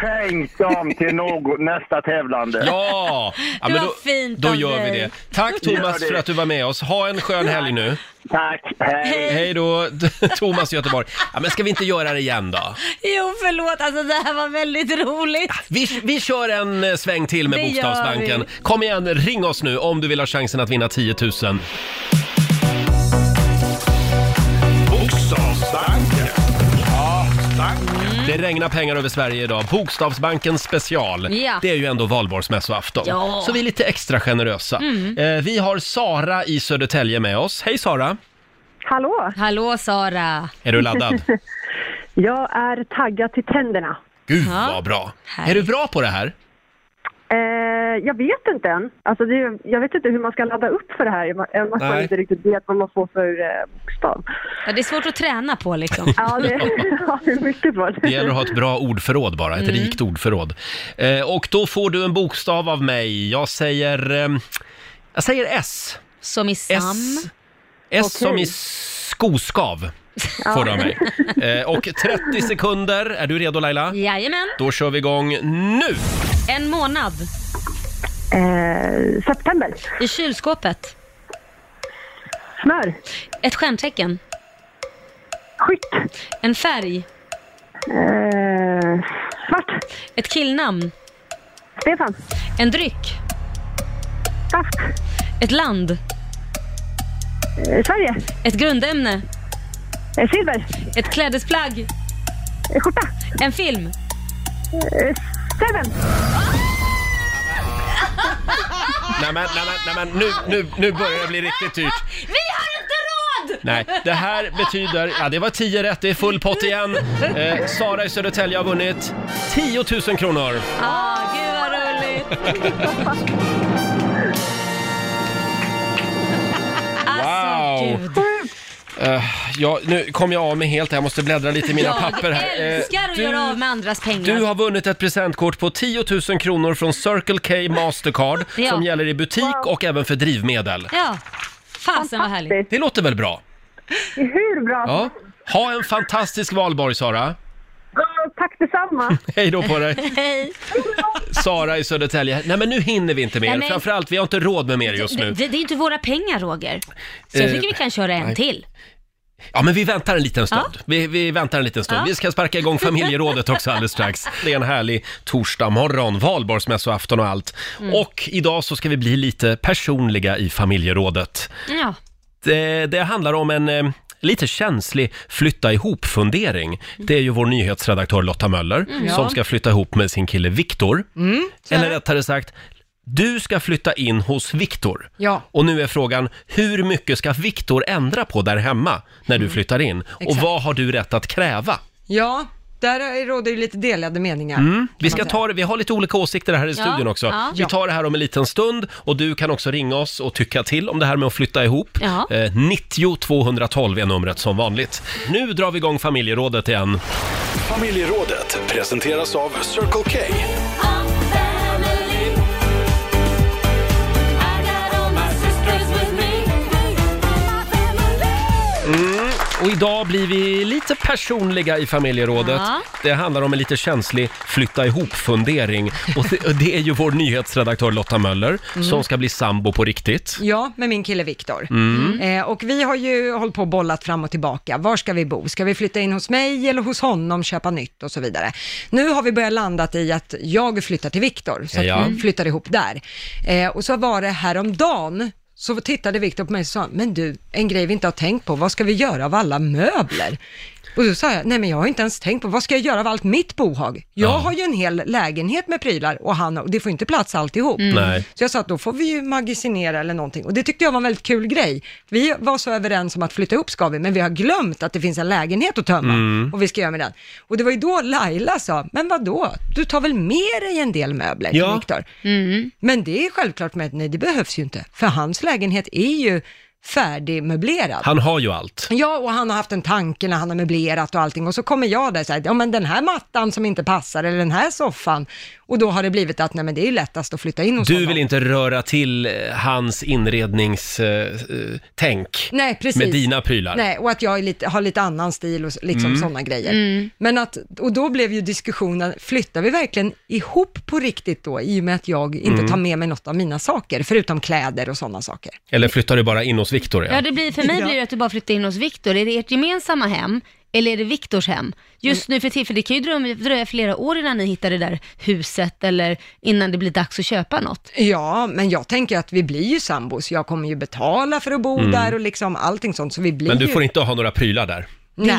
[SPEAKER 9] Skänk dem till något, nästa tävlande.
[SPEAKER 1] Ja! ja
[SPEAKER 4] Det var fint
[SPEAKER 1] då
[SPEAKER 4] av
[SPEAKER 1] gör vi
[SPEAKER 4] dig.
[SPEAKER 1] det. Tack
[SPEAKER 9] Gör
[SPEAKER 1] Thomas
[SPEAKER 9] det.
[SPEAKER 1] för att du var med oss. Ha en skön helg nu.
[SPEAKER 9] Tack, hej.
[SPEAKER 1] Hej då, Thomas i Göteborg. Ja, men ska vi inte göra det igen då?
[SPEAKER 4] Jo, förlåt. Alltså det här var väldigt roligt.
[SPEAKER 1] Vi, vi kör en eh, sväng till med
[SPEAKER 4] Det gör
[SPEAKER 1] Bokstavsbanken. Kom igen, ring oss nu om du vill ha chansen att vinna 10 000. Mm. Det regnar pengar över Sverige idag. Bokstavsbanken special.
[SPEAKER 4] Ja.
[SPEAKER 1] Det är ju ändå valborgsmässoafton.
[SPEAKER 4] Ja. Mm.
[SPEAKER 1] Så vi är lite extra generösa. Eh, vi har Sara i Södertälje med oss. Hej Sara!
[SPEAKER 10] Hallå!
[SPEAKER 4] Hallå Sara!
[SPEAKER 1] Är du laddad?
[SPEAKER 10] Jag är taggad till tänderna.
[SPEAKER 1] Gud
[SPEAKER 10] Ja.
[SPEAKER 1] vad bra! Är du bra på det här?
[SPEAKER 10] Eh, jag vet inte än. Alltså det, är- jag vet inte hur man ska ladda upp för det här. Man, man
[SPEAKER 1] Nej.
[SPEAKER 10] får inte riktigt vet vad man får för eh, bokstav.
[SPEAKER 4] Ja, det är svårt att träna på liksom.
[SPEAKER 10] Ja, det, ja, det är mycket bra.
[SPEAKER 1] Det gäller att ha ett bra ordförråd bara, ett
[SPEAKER 4] Mm.
[SPEAKER 1] rikt ordförråd. Eh, och då får du en bokstav av mig. Jag säger... ehm, jag säger S.
[SPEAKER 4] Som i Sam.
[SPEAKER 1] S, S som i skoskav får du av mig. Eh, och 30 sekunder. Är du redo Laila?
[SPEAKER 4] Jajamän.
[SPEAKER 1] Då kör vi igång nu!
[SPEAKER 4] En månad.
[SPEAKER 10] Eh, september.
[SPEAKER 4] I kylskåpet.
[SPEAKER 10] Smör.
[SPEAKER 4] Ett stjärntecken.
[SPEAKER 10] Skick.
[SPEAKER 4] En färg.
[SPEAKER 10] Eh, svart.
[SPEAKER 4] Ett killnamn.
[SPEAKER 10] Stefan.
[SPEAKER 4] En dryck.
[SPEAKER 10] Saft.
[SPEAKER 4] Ett land.
[SPEAKER 10] Eh, Sverige.
[SPEAKER 4] Ett grundämne.
[SPEAKER 10] Eh, silver.
[SPEAKER 4] Ett klädesplagg.
[SPEAKER 10] Eh, skjorta.
[SPEAKER 4] En film.
[SPEAKER 10] Eh, seven.
[SPEAKER 1] Nämen, nämen, nämen, nu, nu, nu börjar det bli riktigt dyrt.
[SPEAKER 4] Vi har inte råd!
[SPEAKER 1] Nej, det här betyder... Ja, det var 10 rätt, det är full pott igen. Eh, Sara i Södertälje har vunnit 10 000 kronor.
[SPEAKER 4] Ah, gud vad roligt! Alltså,
[SPEAKER 1] Wow.
[SPEAKER 4] gud.
[SPEAKER 1] Eh, ja, nu kom jag av mig helt här, jag måste bläddra lite i mina papper här.
[SPEAKER 4] Jag
[SPEAKER 1] Eh,
[SPEAKER 4] älskar att
[SPEAKER 1] du-
[SPEAKER 4] göra av med andras pengar.
[SPEAKER 1] Du har vunnit ett presentkort på 10 000 kronor från Circle K Mastercard
[SPEAKER 4] Ja.
[SPEAKER 1] som gäller i butik och även för drivmedel.
[SPEAKER 4] Ja. Fasen vad härligt.
[SPEAKER 1] Det låter väl bra?
[SPEAKER 10] Hur bra?
[SPEAKER 1] Ja. Ha en fantastisk valborg, Sara.
[SPEAKER 10] Ja, Tack detsamma.
[SPEAKER 1] Hej då på dig,
[SPEAKER 4] Hej.
[SPEAKER 1] Sara i Södertälje. Nej, men nu hinner vi inte mer.
[SPEAKER 4] Nej, men-
[SPEAKER 1] Framförallt, vi har inte råd med mer just
[SPEAKER 4] Det,
[SPEAKER 1] nu.
[SPEAKER 4] det, det är inte våra pengar, Roger. Så jag
[SPEAKER 1] Eh,
[SPEAKER 4] tycker vi kan köra en
[SPEAKER 1] nej.
[SPEAKER 4] till.
[SPEAKER 1] Ja, men vi väntar en liten stund. Vi, vi väntar en liten stund.
[SPEAKER 4] Ja.
[SPEAKER 1] Vi ska sparka igång familjerådet också alldeles strax. Det är en härlig torsdagmorgon, valborgsmässoafton och allt.
[SPEAKER 2] Mm.
[SPEAKER 1] Och idag så ska vi bli lite personliga i familjerådet.
[SPEAKER 4] Ja.
[SPEAKER 1] Det, det handlar om en eh, lite känslig flytta ihop-fundering. Det är ju vår nyhetsredaktör Lotta Möller
[SPEAKER 2] Mm, ja.
[SPEAKER 1] som ska flytta ihop med sin kille Viktor.
[SPEAKER 2] så är
[SPEAKER 1] Eller
[SPEAKER 2] det.
[SPEAKER 1] rättare sagt, du ska flytta in hos Viktor.
[SPEAKER 2] Ja.
[SPEAKER 1] Och nu är frågan, hur mycket ska Viktor ändra på där hemma när du flyttar in? Och
[SPEAKER 2] Mm. Exakt.
[SPEAKER 1] vad har du rätt att kräva?
[SPEAKER 2] Ja, där råder ju lite delade meningar.
[SPEAKER 1] Mm. Vi,
[SPEAKER 2] kan
[SPEAKER 1] ska
[SPEAKER 2] man säga.
[SPEAKER 1] ta, det- vi har lite olika åsikter här i
[SPEAKER 4] Ja,
[SPEAKER 1] studion också.
[SPEAKER 4] ja.
[SPEAKER 1] Vi tar det här om en liten stund och du kan också ringa oss och tycka till om det här med att flytta ihop.
[SPEAKER 4] Ja.
[SPEAKER 1] Eh, 90 212 är numret som vanligt. Nu drar vi igång familjerådet igen.
[SPEAKER 3] Familjerådet presenteras av Circle K.
[SPEAKER 1] Mm. Och idag blir vi lite personliga i familjerådet.
[SPEAKER 4] Ja.
[SPEAKER 1] Det handlar om en lite känslig flytta ihop-fundering. Och det, och det är ju vår nyhetsredaktör Lotta Möller
[SPEAKER 4] Mm.
[SPEAKER 1] som ska bli sambo på riktigt.
[SPEAKER 2] Ja, med min kille Viktor.
[SPEAKER 1] Mm.
[SPEAKER 2] Eh, och vi har ju hållit på och bollat fram och tillbaka. Var ska vi bo? Ska vi flytta in hos mig eller hos honom, köpa nytt och så vidare. Nu har vi börjat landat i att jag flyttar till Viktor, så att
[SPEAKER 1] Ja.
[SPEAKER 2] vi flyttar ihop där. Eh, och så var det häromdagen, så tittade Viktor på mig och sa, men du, en grej vi inte har tänkt på, vad ska vi göra av alla möbler? Och då sa jag, nej men jag har inte ens tänkt på, vad ska jag göra av allt mitt bohag? Jag
[SPEAKER 1] Ja.
[SPEAKER 2] har ju en hel lägenhet med prylar och han, och det får inte plats alltihop.
[SPEAKER 1] Nej.
[SPEAKER 2] Mm. Så jag sa att då får vi ju magasinera eller någonting. Och det tyckte jag var en väldigt kul grej. Vi var så överens om att flytta ihop ska vi, men vi har glömt att det finns en lägenhet att tömma
[SPEAKER 1] Mm.
[SPEAKER 2] och vi ska göra med den. Och det var ju då Laila sa, men vad då? du tar väl med dig en del möbler
[SPEAKER 1] Ja.
[SPEAKER 2] till Viktor? Men det är självklart med att nej, det behövs ju inte, för hans lägenhet är ju färdigmöblerad.
[SPEAKER 1] Han har ju allt.
[SPEAKER 2] Ja, och han har haft en tanke när han har möblerat och allting och så kommer jag där så här, ja men den här mattan som inte passar eller den här soffan och då har det blivit att nej men det är ju lättast att flytta in hos
[SPEAKER 1] Du
[SPEAKER 2] honom.
[SPEAKER 1] vill inte röra till eh, hans eh, inredningstänk
[SPEAKER 2] Nej, precis.
[SPEAKER 1] med dina prylar. Mm.
[SPEAKER 2] Nej, och att jag är lite, har lite annan stil och s- liksom sådana grejer.
[SPEAKER 4] Mm.
[SPEAKER 2] Men att, och då blev ju diskussionen, flyttar vi verkligen ihop på riktigt då, i och med att jag inte
[SPEAKER 1] Mm.
[SPEAKER 2] tar med mig något av mina saker, förutom kläder och sådana saker?
[SPEAKER 1] Eller flyttar du bara in hos Viktor? Ja.
[SPEAKER 4] Ja, det blir, för mig blir det att du bara flyttar in hos Viktor. Är det ert gemensamma hem eller är det Viktors hem? Just nu för tillfället, det kan ju dröja, dröja flera år innan ni hittar det där huset eller innan det blir dags att köpa något.
[SPEAKER 2] Ja, men jag tänker att vi blir ju sambos, jag kommer ju betala för att bo där och liksom allting sånt, så vi blir
[SPEAKER 1] Mm. Men du
[SPEAKER 2] ju...
[SPEAKER 1] får inte ha några prylar där.
[SPEAKER 4] Det är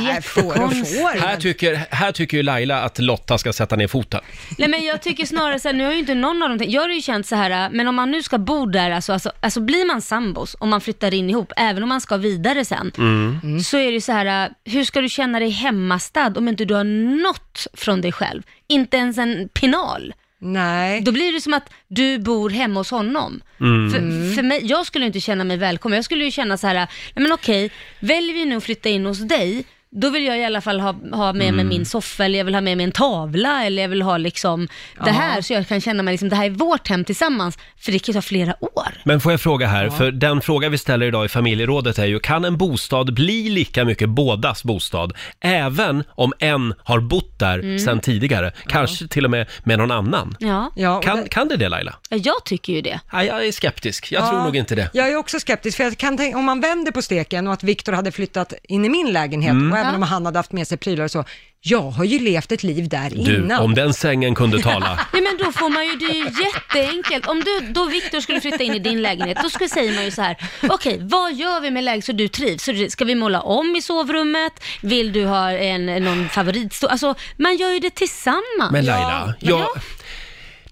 [SPEAKER 1] Här tycker, här tycker ju Laila att Lotta ska sätta ner foten.
[SPEAKER 4] Nej men jag tycker snarare så här, nu har ju inte någon av dem tänkt- jag har ju känt så här, men om man nu ska bo där, alltså, alltså, alltså blir man sambos om man flyttar in ihop, även om man ska vidare sen,
[SPEAKER 1] Mm.
[SPEAKER 11] Mm.
[SPEAKER 4] så är det ju så här, äh, hur ska du känna dig hemmastad om inte du har något från dig själv? Inte ens en penal.
[SPEAKER 2] Nej.
[SPEAKER 4] Då blir det som att du bor hemma hos honom.
[SPEAKER 12] Mm.
[SPEAKER 4] För, för mig, jag skulle ju inte känna mig välkommen. Jag skulle ju känna så här, äh, nej men okej, väljer vi nu att flytta in hos dig, då vill jag i alla fall ha, ha med mig
[SPEAKER 12] Mm.
[SPEAKER 4] min soffa, eller jag vill ha med mig en tavla, eller jag vill ha liksom det här, så jag kan känna mig liksom, det här är vårt hem tillsammans. För det kan ju ta flera år.
[SPEAKER 1] Men får jag fråga här, för den fråga vi ställer idag i familjerådet är ju, kan en bostad bli lika mycket bådas bostad? Även om en har bott där
[SPEAKER 4] Mm.
[SPEAKER 1] sedan tidigare, kanske till och med med någon annan.
[SPEAKER 4] Ja.
[SPEAKER 1] Kan, kan det det Laila?
[SPEAKER 4] Ja, Jag tycker ju det.
[SPEAKER 1] Nej, jag är skeptisk, jag
[SPEAKER 2] Ja.
[SPEAKER 1] tror nog inte det.
[SPEAKER 2] Jag är också skeptisk, för jag kan tänka, om man vänder på steken och att Viktor hade flyttat in i min lägenhet,
[SPEAKER 1] Mm.
[SPEAKER 2] och även
[SPEAKER 1] Ja.
[SPEAKER 2] om han hade haft med sig prylar och så, jag har ju levt ett liv där
[SPEAKER 1] Du,
[SPEAKER 2] innan.
[SPEAKER 1] om den sängen kunde tala.
[SPEAKER 4] Nej men då får man ju, det är ju jätteenkelt. Om du, då Viktor skulle flytta in i din lägenhet, då skulle säga man ju så här, okej vad gör vi med lägenheten så du trivs? Så det- Ska vi måla om i sovrummet? Vill du ha en, någon favoritstol? Alltså man gör ju det tillsammans.
[SPEAKER 1] Men Laila,
[SPEAKER 4] Ja,
[SPEAKER 1] jag,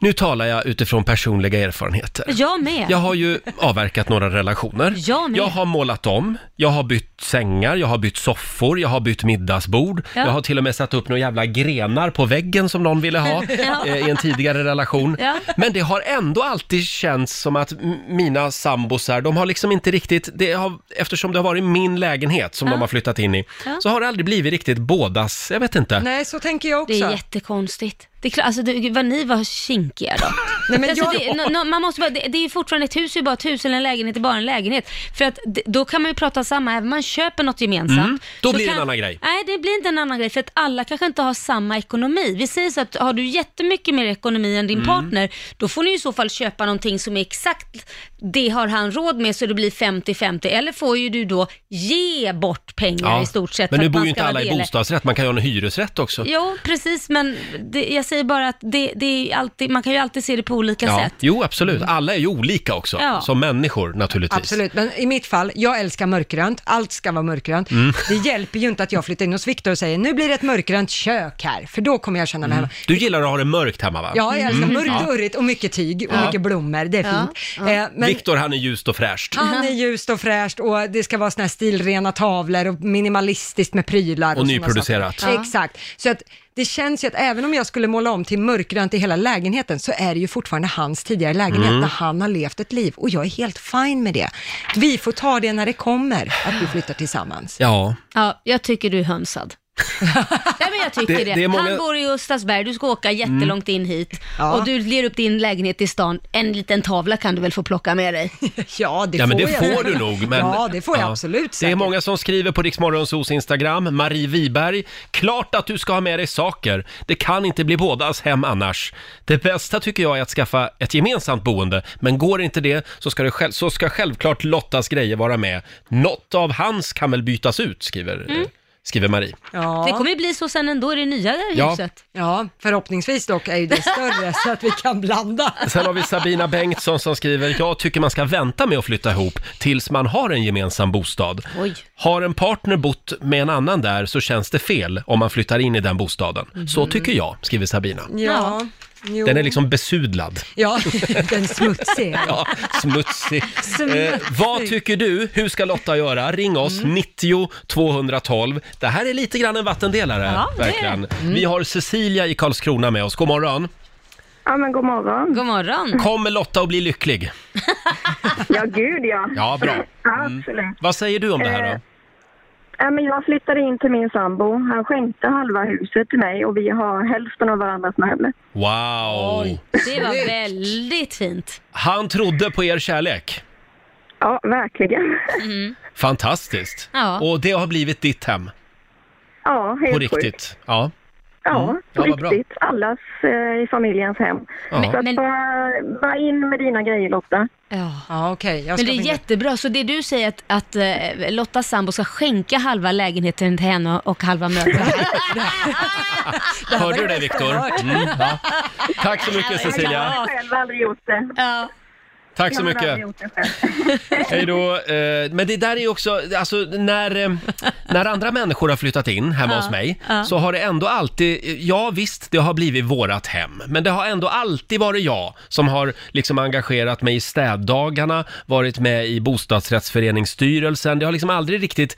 [SPEAKER 1] nu talar jag utifrån personliga erfarenheter.
[SPEAKER 4] men jag, jag med.
[SPEAKER 1] Jag har ju avverkat några relationer.
[SPEAKER 4] Jag med.
[SPEAKER 1] har målat om, jag har bytt sängar, jag har bytt soffor, jag har bytt middagsbord.
[SPEAKER 4] Ja.
[SPEAKER 1] Jag har till och med satt upp några jävla grenar på väggen som någon ville ha
[SPEAKER 4] Ja.
[SPEAKER 1] eh, i en tidigare relation.
[SPEAKER 4] Ja.
[SPEAKER 1] Men det har ändå alltid känts som att m- mina sambosar, de har liksom inte riktigt, det har, eftersom det har varit min lägenhet som
[SPEAKER 2] Ja.
[SPEAKER 1] de har flyttat in i,
[SPEAKER 2] Ja.
[SPEAKER 1] så har det aldrig blivit riktigt bådas, jag vet inte.
[SPEAKER 2] Nej, så tänker jag också.
[SPEAKER 4] Det är jättekonstigt. Det är klart, alltså det, vad ni var kinkiga då.
[SPEAKER 2] Nej, men
[SPEAKER 4] alltså,
[SPEAKER 2] jag-
[SPEAKER 4] det, no, no, man måste bara, det, det är ju fortfarande ett hus, är ju bara ett hus eller en lägenhet är bara en lägenhet. För att d- då kan man ju prata samma, även om man köper något gemensamt.
[SPEAKER 1] Mm, då
[SPEAKER 4] så
[SPEAKER 1] blir det
[SPEAKER 4] kan,
[SPEAKER 1] en annan grej.
[SPEAKER 4] Nej, det blir inte en annan grej, för att alla kanske inte har samma ekonomi. Vi säger så att har du jättemycket mer ekonomi än din
[SPEAKER 12] Mm.
[SPEAKER 4] partner, då får ni i så fall köpa någonting som är exakt det har han råd med, så det blir 50-50. Eller får ju du då ge bort pengar i stort sett.
[SPEAKER 1] Men
[SPEAKER 4] för
[SPEAKER 1] nu
[SPEAKER 4] att
[SPEAKER 1] bor
[SPEAKER 4] man
[SPEAKER 1] ju
[SPEAKER 4] ska
[SPEAKER 1] inte
[SPEAKER 4] vara
[SPEAKER 1] alla i
[SPEAKER 4] delaktig.
[SPEAKER 1] bostadsrätt, man kan ju ha en hyresrätt också.
[SPEAKER 4] Jo, precis, men det, jag säger bara att det, det är ju alltid, man kan ju alltid se det på olika sätt.
[SPEAKER 1] Jo, absolut. Alla är ju olika också,
[SPEAKER 2] Mm. Ja.
[SPEAKER 1] som människor naturligtvis.
[SPEAKER 2] Absolut, men i mitt fall, jag älskar mörkgrönt, allt ska vara mörkgrönt.
[SPEAKER 1] Mm.
[SPEAKER 2] Det hjälper ju inte att jag flyttar in hos Viktor och säger, nu blir det ett mörkgrönt kök här, för då kommer jag känna
[SPEAKER 1] Mm.
[SPEAKER 2] mig hemma.
[SPEAKER 1] Du gillar att ha det mörkt hemma va?
[SPEAKER 2] Ja, jag älskar
[SPEAKER 1] Mm.
[SPEAKER 2] mörkt
[SPEAKER 1] Ja.
[SPEAKER 2] och urrigt och mycket tyg och
[SPEAKER 1] Ja.
[SPEAKER 2] mycket blommor, det är
[SPEAKER 1] Ja,
[SPEAKER 2] fint. Eh, men-
[SPEAKER 1] Viktor han är ljust och fräscht.
[SPEAKER 2] Han är ljust och fräscht och det ska vara såna här stilrena tavlor och minimalistiskt med prylar.
[SPEAKER 1] Och
[SPEAKER 2] såna
[SPEAKER 1] nyproducerat.
[SPEAKER 2] saker.
[SPEAKER 1] Ja.
[SPEAKER 2] Exakt. Så att det känns ju att även om jag skulle måla om till mörkgrönt i hela lägenheten så är det ju fortfarande hans tidigare lägenhet
[SPEAKER 1] Mm.
[SPEAKER 2] där han har levt ett liv och jag är helt fine med det. Vi får ta det när det kommer, att vi flyttar tillsammans.
[SPEAKER 1] Ja.
[SPEAKER 4] Ja, jag tycker du är hönsad. Nej, men jag tycker
[SPEAKER 2] Det-
[SPEAKER 4] det.
[SPEAKER 2] det är många- Mm.
[SPEAKER 4] Han bor i Gustavsberg, du ska åka jättelångt in hit
[SPEAKER 2] Ja.
[SPEAKER 4] och du ger upp din lägenhet i stan. En liten tavla kan du väl få plocka med dig?
[SPEAKER 2] ja,
[SPEAKER 1] ja, men det får du nog. Men,
[SPEAKER 2] Ja, det får jag
[SPEAKER 1] Ja.
[SPEAKER 2] absolut.
[SPEAKER 1] Det är många som skriver på Riksmorgonsos Instagram, Marie Wiberg. Klart att du ska ha med dig saker. Det kan inte bli bådas hem annars. Det bästa tycker jag är att skaffa ett gemensamt boende, men går inte det så ska, det själv, så ska självklart Lottas grejer vara med. Något av hans kan väl bytas ut, skriver,
[SPEAKER 4] Mm.
[SPEAKER 1] skriver Marie.
[SPEAKER 4] Det kommer ju bli så sen ändå i det nya
[SPEAKER 1] Ja.
[SPEAKER 4] huset.
[SPEAKER 2] Ja, förhoppningsvis dock är ju det större så att vi kan blanda.
[SPEAKER 1] Sen har vi Sabina Bengtsson som skriver, jag tycker man ska vänta med att flytta ihop tills man har en gemensam bostad.
[SPEAKER 4] Oj.
[SPEAKER 1] Har en partner bott med en annan där så känns det fel om man flyttar in i den bostaden.
[SPEAKER 12] Mm.
[SPEAKER 1] Så tycker jag, skriver Sabina.
[SPEAKER 2] Ja, jo.
[SPEAKER 1] Den är liksom besudlad.
[SPEAKER 2] Ja, den smutsiga.
[SPEAKER 1] Ja, smutsig.
[SPEAKER 2] Smutsig.
[SPEAKER 1] Eh, vad tycker du? Hur ska Lotta göra? Ring oss,
[SPEAKER 12] Mm.
[SPEAKER 1] 90 212. Det här är lite grann en vattendelare,
[SPEAKER 12] Ja, det Mm. är det.
[SPEAKER 1] verkligen. Vi har Cecilia i Karlskrona med oss. God morgon.
[SPEAKER 12] Ja, men god morgon.
[SPEAKER 4] God morgon.
[SPEAKER 1] Kommer Lotta att bli lycklig?
[SPEAKER 12] Ja, gud ja.
[SPEAKER 1] Ja, bra. Mm.
[SPEAKER 12] Absolut. Eh,
[SPEAKER 1] Vad säger du om det här då?
[SPEAKER 12] Ja, men jag flyttade in till min sambo. Han skänkte halva huset till mig och vi har hälften av varandras möbler.
[SPEAKER 1] Wow!
[SPEAKER 4] Det var väldigt fint.
[SPEAKER 1] Han trodde på er kärlek.
[SPEAKER 12] Ja, verkligen.
[SPEAKER 4] Mm.
[SPEAKER 1] Fantastiskt.
[SPEAKER 12] Ja.
[SPEAKER 1] Och det har blivit ditt hem.
[SPEAKER 12] Ja, helt
[SPEAKER 1] På
[SPEAKER 12] sjukt.
[SPEAKER 1] riktigt. Ja.
[SPEAKER 12] Ja,
[SPEAKER 1] Mm. Ja, vad bra.
[SPEAKER 12] riktigt. Allas eh, i familjens hem.
[SPEAKER 1] Ja.
[SPEAKER 12] Så att bara, bara in med dina grejer Lotta.
[SPEAKER 4] Ja,
[SPEAKER 2] ja okej.
[SPEAKER 4] Men det är jättebra, så det du säger att, att eh, Lottas sambo ska skänka halva lägenheten till henne och halva möblerna.
[SPEAKER 1] Hörde du det Viktor? Mm, ja. Tack så mycket Cecilia.
[SPEAKER 12] Jag har själv aldrig gjort det.
[SPEAKER 4] Ja.
[SPEAKER 1] Tack så
[SPEAKER 12] Jag har
[SPEAKER 1] mycket.
[SPEAKER 12] aldrig gjort det själv.
[SPEAKER 1] Hej då. Eh, Men det där är ju också, alltså när, eh, när andra människor har flyttat in hemma
[SPEAKER 11] Ja,
[SPEAKER 1] hos mig
[SPEAKER 11] ja.
[SPEAKER 1] så har det ändå alltid, ja visst det har blivit vårat hem, men det har ändå alltid varit jag som har liksom engagerat mig i städdagarna, varit med i bostadsrättsföreningsstyrelsen, det har liksom aldrig riktigt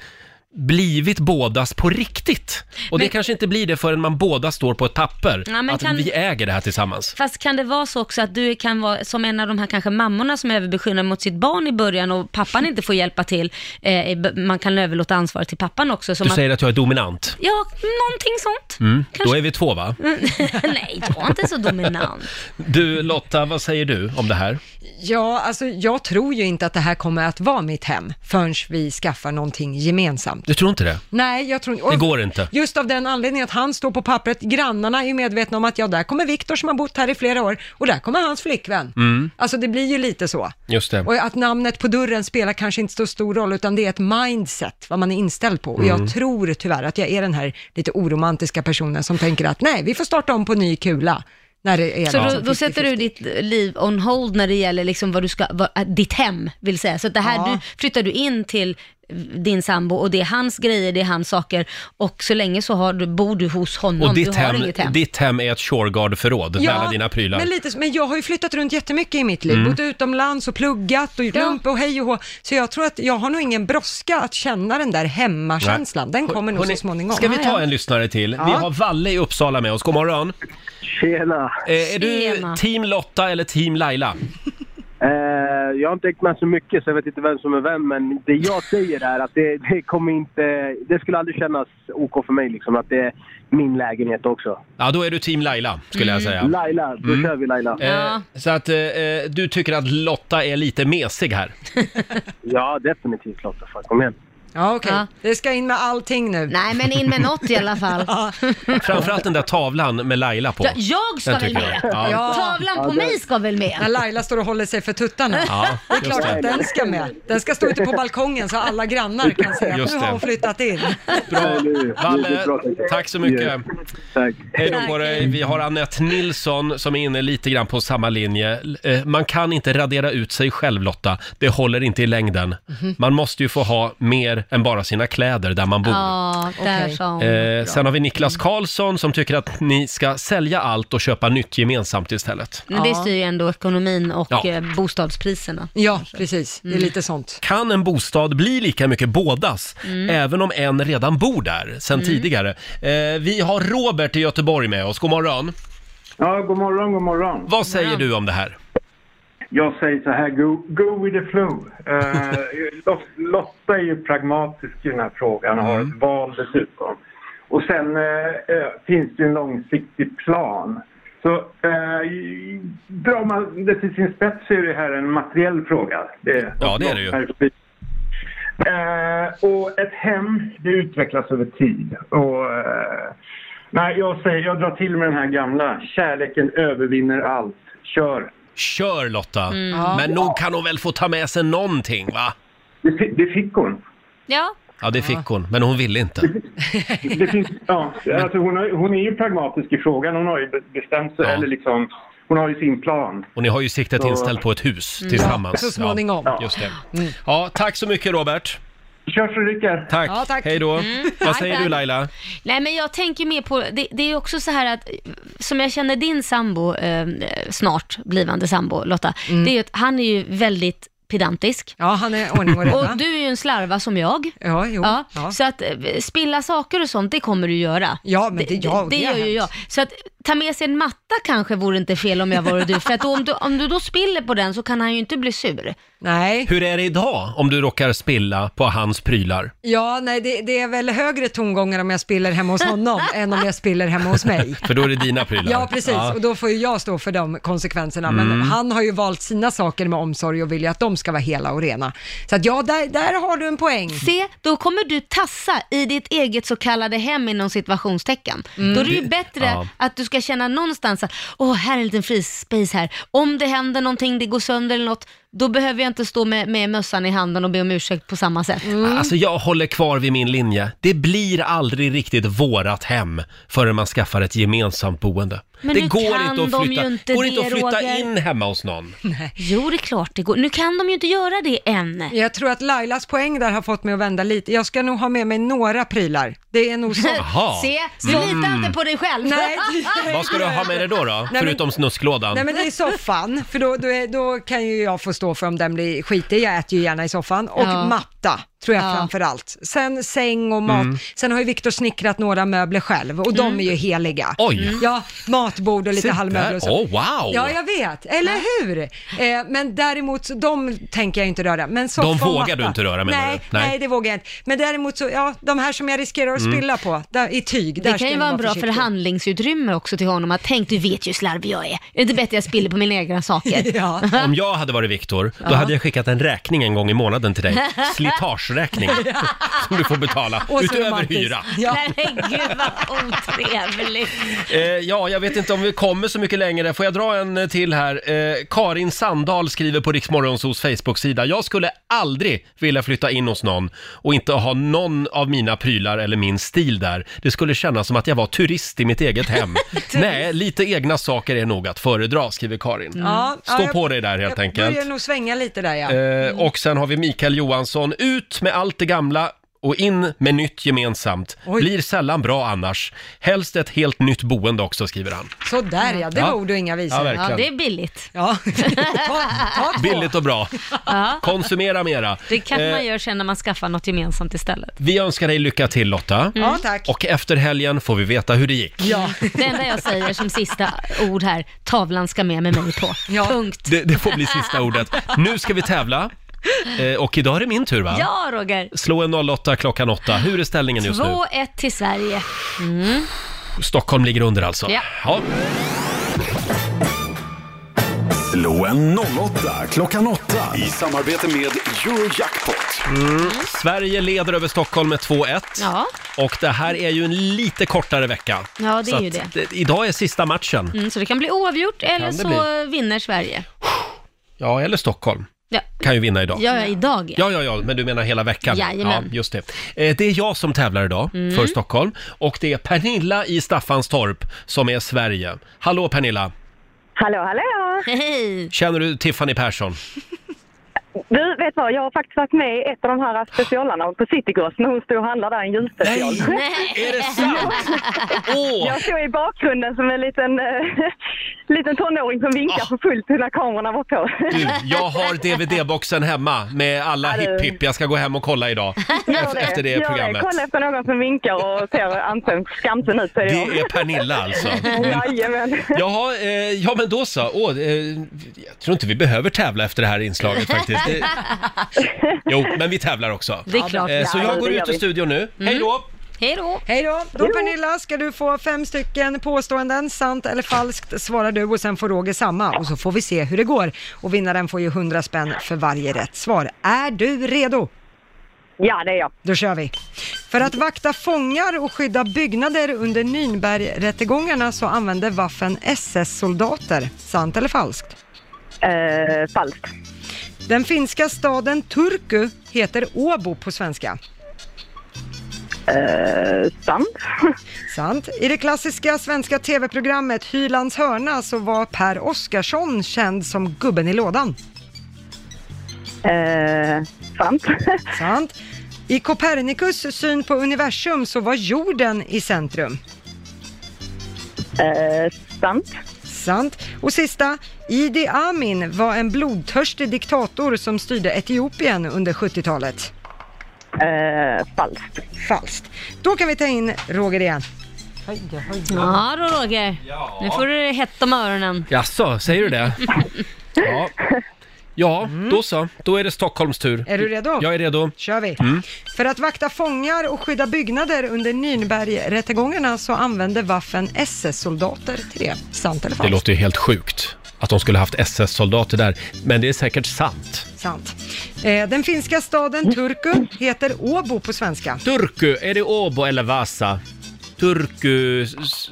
[SPEAKER 1] blivit bådas på riktigt. Och det
[SPEAKER 4] Men-
[SPEAKER 1] kanske inte blir det förrän man båda står på ett papper,
[SPEAKER 4] Ja, men
[SPEAKER 1] att
[SPEAKER 4] kan-
[SPEAKER 1] vi äger det här tillsammans.
[SPEAKER 4] Fast kan det vara så också att du kan vara som en av de här kanske mammorna som är överbeskyddande mot sitt barn i början och pappan inte får hjälpa till. Eh, i b- man kan överlåta ansvaret till pappan också. Så
[SPEAKER 1] Du
[SPEAKER 4] man...
[SPEAKER 1] säger att jag är dominant.
[SPEAKER 4] Ja, någonting sånt. Mm.
[SPEAKER 1] Mm. Då är vi två va?
[SPEAKER 4] Nej, jag är inte så dominant.
[SPEAKER 1] Du Lotta, vad säger du om det här?
[SPEAKER 2] Ja, alltså jag tror ju inte att det här kommer att vara mitt hem förrän vi skaffar någonting gemensamt.
[SPEAKER 1] Du tror inte det?
[SPEAKER 2] Nej, jag tror inte...
[SPEAKER 1] Det går inte.
[SPEAKER 2] Just av den anledningen att han står på pappret, grannarna är ju medvetna om att ja, där kommer Viktor som har bott här i flera år och där kommer hans flickvän.
[SPEAKER 1] Mm,
[SPEAKER 2] Alltså det blir ju lite så.
[SPEAKER 1] just det.
[SPEAKER 2] Och att namnet på dörren spelar kanske inte så stor roll, utan det är ett mindset, vad man är inställd på. Och
[SPEAKER 1] Mm.
[SPEAKER 2] jag tror tyvärr att jag är den här lite oromantiska personen som tänker att nej, vi får starta om på ny kula. När det är
[SPEAKER 4] Så då,
[SPEAKER 2] liksom
[SPEAKER 4] då sätter du ditt liv on hold när det gäller liksom vad du ska, vad, äh, ditt hem vill säga. Så att det här,
[SPEAKER 2] Ja.
[SPEAKER 4] nu flyttar du in till eh, din sambo och det är hans grejer, det är hans saker och så länge så har du, bor du hos honom,
[SPEAKER 1] Och ditt
[SPEAKER 4] du har
[SPEAKER 1] hem,
[SPEAKER 4] inget hem.
[SPEAKER 1] ditt hem är ett Shurgard-förråd med alla dina prylar.
[SPEAKER 2] Men, lite, så- men jag har ju flyttat runt jättemycket i mitt liv,
[SPEAKER 1] Mm.
[SPEAKER 2] bott utomlands och pluggat och gjort lump och hej och hå. Så jag tror att jag har nog ingen brådska att känna den där hemmakänslan. Den
[SPEAKER 1] Hör-
[SPEAKER 2] kommer nog
[SPEAKER 1] hörni,
[SPEAKER 2] så småningom.
[SPEAKER 1] Ska vi ta en lyssnare till? Vi
[SPEAKER 2] Ja.
[SPEAKER 1] har Valle i Uppsala med oss. God morgon.
[SPEAKER 13] Tjena.
[SPEAKER 1] Eh, är du
[SPEAKER 13] Tjena.
[SPEAKER 1] team Lotta eller team Laila?
[SPEAKER 13] Eh, jag har inte ägt med så mycket så jag vet inte vem som är vem men det jag säger är att det, det kommer inte... Det skulle aldrig kännas OK för mig liksom att det är min lägenhet också.
[SPEAKER 1] Ja, då är du team Laila, skulle
[SPEAKER 9] Mm.
[SPEAKER 1] jag säga.
[SPEAKER 13] Laila, då kör vi Laila.
[SPEAKER 1] Mm. Eh, så att eh, eh, du tycker att Lotta är lite mesig här?
[SPEAKER 13] Ja, definitivt Lotta. Fan, kom igen.
[SPEAKER 2] Ja, okej. Det ska in med allting nu.
[SPEAKER 4] Nej, men in med något i alla fall.
[SPEAKER 1] Framförallt den där tavlan med Laila på.
[SPEAKER 4] Ja, jag ska
[SPEAKER 1] Den
[SPEAKER 4] väl
[SPEAKER 1] tycker
[SPEAKER 4] med.
[SPEAKER 1] jag. Ja.
[SPEAKER 4] Tavlan på
[SPEAKER 2] Ja, det-
[SPEAKER 4] mig ska väl med.
[SPEAKER 2] När Laila står och håller sig för tuttarna.
[SPEAKER 1] Ja,
[SPEAKER 2] det är
[SPEAKER 1] just
[SPEAKER 2] klart
[SPEAKER 1] det.
[SPEAKER 2] att den ska med. Den ska stå ute på balkongen så alla grannar kan se att
[SPEAKER 1] Just
[SPEAKER 2] nu har
[SPEAKER 1] det.
[SPEAKER 2] hon flyttat in.
[SPEAKER 1] Bra. Valle,
[SPEAKER 13] bra,
[SPEAKER 1] tack så mycket.
[SPEAKER 13] Tack.
[SPEAKER 1] Hej då på dig. Vi har Annette Nilsson som är inne lite grann på samma linje. Eh, Man kan inte radera ut sig själv Lotta. Det håller inte i längden.
[SPEAKER 4] Mhm.
[SPEAKER 1] Man måste ju få ha mer än bara sina kläder där man bor.
[SPEAKER 4] Ja, där sa hon.
[SPEAKER 1] Eh, sen har vi Niklas Karlsson som tycker att ni ska sälja allt och köpa nytt gemensamt istället.
[SPEAKER 4] Men det styr ju ändå ekonomin och
[SPEAKER 1] Ja.
[SPEAKER 4] eh, bostadspriserna.
[SPEAKER 2] Ja, precis.
[SPEAKER 4] Mm.
[SPEAKER 2] sånt.
[SPEAKER 1] Kan en bostad bli lika mycket bådas,
[SPEAKER 4] Mm.
[SPEAKER 1] även om en redan bor där sen
[SPEAKER 4] Mm.
[SPEAKER 1] tidigare? Eh, vi har Robert i Göteborg med oss. God morgon.
[SPEAKER 14] Ja, god morgon, god morgon.
[SPEAKER 1] Vad säger du om det här?
[SPEAKER 14] Jag säger så här, go, go with the flow. Eh, Lot- Lotta är ju pragmatisk i den här frågan och har ett val dessutom. Och sen eh, eh, finns det ju en långsiktig plan. Så eh, drar man det till sin spets så är det här en materiell fråga. Det,
[SPEAKER 1] Ja, det är det ju.
[SPEAKER 14] Eh, och ett hem, det utvecklas över tid. Och, eh, nej, jag, säger, jag drar till med den här gamla. Kärleken övervinner allt. Kör!
[SPEAKER 1] Kör Lotta!
[SPEAKER 14] Mm. Ja.
[SPEAKER 1] Men nog kan hon väl få ta med sig någonting va?
[SPEAKER 14] Det, fi- det fick hon.
[SPEAKER 4] Ja.
[SPEAKER 1] Ja, det fick hon, men hon ville inte.
[SPEAKER 14] Det finns, ja, alltså hon, har, hon är ju pragmatisk i frågan. Hon har ju be- bestämt sig. Eller liksom, hon har ju sin plan.
[SPEAKER 1] Och ni har ju siktet
[SPEAKER 14] Så-
[SPEAKER 1] inställt på ett hus
[SPEAKER 14] Mm.
[SPEAKER 1] tillsammans.
[SPEAKER 14] Ja, så småningom.
[SPEAKER 1] Ja, just det. Ja, tack så mycket Robert.
[SPEAKER 14] Kör så rycker.
[SPEAKER 1] Tack.
[SPEAKER 4] Ja, tack.
[SPEAKER 1] Hej då.
[SPEAKER 4] Mm.
[SPEAKER 1] Vad
[SPEAKER 4] Tack,
[SPEAKER 1] säger du
[SPEAKER 4] tack.
[SPEAKER 1] Laila?
[SPEAKER 4] Nej men jag tänker mer på, det, det är också så här att, som jag känner din sambo, eh, snart blivande sambo Lotta, det är ju att han är ju väldigt pedantisk.
[SPEAKER 2] Mm. Ja, han är ordning och reda.
[SPEAKER 4] Och du är ju en slarva som jag.
[SPEAKER 2] Ja, jo.
[SPEAKER 4] Ja,
[SPEAKER 2] Ja.
[SPEAKER 4] Så att eh, spilla saker och sånt, det kommer du göra.
[SPEAKER 2] Ja, men det- ja,
[SPEAKER 4] det,
[SPEAKER 2] det har
[SPEAKER 4] gör ju jag.
[SPEAKER 2] hänt.
[SPEAKER 4] Så att ta med sig en matta kanske vore inte fel om jag vore du. För att då, om, du, om du då spiller på den så kan han ju inte bli sur.
[SPEAKER 2] Nej.
[SPEAKER 1] Hur är det idag om du råkar spilla på hans prylar?
[SPEAKER 2] Ja, nej, det, det är väl högre tongångar om jag spiller hemma hos honom än om jag spiller hemma hos mig.
[SPEAKER 1] För då är det dina prylar.
[SPEAKER 2] Ja, precis. Och då får ju jag stå för de konsekvenserna. Men
[SPEAKER 1] Mm.
[SPEAKER 2] han har ju valt sina saker med omsorg och vill ju att de ska vara hela och rena. Så att ja, där, där har du en poäng.
[SPEAKER 4] Se, då kommer du tassa i ditt eget så kallade hem inom situationstecken.
[SPEAKER 2] Mm.
[SPEAKER 4] Då är det ju
[SPEAKER 2] Det-
[SPEAKER 4] bättre
[SPEAKER 2] ja.
[SPEAKER 4] att du ska känna någonstans att, åh, här är en liten frispace här. Om det händer någonting, det går sönder eller något, då behöver jag inte stå med, med mössan i handen och be om ursäkt på samma sätt.
[SPEAKER 2] Mm.
[SPEAKER 1] Alltså jag håller kvar vid min linje. Det blir aldrig riktigt vårat hem förrän man skaffar ett gemensamt boende.
[SPEAKER 4] Men
[SPEAKER 1] det
[SPEAKER 4] nu kan de ju inte
[SPEAKER 1] går inte
[SPEAKER 4] det,
[SPEAKER 1] att flytta
[SPEAKER 4] Roger.
[SPEAKER 1] in hemma hos någon.
[SPEAKER 4] Jo, det är klart det går. Nu kan de ju inte göra det än.
[SPEAKER 2] Jag tror att Lailas poäng där har fått mig att vända lite. Jag ska nog ha med mig några prylar. Det är nog så. Mm.
[SPEAKER 1] Jaha.
[SPEAKER 4] Se, du litar inte på dig själv.
[SPEAKER 2] Nej,
[SPEAKER 1] Vad ska du ha med dig då, då?
[SPEAKER 2] men-
[SPEAKER 1] förutom snusklådan?
[SPEAKER 2] Nej men det är soffan, för då, då, är, då kan ju jag få stå för om den blir skitig, jag äter ju gärna i soffan. Och
[SPEAKER 4] Ja.
[SPEAKER 2] matta, tror jag
[SPEAKER 4] Ja.
[SPEAKER 2] framför allt. Sen säng och mat.
[SPEAKER 4] Mm.
[SPEAKER 2] Sen har ju Viktor snickrat några möbler själv och de är ju heliga.
[SPEAKER 1] Oj. Mm.
[SPEAKER 2] Ja, matbord och
[SPEAKER 1] Se
[SPEAKER 2] lite
[SPEAKER 1] där.
[SPEAKER 2] halvmöbler och så.
[SPEAKER 1] Åh, wow.
[SPEAKER 2] Ja, jag vet. Eller hur? Eh, men däremot, så, de tänker jag inte röra. Men soffa och
[SPEAKER 1] vågar
[SPEAKER 2] matta.
[SPEAKER 1] du inte röra, menar
[SPEAKER 2] nej,
[SPEAKER 1] du? Nej.
[SPEAKER 2] Nej. det vågar jag inte. Men däremot så, ja, de här som jag riskerar att
[SPEAKER 1] Mm.
[SPEAKER 2] spilla på, där, i tyg, där
[SPEAKER 4] Det
[SPEAKER 2] ska
[SPEAKER 4] kan ju
[SPEAKER 2] jag
[SPEAKER 4] vara en bra
[SPEAKER 2] försiktig.
[SPEAKER 4] förhandlingsutrymme också till honom att tänk du vet ju hur slarvig jag är. Är det inte bättre att jag spiller på mina egna saker?
[SPEAKER 2] ja.
[SPEAKER 1] Om jag hade varit Viktor, då
[SPEAKER 4] Ja.
[SPEAKER 1] hade jag skickat en räkning en gång i månaden till dig. Slitageräkning. som du får betala,
[SPEAKER 4] Och så
[SPEAKER 1] utöver
[SPEAKER 4] romantiskt.
[SPEAKER 1] hyra.
[SPEAKER 4] Ja. Nej, gud vad otrevligt.
[SPEAKER 1] Eh, ja, jag vet inte om vi kommer så mycket längre. Får jag dra en eh, till här? Eh, Karin Sandahl skriver på Riksmorgonsos Facebook-sida. Jag skulle aldrig vilja flytta in hos någon och inte ha någon av mina prylar eller min stil där. Det skulle kännas som att jag var turist i mitt eget hem. Nej, lite egna saker är nog att föredra, skriver Karin.
[SPEAKER 2] Ja, ja,
[SPEAKER 1] Stå
[SPEAKER 2] jag-
[SPEAKER 1] på dig där helt
[SPEAKER 2] Jag
[SPEAKER 1] enkelt.
[SPEAKER 2] börjar nog svänga lite där ja.
[SPEAKER 1] Eh, och sen har vi Mikael Johansson. Ut med allt det gamla och in med nytt gemensamt. Blir sällan bra annars. Helst ett helt nytt boende också, skriver han.
[SPEAKER 2] Så där ja, det
[SPEAKER 1] Ja.
[SPEAKER 2] var ord och inga visor.
[SPEAKER 1] Ja, verkligen. Ja, det
[SPEAKER 4] är billigt.
[SPEAKER 2] Ja. ta, ta två.
[SPEAKER 1] Billigt och bra.
[SPEAKER 4] Ja.
[SPEAKER 1] Konsumera mera.
[SPEAKER 4] Det kanske
[SPEAKER 1] Eh,
[SPEAKER 4] man gör sen när man skaffar något gemensamt istället.
[SPEAKER 1] Vi önskar dig lycka till Lotta.
[SPEAKER 4] Ja, tack.
[SPEAKER 1] Och efter helgen får vi veta hur det gick.
[SPEAKER 2] Ja.
[SPEAKER 4] Det enda jag säger som sista ord här, tavlan ska med med mig på. Punkt.
[SPEAKER 1] Det, det får bli sista ordet. Nu ska vi tävla. Eh, och idag är det min tur va?
[SPEAKER 4] Ja, Roger.
[SPEAKER 1] Slå en 08 klockan 8. Hur är ställningen just nu?
[SPEAKER 4] 2-1 till Sverige. Mm.
[SPEAKER 1] Stockholm ligger under alltså.
[SPEAKER 4] Ja.
[SPEAKER 1] Ja.
[SPEAKER 3] Slå en 08 klockan 8 i samarbete med Eurojackpot.
[SPEAKER 1] Mm. Sverige leder över Stockholm med 2-1.
[SPEAKER 4] Ja.
[SPEAKER 1] Och det här är ju en lite kortare vecka.
[SPEAKER 4] Ja, det är
[SPEAKER 1] Så
[SPEAKER 4] ju
[SPEAKER 1] att,
[SPEAKER 4] det.
[SPEAKER 1] eh, Idag är sista matchen.
[SPEAKER 4] Mm, så det kan bli oavgjort eller
[SPEAKER 1] Kan det
[SPEAKER 4] så vinner Sverige.
[SPEAKER 1] Ja, eller Stockholm.
[SPEAKER 4] Ja,
[SPEAKER 1] Kan ju vinna idag.
[SPEAKER 4] ja, ja idag ja.
[SPEAKER 1] Ja, ja, ja, men du menar hela veckan?
[SPEAKER 4] Jajamän.
[SPEAKER 1] Ja, just det. Eh, Det är jag som tävlar idag
[SPEAKER 4] Mm.
[SPEAKER 1] för Stockholm och det är Pernilla i Staffanstorp som är Sverige. Hallå Pernilla!
[SPEAKER 10] Hallå, hallå!
[SPEAKER 4] Hej!
[SPEAKER 1] Känner du Tiffany Persson?
[SPEAKER 10] Du, vet vad? Jag har faktiskt varit med i ett av de här specialarna på Citygross när hon stod och handlade där en julspecial.
[SPEAKER 4] Nej.
[SPEAKER 1] Är det sant? Åh!
[SPEAKER 10] Jag stod i bakgrunden som en liten, eh, liten tonåring som vinkade för fullt när kamerorna var på.
[SPEAKER 1] Ah. Du, jag har DVD-boxen hemma med alla
[SPEAKER 10] Ja, du.
[SPEAKER 1] hipp-hipp. Jag ska gå hem och kolla idag
[SPEAKER 10] Gör
[SPEAKER 1] efter, efter det
[SPEAKER 10] Gör
[SPEAKER 1] programmet.
[SPEAKER 10] Kolla efter någon som vinkar och ser ansen skamsen ut. så är jag.
[SPEAKER 1] Det är Pernilla alltså.
[SPEAKER 10] Jajamän.
[SPEAKER 1] Jaha, eh, ja men då så. Åh, eh, jag tror inte vi behöver tävla efter det här inslaget faktiskt. Det, jo, men vi tävlar också.
[SPEAKER 2] Det är klart.
[SPEAKER 1] Eh, så
[SPEAKER 2] Ja,
[SPEAKER 1] jag
[SPEAKER 2] det
[SPEAKER 1] går
[SPEAKER 2] gör
[SPEAKER 1] ut ur
[SPEAKER 2] vi. Mm.
[SPEAKER 1] studion nu. Hej då!
[SPEAKER 4] Hej då!
[SPEAKER 2] Hej då! Då Pernilla ska du få fem stycken påståenden, sant eller falskt svarar du och sen får Roger samma och så får vi se hur det går. Och vinnaren får ju 100 spänn för varje rätt svar. Är du redo?
[SPEAKER 10] Ja, det är jag.
[SPEAKER 2] Då kör vi. För att vakta fångar och skydda byggnader under Nürnbergrättegångarna så använde Waffen SS-soldater. Sant eller falskt?
[SPEAKER 10] Eh, falskt.
[SPEAKER 2] Den finska staden Turku heter Åbo på svenska.
[SPEAKER 10] Eh, sant.
[SPEAKER 2] Sant. I det klassiska svenska tv-programmet Hylands hörna så var Per Oscarsson känd som gubben i lådan.
[SPEAKER 10] Eh, sant.
[SPEAKER 2] Sant. I Copernicus syn på universum så var jorden i centrum.
[SPEAKER 10] Eh, sant.
[SPEAKER 2] Sant. Och sista, Idi Amin var en blodtörstig diktator som styrde Etiopien under 70-talet.
[SPEAKER 10] Eh, falskt.
[SPEAKER 2] Falskt. Då kan vi ta in Roger igen.
[SPEAKER 4] Ja då Roger, nu får du hett om öronen.
[SPEAKER 1] Jaså, säger du det? Ja, ja då så. Då är det Stockholms tur.
[SPEAKER 2] Mm. Är du redo?
[SPEAKER 1] Jag är redo.
[SPEAKER 2] kör vi.
[SPEAKER 1] Mm.
[SPEAKER 2] För att vakta fångar och skydda byggnader under Nürnbergrättegångarna så använde Waffen SS-soldater till det. Sant eller
[SPEAKER 1] Det
[SPEAKER 2] falskt?
[SPEAKER 1] låter ju helt sjukt att de skulle haft SS-soldater där, men det är säkert sant.
[SPEAKER 2] Sant. Eh, den finska
[SPEAKER 1] Mm.
[SPEAKER 2] staden Turku heter Åbo på svenska.
[SPEAKER 1] Turku, är det Åbo eller Vasa? Turku... s-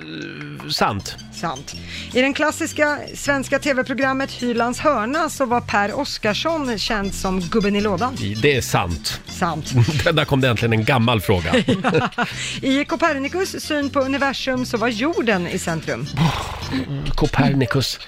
[SPEAKER 1] Sant.
[SPEAKER 2] Sant. I den klassiska svenska tv-programmet Hylands hörna så var Per Oscarsson känd som gubben i lådan.
[SPEAKER 1] Det är sant.
[SPEAKER 2] Sant.
[SPEAKER 1] Där kom det äntligen en gammal fråga.
[SPEAKER 2] I Copernicus syn på universum så var jorden i centrum.
[SPEAKER 1] Copernicus.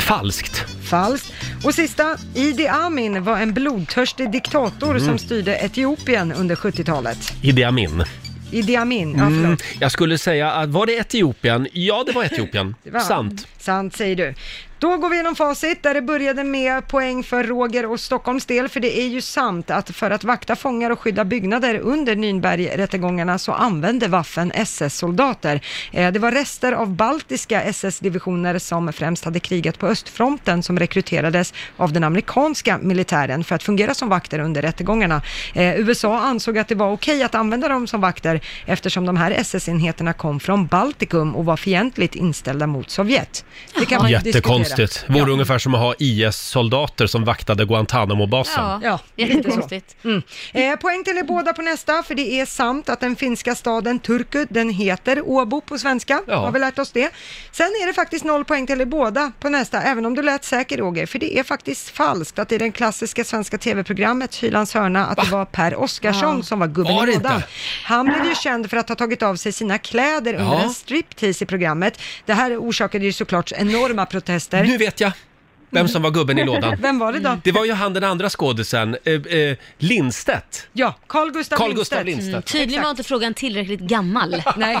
[SPEAKER 1] Falskt.
[SPEAKER 2] Falskt. Och sista, Idi Amin var en blodtörstig diktator
[SPEAKER 1] Mm.
[SPEAKER 2] som styrde Etiopien under 70-talet.
[SPEAKER 1] Idi Amin.
[SPEAKER 2] Idi Amin, ja förlåt.
[SPEAKER 1] Mm, jag skulle säga att, var det Etiopien? Ja, det var Etiopien.
[SPEAKER 2] Det var-
[SPEAKER 1] Sant.
[SPEAKER 2] Sant säger du. Då går vi igenom facit där det började med poäng för Roger och Stockholms del, för det är ju sant att för att vakta fångar och skydda byggnader under Nürnbergrättegångarna så använde Waffen SS-soldater. Eh, Det var rester av baltiska SS-divisioner som främst hade krigat på östfronten som rekryterades av den amerikanska militären för att fungera som vakter under rättegångarna. Eh, USA ansåg att det var okej att använda dem som vakter eftersom de här SS-enheterna kom från Baltikum och var fientligt inställda mot Sovjet. Det kan man ju
[SPEAKER 1] Jättekonstigt.
[SPEAKER 2] diskutera.
[SPEAKER 1] Vore ungefär som att ha IS-soldater som vaktade Guantanamo-basen.
[SPEAKER 2] Ja, jättekonstigt. Mm. Eh, poäng till er båda på nästa, för det är sant att den finska staden Turku, den heter Åbo på svenska.
[SPEAKER 1] Ja.
[SPEAKER 2] Har vi lärt oss det. Sen är det faktiskt noll poäng till er båda på nästa, även om du lät säker Roger, för det är faktiskt falskt att i den klassiska svenska tv-programmet Hylands hörna, att det var Per Oscarsson
[SPEAKER 1] Ja.
[SPEAKER 2] som var gubben
[SPEAKER 1] Var det
[SPEAKER 2] i lådan.
[SPEAKER 1] inte?
[SPEAKER 2] Han blev ju känd för att ha tagit av sig sina kläder under
[SPEAKER 1] Ja.
[SPEAKER 2] en striptease i programmet. Det här orsakade ju såklart enorma protester.
[SPEAKER 1] Nu vet jag Vem som var gubben i lådan.
[SPEAKER 2] Vem var det då?
[SPEAKER 1] Det var ju han den andra skådisen, eh, eh, Lindstedt.
[SPEAKER 2] Ja, Carl Gustaf
[SPEAKER 1] Carl Gustaf Lindstedt.
[SPEAKER 4] Mm, tydligen var inte frågan tillräckligt gammal.
[SPEAKER 2] Nej.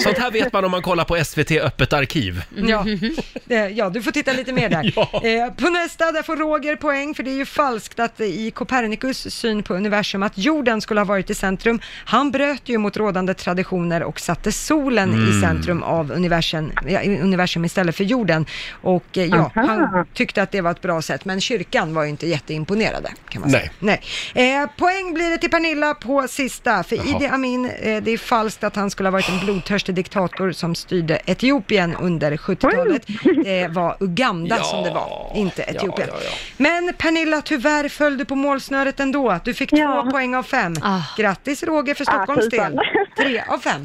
[SPEAKER 1] Sånt här vet man om man kollar på SVT Öppet arkiv.
[SPEAKER 2] Ja.
[SPEAKER 11] Mm.
[SPEAKER 2] Eh, ja, du får titta lite mer där. Eh, På nästa, där får Roger poäng, för det är ju falskt att i Copernicus syn på universum att jorden skulle ha varit i centrum. Han bröt ju mot rådande traditioner och satte solen i
[SPEAKER 11] Mm.
[SPEAKER 2] centrum av universum, ja, i universum istället för jorden. Och eh, ja,
[SPEAKER 11] Aha.
[SPEAKER 2] han tyckte att det var ett bra sätt, men kyrkan var ju inte jätteimponerade. Kan man säga.
[SPEAKER 11] Nej.
[SPEAKER 2] Nej. Eh, poäng blir det till Pernilla på sista, för
[SPEAKER 11] Jaha.
[SPEAKER 2] Idi Amin, eh, det är falskt att han skulle ha varit en blodtörstig diktator som styrde Etiopien under 70-talet. Det var Uganda
[SPEAKER 11] Ja.
[SPEAKER 2] som det var, inte Etiopien.
[SPEAKER 11] ja, ja.
[SPEAKER 2] Men Pernilla, tyvärr föll du på målsnöret ändå. Du fick två poäng av fem. Grattis Roger för
[SPEAKER 11] Ah,
[SPEAKER 2] Stockholms
[SPEAKER 11] tusan.
[SPEAKER 2] del. Tre av fem.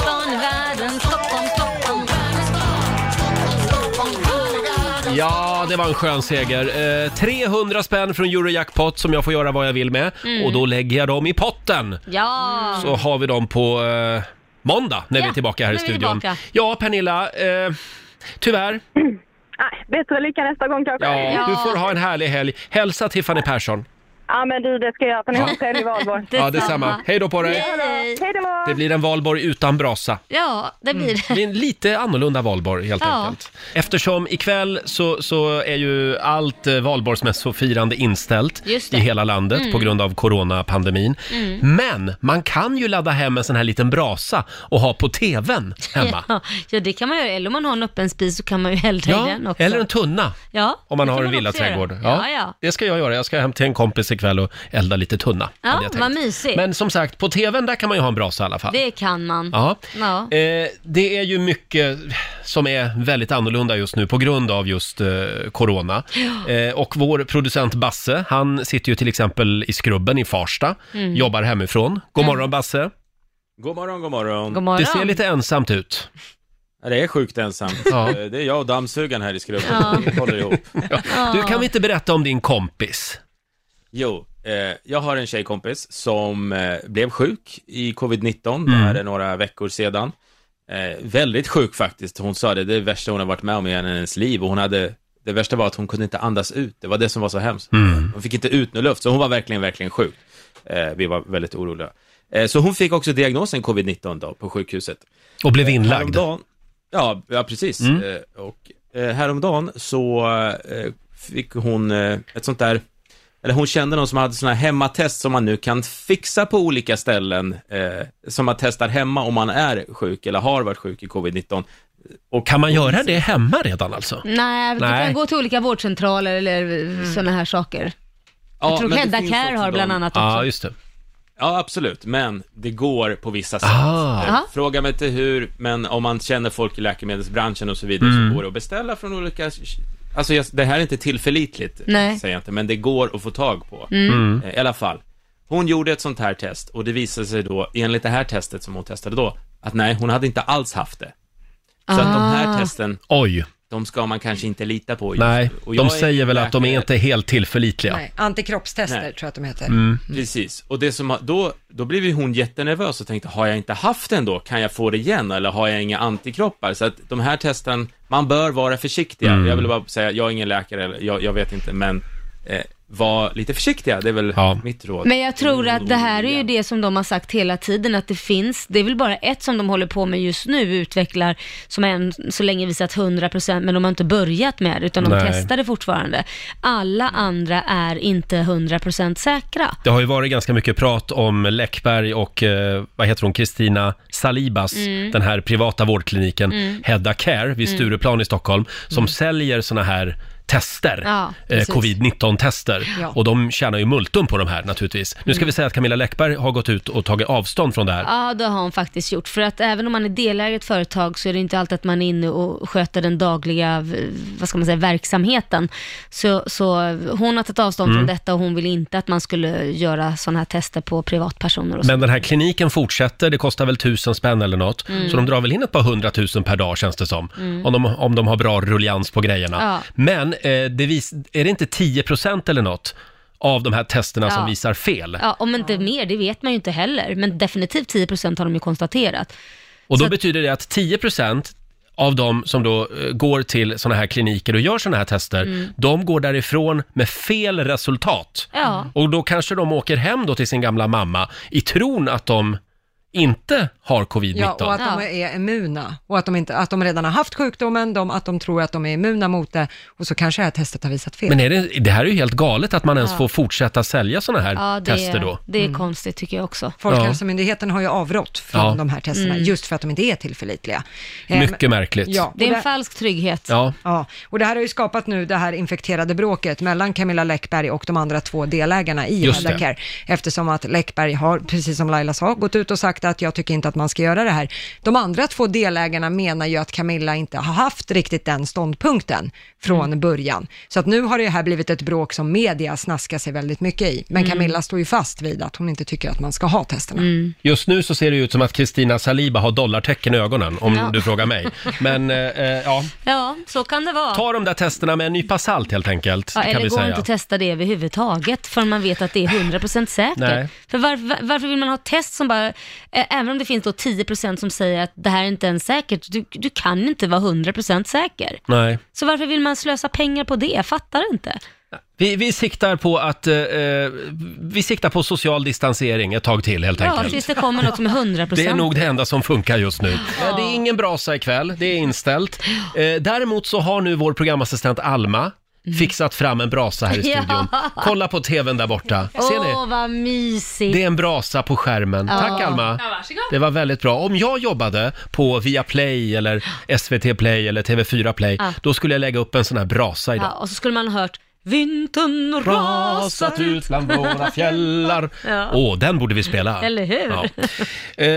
[SPEAKER 4] Från världen, Stockholm, Stockholm.
[SPEAKER 1] Ja, det var en skön seger. Eh, 300 spänn från Eurojackpot som jag får göra vad jag vill med.
[SPEAKER 4] Mm.
[SPEAKER 1] Och då lägger jag dem i potten.
[SPEAKER 4] Ja.
[SPEAKER 1] Så har vi dem på eh, måndag när vi
[SPEAKER 10] Ja,
[SPEAKER 1] är tillbaka här i
[SPEAKER 10] när vi är
[SPEAKER 1] studion.
[SPEAKER 10] tillbaka.
[SPEAKER 1] Ja, Pernilla. Eh, tyvärr.
[SPEAKER 10] Nej, bättre lycka nästa gång kanske.
[SPEAKER 1] Ja, Du får ha en härlig helg. Hälsa Tiffany Persson.
[SPEAKER 10] Ja, men du, det ska jag göra. för ni har en trevlig valborg.
[SPEAKER 1] Ja, detsamma. Hej då på dig.
[SPEAKER 10] Hej då.
[SPEAKER 1] Det blir en valborg utan brasa. Mm.
[SPEAKER 4] Ja, det blir det.
[SPEAKER 1] Det är en lite annorlunda valborg helt
[SPEAKER 4] Ja.
[SPEAKER 1] enkelt. Eftersom ikväll så, så är ju allt eh, valborgsmässofirande inställt
[SPEAKER 4] Just
[SPEAKER 1] i
[SPEAKER 4] det.
[SPEAKER 1] hela landet
[SPEAKER 4] Mm.
[SPEAKER 1] på grund av coronapandemin.
[SPEAKER 4] Mm.
[SPEAKER 1] Men man kan ju ladda hem en sån här liten brasa och ha på tvn hemma.
[SPEAKER 4] Ja, ja, det kan man göra. Eller om man har en öppen spis så kan man ju hälla i den också.
[SPEAKER 1] eller en tunna.
[SPEAKER 4] Ja,
[SPEAKER 1] Om man
[SPEAKER 4] det
[SPEAKER 1] har
[SPEAKER 4] kan
[SPEAKER 1] en
[SPEAKER 4] också
[SPEAKER 1] villaträdgård.
[SPEAKER 4] göra. Ja, ja.
[SPEAKER 1] Det ska jag göra. Jag ska hem till en kompis ikväll och elda lite tunna. hade
[SPEAKER 4] Ja,
[SPEAKER 1] jag tänkt.
[SPEAKER 4] vad mysigt.
[SPEAKER 1] Men som sagt, på tvn där kan man ju ha en brasa i alla fall.
[SPEAKER 4] Det kan man.
[SPEAKER 1] Ja.
[SPEAKER 4] Ja.
[SPEAKER 1] Eh, det är ju mycket som är väldigt annorlunda just nu på grund av just eh, corona.
[SPEAKER 4] Ja.
[SPEAKER 1] Eh, och vår producent Basse, han sitter ju till exempel i Skrubben i Farsta,
[SPEAKER 8] Mm.
[SPEAKER 1] jobbar hemifrån. God morgon Basse!
[SPEAKER 8] God morgon, god morgon.
[SPEAKER 1] Det ser lite ensamt ut.
[SPEAKER 8] Ja, Det är sjukt ensamt.
[SPEAKER 1] Ja.
[SPEAKER 8] Eh, Det är jag och dammsugaren här i skrubben.
[SPEAKER 1] Ja.
[SPEAKER 8] Vi håller ihop.
[SPEAKER 1] Du, kan vi inte berätta om din kompis?
[SPEAKER 8] Jo, eh, jag har en tjejkompis som eh, blev sjuk i covid-19, det här
[SPEAKER 1] Mm.
[SPEAKER 8] är några veckor sedan. Eh, väldigt sjuk faktiskt, hon sa det, det är det värsta hon har varit med om i hela hennes liv och hon hade, det värsta var att hon kunde inte andas ut, det var det som var så hemskt.
[SPEAKER 1] Mm.
[SPEAKER 8] Hon fick inte ut någon luft, så hon var verkligen, verkligen sjuk. Eh, vi var väldigt oroliga. Eh, så hon fick också diagnosen covid-19 då, på sjukhuset.
[SPEAKER 1] Och blev inlagd?
[SPEAKER 8] Häromdagen, ja, ja, precis.
[SPEAKER 1] Mm.
[SPEAKER 8] Eh, och eh, häromdagen så eh, fick hon eh, ett sånt där, eller hon kände någon som hade såna här hemmatest som man nu kan fixa på olika ställen, eh, som man testar hemma om man är sjuk eller har varit sjuk i covid-19. Och
[SPEAKER 1] kan man göra det hemma redan alltså?
[SPEAKER 4] Mm. Nej, du
[SPEAKER 8] Nej.
[SPEAKER 4] kan gå till olika vårdcentraler eller
[SPEAKER 1] Mm.
[SPEAKER 4] sådana här saker. jag tror Hedda Care har bland annat också.
[SPEAKER 1] just det.
[SPEAKER 8] Ja, absolut, men det går på vissa sätt.
[SPEAKER 1] Ah.
[SPEAKER 8] Eh, Fråga mig inte hur, men om man känner folk i läkemedelsbranschen och så vidare
[SPEAKER 1] Mm.
[SPEAKER 8] så går det att beställa från olika... Alltså, jag, det här är inte tillförlitligt,
[SPEAKER 4] Nej.
[SPEAKER 8] säger jag inte, men det går att få tag på.
[SPEAKER 4] Mm.
[SPEAKER 8] Eh, I alla fall. Hon gjorde ett sånt här test och det visade sig då, enligt det här testet som hon testade då, att nej, hon hade inte alls haft det. Så att de
[SPEAKER 1] Ah.
[SPEAKER 8] här testen,
[SPEAKER 1] Oj.
[SPEAKER 8] de ska man kanske inte lita på. just
[SPEAKER 1] Nej,
[SPEAKER 8] nu.
[SPEAKER 1] de
[SPEAKER 8] jag
[SPEAKER 1] säger väl att de är
[SPEAKER 8] läkare.
[SPEAKER 1] inte helt tillförlitliga.
[SPEAKER 2] Nej, antikroppstester tror jag att de
[SPEAKER 4] Mm.
[SPEAKER 2] heter.
[SPEAKER 8] Mm.
[SPEAKER 1] Mm.
[SPEAKER 8] Precis, och det som, har- då, då blev ju hon jättenervös och tänkte, har jag inte haft den då, kan jag få det igen eller har jag inga antikroppar? Så att de här testen, man bör vara försiktiga.
[SPEAKER 1] Mm.
[SPEAKER 8] Jag vill bara säga, jag är ingen läkare, eller jag, jag vet inte, men eh, var lite försiktiga, det är väl mitt råd.
[SPEAKER 4] Men jag tror att det här är ju det som de har sagt hela tiden, att det finns, det är väl bara ett som de håller på med just nu, utvecklar, som än så länge visat 100%, men de har inte börjat med det, utan de
[SPEAKER 1] Nej.
[SPEAKER 4] testar det fortfarande. Alla andra är inte 100% säkra.
[SPEAKER 1] Det har ju varit ganska mycket prat om Läckberg och, eh, vad heter hon, Kristina Salibas,
[SPEAKER 4] Mm.
[SPEAKER 1] den här privata vårdkliniken
[SPEAKER 4] Mm.
[SPEAKER 1] Hedda Care vid
[SPEAKER 4] Mm.
[SPEAKER 1] Stureplan i Stockholm, som säljer såna här tester,
[SPEAKER 4] Ja,
[SPEAKER 1] eh,
[SPEAKER 4] precis.
[SPEAKER 1] covid-19-tester.
[SPEAKER 4] Ja. Mm.
[SPEAKER 1] Och de tjänar ju multum på de här naturligtvis. Nu ska vi säga att Camilla Läckberg har gått ut och tagit avstånd från det här.
[SPEAKER 4] Ja, det har hon faktiskt gjort. För att även om man är delägare i ett företag så är det inte alltid att man är inne och sköter den dagliga, v- vad ska man säga, verksamheten. Så, så hon har tagit avstånd
[SPEAKER 1] Mm.
[SPEAKER 4] från detta och hon vill inte att man skulle göra sådana här tester på privatpersoner och så.
[SPEAKER 1] Men den här kliniken fortsätter, det kostar väl tusen spänn eller något.
[SPEAKER 4] Mm.
[SPEAKER 1] Så de drar väl in ett par hundratusen per dag känns det som.
[SPEAKER 4] Mm.
[SPEAKER 1] Om, de, om de har bra rullians på grejerna.
[SPEAKER 4] Ja.
[SPEAKER 1] Men eh, det vis, är det inte 10% eller något av de här testerna som
[SPEAKER 4] Ja.
[SPEAKER 1] visar fel?
[SPEAKER 4] Ja, om inte mer, det vet man ju inte heller. Men definitivt 10% har de ju konstaterat.
[SPEAKER 1] Och då
[SPEAKER 4] Så att-
[SPEAKER 1] betyder det att 10% av de som då eh, går till sådana här kliniker och gör sådana här tester,
[SPEAKER 4] Mm.
[SPEAKER 1] de går därifrån med fel resultat.
[SPEAKER 4] Ja.
[SPEAKER 1] Och då kanske de åker hem då till sin gamla mamma i tron att de inte har covid-19.
[SPEAKER 2] Ja, och att de är immuna. Och att de, inte, att de redan har haft sjukdomen, de, att de tror att de är immuna mot det. Och så kanske det här testet har visat fel.
[SPEAKER 1] Men är det, det här är ju helt galet att man ens
[SPEAKER 2] Ja.
[SPEAKER 1] får fortsätta sälja sådana här
[SPEAKER 4] Ja, det,
[SPEAKER 1] tester då.
[SPEAKER 4] det är konstigt tycker jag också.
[SPEAKER 2] Mm. Folkhälsomyndigheten har ju avrått från
[SPEAKER 1] Ja.
[SPEAKER 2] de här testerna,
[SPEAKER 4] Mm.
[SPEAKER 2] just för att de inte är tillförlitliga. Eh,
[SPEAKER 1] Mycket
[SPEAKER 2] men-
[SPEAKER 1] märkligt.
[SPEAKER 2] Ja,
[SPEAKER 4] Det är
[SPEAKER 2] och
[SPEAKER 4] en falsk trygghet.
[SPEAKER 1] Ja.
[SPEAKER 2] Ja, och det här har ju skapat nu det här infekterade bråket mellan Camilla Läckberg och de andra två delägarna i
[SPEAKER 4] Just
[SPEAKER 2] Hedda
[SPEAKER 4] det.
[SPEAKER 2] Care. Eftersom att Läckberg har, precis som Laila sa, gått ut och sagt att jag tycker inte att man ska göra det här. De andra två delägarna menar ju att Camilla inte har haft riktigt den ståndpunkten från
[SPEAKER 1] Mm.
[SPEAKER 2] början. Så att nu har det här blivit ett bråk som media snaskar sig väldigt mycket i. Men
[SPEAKER 1] Mm.
[SPEAKER 2] Camilla står ju fast vid att hon inte tycker att man ska ha testerna.
[SPEAKER 1] Just nu så ser det ut som att Kristina Saliba har dollartecken i ögonen, om
[SPEAKER 4] Ja.
[SPEAKER 1] du frågar mig. Men eh, eh, ja,
[SPEAKER 4] Ja, så kan det vara.
[SPEAKER 1] ta de där testerna med en nypa salt helt enkelt,
[SPEAKER 4] Ja,
[SPEAKER 1] kan
[SPEAKER 4] eller
[SPEAKER 1] vi
[SPEAKER 4] går inte
[SPEAKER 1] säga.
[SPEAKER 4] att testa det överhuvudtaget förrän man vet att det är 100% säkert.
[SPEAKER 1] Nej.
[SPEAKER 4] För varför, varför vill man ha test som bara, eh, även om det finns då 10% som säger att det här är inte ens säkert, du, du kan inte vara 100% säker.
[SPEAKER 1] Nej.
[SPEAKER 4] Så varför vill man slösa pengar på det? Jag fattar inte.
[SPEAKER 1] Vi, vi siktar på att, eh, eh, vi siktar på social distansering ett tag till helt
[SPEAKER 4] Ja,
[SPEAKER 1] enkelt.
[SPEAKER 4] tills det kommer något som är 100%.
[SPEAKER 1] Det är nog det enda som funkar just nu. Eh, Det är ingen brasa ikväll, det är inställt. Eh, Däremot så har nu vår programassistent Alma fixat fram en brasa här i
[SPEAKER 4] Mhm. Ja.
[SPEAKER 1] studion. Kolla på tvn där borta. Ser
[SPEAKER 4] Åh,
[SPEAKER 1] ni?
[SPEAKER 4] vad mysigt.
[SPEAKER 1] Det är en brasa på skärmen.
[SPEAKER 4] Ja.
[SPEAKER 1] Tack Alma.
[SPEAKER 4] Ja, varsågod.
[SPEAKER 1] Det var väldigt bra. Om jag jobbade på Viaplay eller SVT Play eller TV4 Play,
[SPEAKER 4] Ja.
[SPEAKER 1] då skulle jag lägga upp en sån här brasa idag.
[SPEAKER 4] ja, och så skulle man ha hört Vintern rasat ut
[SPEAKER 1] bland våra fjällar.
[SPEAKER 4] Ja.
[SPEAKER 1] Åh, den borde vi spela.
[SPEAKER 4] Eller hur?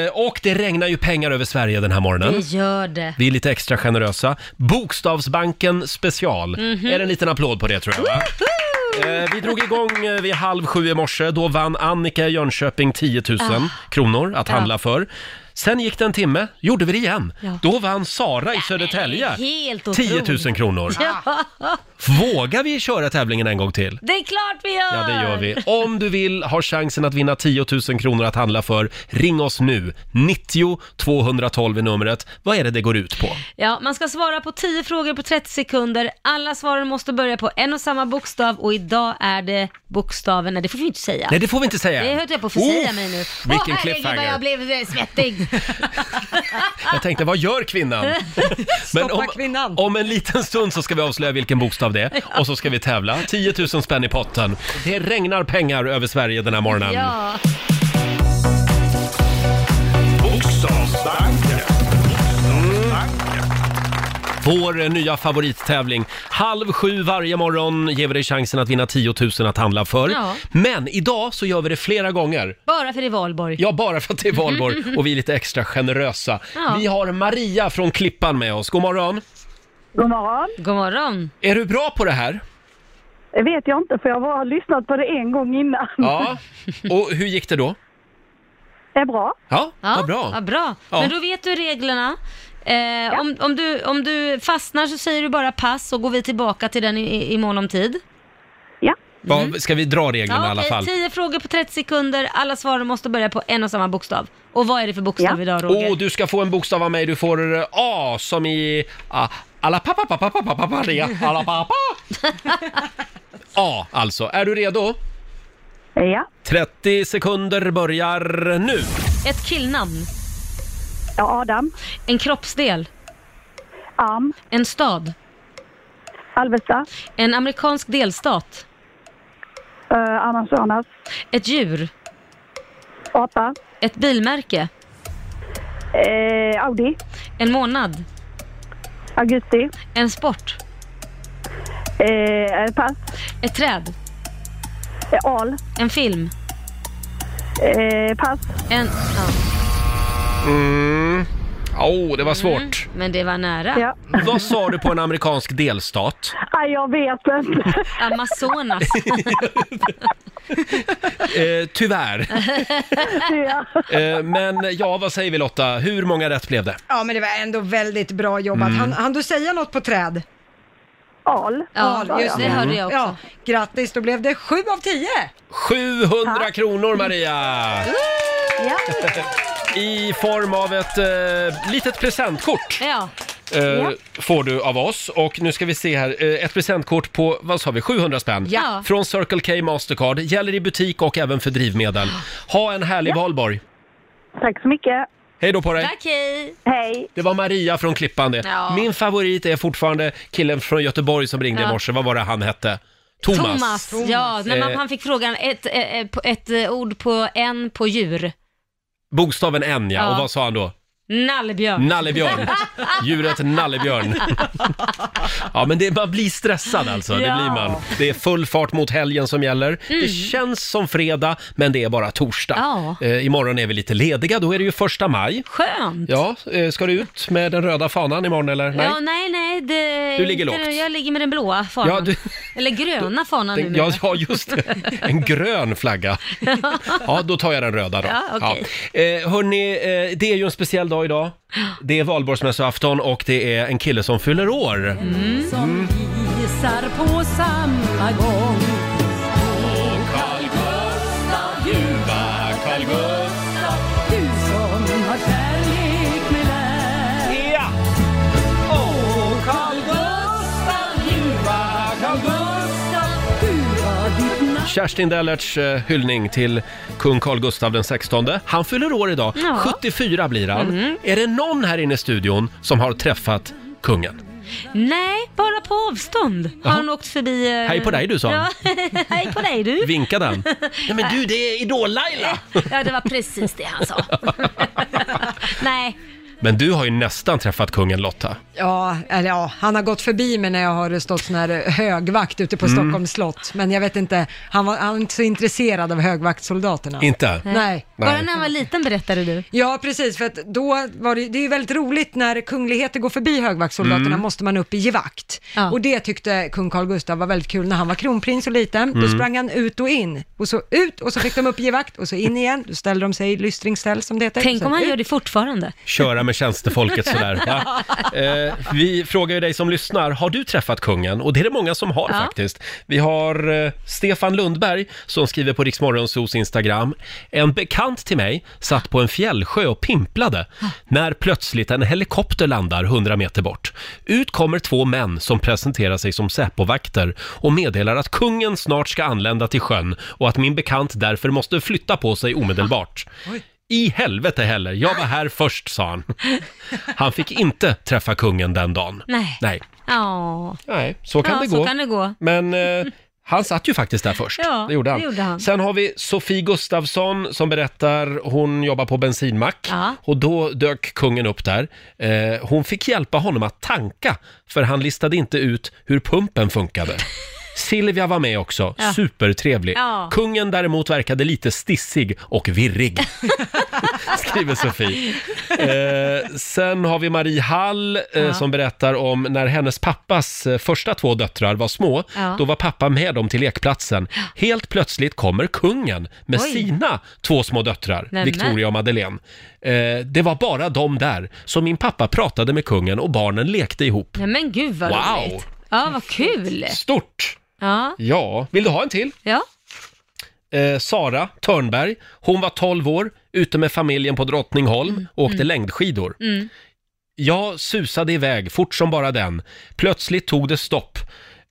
[SPEAKER 1] Eh, Och det regnar ju pengar över Sverige den här morgonen.
[SPEAKER 4] Det gör det.
[SPEAKER 1] Vi är lite extra generösa. Bokstavsbanken special.
[SPEAKER 4] Mhm.
[SPEAKER 1] Är det en liten applåd på det tror jag va? Eh, Vi drog igång eh, vid halv sju i morse. Då vann Annika i Jönköping 10 000
[SPEAKER 4] Ah.
[SPEAKER 1] kronor att
[SPEAKER 4] Ja.
[SPEAKER 1] handla för. Sen gick det en timme, gjorde vi det igen.
[SPEAKER 4] Ja.
[SPEAKER 1] Då vann Sara i Södertälje
[SPEAKER 4] Helt
[SPEAKER 1] 10 000 kronor.
[SPEAKER 4] Ja,
[SPEAKER 1] Vågar vi köra tävlingen en gång till?
[SPEAKER 4] det är klart vi gör!
[SPEAKER 1] Ja, det gör vi. Om du vill ha chansen att vinna 10 000 kronor att handla för, ring oss nu. 90 212 är numret. Vad är det det går ut på?
[SPEAKER 4] Ja, man ska svara på 10 frågor på 30 sekunder. Alla svaren måste börja på en och samma bokstav och idag är det bokstaven, nej det får vi inte säga.
[SPEAKER 1] Nej, det får vi inte säga.
[SPEAKER 4] Det höll jag på att försäga mig nu.
[SPEAKER 1] Uff, vilken
[SPEAKER 4] Åh, herregud, vad
[SPEAKER 1] cliffhanger.
[SPEAKER 4] jag blev eh, svettig.
[SPEAKER 1] Jag tänkte, vad gör kvinnan? Men om, om en liten stund så ska vi avslöja vilken bokstav det är och så ska vi tävla. 10 000 spänn i potten. Det regnar pengar över Sverige den här morgonen.
[SPEAKER 4] ja.
[SPEAKER 3] Bokstavsbanken.
[SPEAKER 1] Mm. Vår eh, nya favorittävling. Halv sju varje morgon ger vi dig chansen att vinna 10 000 att handla för.
[SPEAKER 4] Ja.
[SPEAKER 1] Men idag så gör vi det flera gånger.
[SPEAKER 4] Bara för i valborg.
[SPEAKER 1] Ja, bara för att det är valborg och vi är lite extra generösa.
[SPEAKER 4] Ja.
[SPEAKER 1] Vi har Maria från Klippan med oss. God morgon!
[SPEAKER 4] God morgon. God morgon.
[SPEAKER 1] Är du bra på det här?
[SPEAKER 12] Det vet jag inte för jag bara har lyssnat på det en gång innan.
[SPEAKER 1] Ja, och hur gick det då?
[SPEAKER 12] Det är bra.
[SPEAKER 1] Ja, vad bra.
[SPEAKER 4] Vad bra.
[SPEAKER 1] Ja.
[SPEAKER 4] Men då vet du reglerna. Eh, om, om, du, om du fastnar så säger du bara pass och går vi tillbaka till den i- i, i mån om tid.
[SPEAKER 1] Vad- Ska vi dra reglerna i alla
[SPEAKER 4] Mm. okej.
[SPEAKER 1] fall?
[SPEAKER 4] 10 frågor på 30 sekunder. Alla svaren måste börja på en och samma bokstav. Och vad är det för bokstav idag Roger?
[SPEAKER 1] Och du ska få en bokstav av mig. Du får eh, A som i ah, alla pappa pappa pappa pappa Maria. alla pappa. A alltså. Är du redo?
[SPEAKER 12] Ja.
[SPEAKER 1] 30 sekunder börjar nu.
[SPEAKER 4] Ett killnamn.
[SPEAKER 12] Ja, Adam.
[SPEAKER 4] En kroppsdel.
[SPEAKER 12] Arm.
[SPEAKER 4] En stad.
[SPEAKER 12] Alvesta.
[SPEAKER 4] En amerikansk delstat.
[SPEAKER 12] Uh, Amazonas.
[SPEAKER 4] Ett djur.
[SPEAKER 12] Apa.
[SPEAKER 4] Ett bilmärke.
[SPEAKER 12] Eh, Audi.
[SPEAKER 4] En månad.
[SPEAKER 12] Augusti.
[SPEAKER 4] En sport.
[SPEAKER 12] Eh, pass.
[SPEAKER 4] Ett träd.
[SPEAKER 12] Eh, al.
[SPEAKER 4] En film.
[SPEAKER 12] Eh, pass.
[SPEAKER 4] En... Ja.
[SPEAKER 1] Mm. Oh, det var svårt.
[SPEAKER 4] Mm. Men det var nära.
[SPEAKER 12] Ja.
[SPEAKER 1] Vad sa du på en amerikansk delstat?
[SPEAKER 12] Nej, jag vet inte.
[SPEAKER 4] Amazonas.
[SPEAKER 1] Eh, tyvärr.
[SPEAKER 12] ja.
[SPEAKER 1] Eh, men ja, vad säger vi Lotta? Hur många rätt blev det?
[SPEAKER 2] Ja, men det var ändå väldigt bra jobbat.
[SPEAKER 1] Mm.
[SPEAKER 2] Han, han du säga något på träd?
[SPEAKER 12] Al.
[SPEAKER 2] Al, just
[SPEAKER 1] det hörde jag också.
[SPEAKER 2] Ja, grattis, då blev det sju av tio.
[SPEAKER 1] 700 kronor Maria! I form av ett eh, litet presentkort.
[SPEAKER 4] Ja.
[SPEAKER 1] Eh,
[SPEAKER 4] Ja.
[SPEAKER 1] Får du av oss. Och nu ska vi se här. Eh, ett presentkort på, vad sa vi, 700 spänn?
[SPEAKER 4] Ja.
[SPEAKER 1] Från Circle K Mastercard. Gäller i butik och även för drivmedel. Ha en härlig valborg.
[SPEAKER 12] Tack så mycket.
[SPEAKER 1] Hej då på dig.
[SPEAKER 4] Tack, hej.
[SPEAKER 12] Hej.
[SPEAKER 1] Det var Maria från Klippan det.
[SPEAKER 4] Ja.
[SPEAKER 1] Min favorit är fortfarande killen från Göteborg som ringde i
[SPEAKER 4] Ja.
[SPEAKER 1] morse. Vad var det han hette? Thomas.
[SPEAKER 4] Ja, när man,
[SPEAKER 1] Eh,
[SPEAKER 4] han fick frågan ett, eh, eh, på- ett, eh, ord på en på djur.
[SPEAKER 1] Bokstaven N ja.
[SPEAKER 4] Ja.
[SPEAKER 1] Och vad sa han då?
[SPEAKER 4] Nallebjörn.
[SPEAKER 1] Nallebjörn. Djuret nallebjörn. Ja, men det, man blir stressad alltså. Det
[SPEAKER 4] Ja. Mm.
[SPEAKER 1] blir man. Det är full fart mot helgen som gäller. Det känns som fredag, men det är bara torsdag.
[SPEAKER 4] Ja.
[SPEAKER 1] Eh, imorgon är vi lite lediga. Då är det ju första maj.
[SPEAKER 4] Skönt.
[SPEAKER 1] Ja, eh, ska du ut med den röda fanan imorgon eller? Nej.
[SPEAKER 4] Ja, nej, nej. Det,
[SPEAKER 1] Du ligger
[SPEAKER 4] inte-
[SPEAKER 1] lågt.
[SPEAKER 4] Jag ligger med den blåa fanan.
[SPEAKER 1] Ja, du-
[SPEAKER 4] Eller gröna fanan
[SPEAKER 1] Den,
[SPEAKER 4] numera.
[SPEAKER 1] ja, ja, just det. En grön flagga. Ja, då tar jag den röda då.
[SPEAKER 4] Ja, okej.
[SPEAKER 1] Eh, hörni, eh, det är ju en speciell dag idag. Det är valborgsmässoafton och det är en kille som fyller år.
[SPEAKER 4] Mm.
[SPEAKER 1] Mm.
[SPEAKER 11] Som gissar på samma gång
[SPEAKER 1] Carl Gustaf, ljuva Carl Gustaf
[SPEAKER 11] Du som har kärlek med lär
[SPEAKER 1] Ja!
[SPEAKER 11] Åh, Carl Gustaf, ljuva Carl Gustaf Du var ditt namn
[SPEAKER 1] Kerstin Dellerts eh, hyllning till kung Carl Gustav den 16. Han fyller år idag.
[SPEAKER 4] Ja.
[SPEAKER 1] 74 blir han.
[SPEAKER 4] Mm.
[SPEAKER 1] Är det någon här inne i studion som har träffat kungen?
[SPEAKER 4] Nej, bara på avstånd. Har
[SPEAKER 1] Jaha.
[SPEAKER 4] han åkt förbi... eh,
[SPEAKER 1] Hej på dig, du, sa han.
[SPEAKER 4] Ja, hej på dig du.
[SPEAKER 1] Vinkade han? Nej men du, det är Idol-Laila!
[SPEAKER 4] Ja, det var precis det han sa. Nej,
[SPEAKER 1] Men du har ju nästan träffat kungen Lotta.
[SPEAKER 2] Ja, eller ja, han har gått förbi mig när jag har stått sån här eh, högvakt ute på
[SPEAKER 1] Mm.
[SPEAKER 2] Stockholms slott. Men jag vet inte, han var, han var inte så intresserad av högvaktssoldaterna.
[SPEAKER 1] Inte?
[SPEAKER 2] Nej.
[SPEAKER 1] Nej. Bara när han
[SPEAKER 4] var liten berättade du?
[SPEAKER 2] Ja, precis, för att då var det, det är ju väldigt roligt när kungligheter går förbi högvaktssoldaterna
[SPEAKER 1] Mm.
[SPEAKER 2] måste man upp i givakt. Och det tyckte kung Carl Gustaf var väldigt kul när han var kronprins och liten. Då
[SPEAKER 15] Mm.
[SPEAKER 2] sprang han ut och in. Och så ut och så fick de upp i givakt och så in igen. Då ställde de sig i lystringställ som det heter.
[SPEAKER 4] Tänk
[SPEAKER 2] Så
[SPEAKER 4] om han
[SPEAKER 2] ut.
[SPEAKER 4] gör det fortfarande.
[SPEAKER 1] Köra med tjänstefolket sådär. Ja. Eh, vi frågar ju dig som lyssnar, har du träffat kungen? Och det är det många som har
[SPEAKER 4] Ja.
[SPEAKER 1] faktiskt. Vi har eh, Stefan Lundberg som skriver på Riksmorgonsos Instagram. En bekant till mig satt på en fjällsjö och pimplade när plötsligt en helikopter landar 100 meter bort. Ut kommer två män som presenterar sig som Säpovakter och meddelar att kungen snart ska anlända till sjön och att min bekant därför måste flytta på sig omedelbart. I helvete heller, jag var här först, sa han. Han fick inte träffa kungen den dagen.
[SPEAKER 4] Nej.
[SPEAKER 1] Nej,
[SPEAKER 4] Ja.
[SPEAKER 1] Nej så kan
[SPEAKER 4] ja,
[SPEAKER 1] det gå.
[SPEAKER 4] Så kan det gå.
[SPEAKER 1] Men eh, han satt ju faktiskt där först.
[SPEAKER 4] Ja,
[SPEAKER 1] det, gjorde han.
[SPEAKER 4] det gjorde han.
[SPEAKER 1] Sen har vi Sofie Gustafsson som berättar, hon jobbar på bensinmack
[SPEAKER 4] Ja.
[SPEAKER 1] och då dök kungen upp där. Eh, hon fick hjälpa honom att tanka för han listade inte ut hur pumpen funkade. Silvia var med också,
[SPEAKER 4] Ja.
[SPEAKER 1] supertrevlig.
[SPEAKER 4] Ja.
[SPEAKER 1] Kungen däremot verkade lite stissig och virrig, skriver Sofie. Eh, sen har vi Marie Hall eh,
[SPEAKER 4] Ja.
[SPEAKER 1] som berättar om när hennes pappas eh, första två döttrar var små,
[SPEAKER 4] Ja.
[SPEAKER 1] då var pappa med dem till lekplatsen. Helt plötsligt kommer kungen med
[SPEAKER 4] Oj.
[SPEAKER 1] sina två små döttrar,
[SPEAKER 4] Nämen.
[SPEAKER 1] Victoria och Madeleine. Eh, det var bara de där, så min pappa pratade med kungen och barnen lekte ihop.
[SPEAKER 4] Nej men gud vad
[SPEAKER 1] Wow.
[SPEAKER 4] roligt. Ja, vad kul.
[SPEAKER 1] Stort!
[SPEAKER 4] Ja.
[SPEAKER 1] Ja, vill du ha en till?
[SPEAKER 4] Ja.
[SPEAKER 1] Eh, Sara Törnberg, hon var 12 år, ute med familjen på Drottningholm och åkte
[SPEAKER 4] Mm.
[SPEAKER 1] längdskidor.
[SPEAKER 4] Mm.
[SPEAKER 1] Jag susade iväg fort som bara den. Plötsligt tog det stopp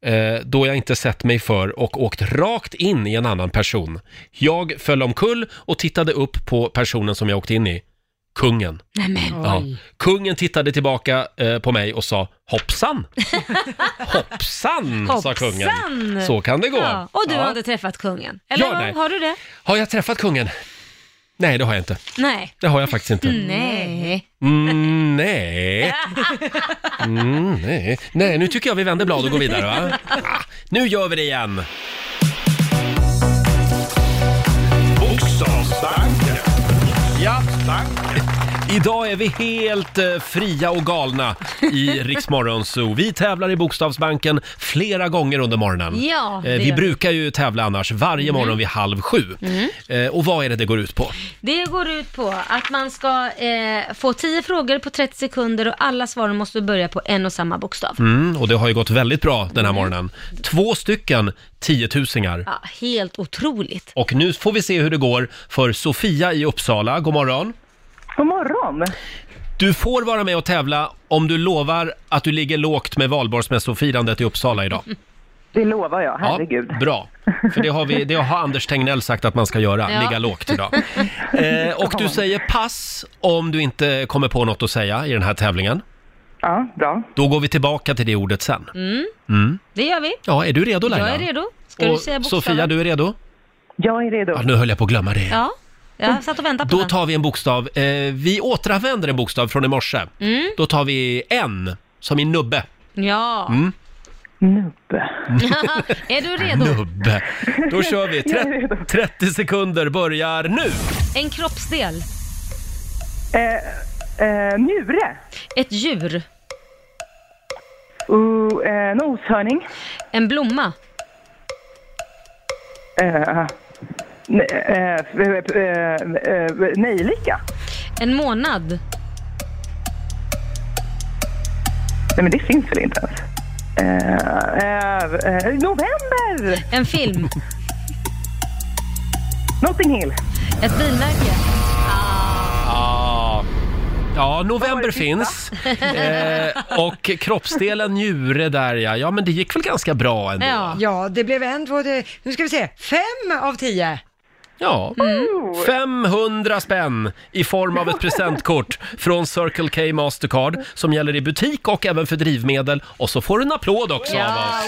[SPEAKER 1] eh, då jag inte sett mig för och åkt rakt in i en annan person. Jag föll omkull och tittade upp på personen som jag åkte in i. Kungen.
[SPEAKER 4] Nej men.
[SPEAKER 1] Ja. Kungen tittade tillbaka eh, på mig och sa hoppsan. hoppsan, Mm, sa kungen.
[SPEAKER 4] Hoppsan.
[SPEAKER 1] Så kan det gå.
[SPEAKER 4] Ja. Och du
[SPEAKER 1] Ja.
[SPEAKER 4] har inte träffat kungen? Eller
[SPEAKER 1] Ja,
[SPEAKER 4] vad-
[SPEAKER 1] nej.
[SPEAKER 4] har du det?
[SPEAKER 1] Har jag träffat kungen? Nej, det har jag inte.
[SPEAKER 4] Nej.
[SPEAKER 1] Det har jag faktiskt inte.
[SPEAKER 4] Nej.
[SPEAKER 1] Mm, nej. Mm, nej. Nej, nu tycker jag vi vänder blad och går vidare va? Ah, nu gör vi det igen.
[SPEAKER 3] Bokstavsbanken.
[SPEAKER 1] Ja. Idag är vi helt eh, fria och galna i Riksmorgon Zoo. Vi tävlar i Bokstavsbanken flera gånger under morgonen.
[SPEAKER 4] Ja, det
[SPEAKER 1] eh, vi
[SPEAKER 4] gör vi.
[SPEAKER 1] brukar ju tävla annars varje
[SPEAKER 4] Mm.
[SPEAKER 1] morgon vid halv sju.
[SPEAKER 4] Mm.
[SPEAKER 1] Eh, och vad är det det går ut på?
[SPEAKER 4] Det går ut på att man ska eh, få 10 frågor på 30 sekunder och alla svaren måste börja på en och samma bokstav.
[SPEAKER 1] Mm, och det har ju gått väldigt bra den här morgonen. Två stycken tiotusingar.
[SPEAKER 4] Mm. Ja, helt otroligt.
[SPEAKER 1] Och nu får vi se hur det går för Sofia i Uppsala. God morgon.
[SPEAKER 15] God morgon.
[SPEAKER 1] Du får vara med och tävla om du lovar att du ligger lågt med valborgsmässofirandet i Uppsala idag.
[SPEAKER 15] Det lovar jag, herregud.
[SPEAKER 1] Ja, bra. För det har, vi, det har Anders Tegnell sagt att man ska göra,
[SPEAKER 15] Ja.
[SPEAKER 1] ligga lågt idag. Eh, och du säger pass om du inte kommer på något att säga i den här tävlingen.
[SPEAKER 15] Ja, bra.
[SPEAKER 1] Då går vi tillbaka till det ordet sen.
[SPEAKER 4] Mm,
[SPEAKER 1] Mm.
[SPEAKER 4] det gör vi.
[SPEAKER 1] Ja, är du redo Laila?
[SPEAKER 4] Jag är redo. Ska du
[SPEAKER 1] Och
[SPEAKER 4] säga bokstaven?
[SPEAKER 1] Sofia, du är redo?
[SPEAKER 15] Jag är redo.
[SPEAKER 1] Ja, nu höll jag på att glömma det.
[SPEAKER 4] Ja, jag satt och väntade på
[SPEAKER 1] Då
[SPEAKER 4] den.
[SPEAKER 1] tar vi en bokstav. Eh, vi återanvänder en bokstav från i morse.
[SPEAKER 4] Mm.
[SPEAKER 1] Då tar vi en, som i nubbe.
[SPEAKER 4] Ja.
[SPEAKER 1] Mm.
[SPEAKER 15] Nubbe.
[SPEAKER 4] är du redo?
[SPEAKER 1] nubbe. Då kör vi.
[SPEAKER 4] Jag är
[SPEAKER 1] Tre- 30 sekunder börjar nu.
[SPEAKER 4] En kroppsdel.
[SPEAKER 15] Eh, eh, njure.
[SPEAKER 4] Ett djur.
[SPEAKER 15] Uh, eh, noshörning.
[SPEAKER 4] En blomma.
[SPEAKER 15] Eh, ne- eh, f- eh, eh, eh, nejlika.
[SPEAKER 4] En månad.
[SPEAKER 15] Nej, men det finns väl inte ens? Eh, eh, eh, november!
[SPEAKER 4] En film.
[SPEAKER 15] Notting Hill.
[SPEAKER 4] Ett bilmärke.
[SPEAKER 1] Ja, ja november finns. Eh, och kroppsdelen njure där ja. Ja, men det gick väl ganska bra ändå?
[SPEAKER 2] Ja. ja, det blev en, två, tre, nu ska vi se, fem av tio.
[SPEAKER 1] Ja. 500 spänn i form av ett presentkort från Circle K Mastercard som gäller i butik och även för drivmedel. Och så får du en applåd också av oss.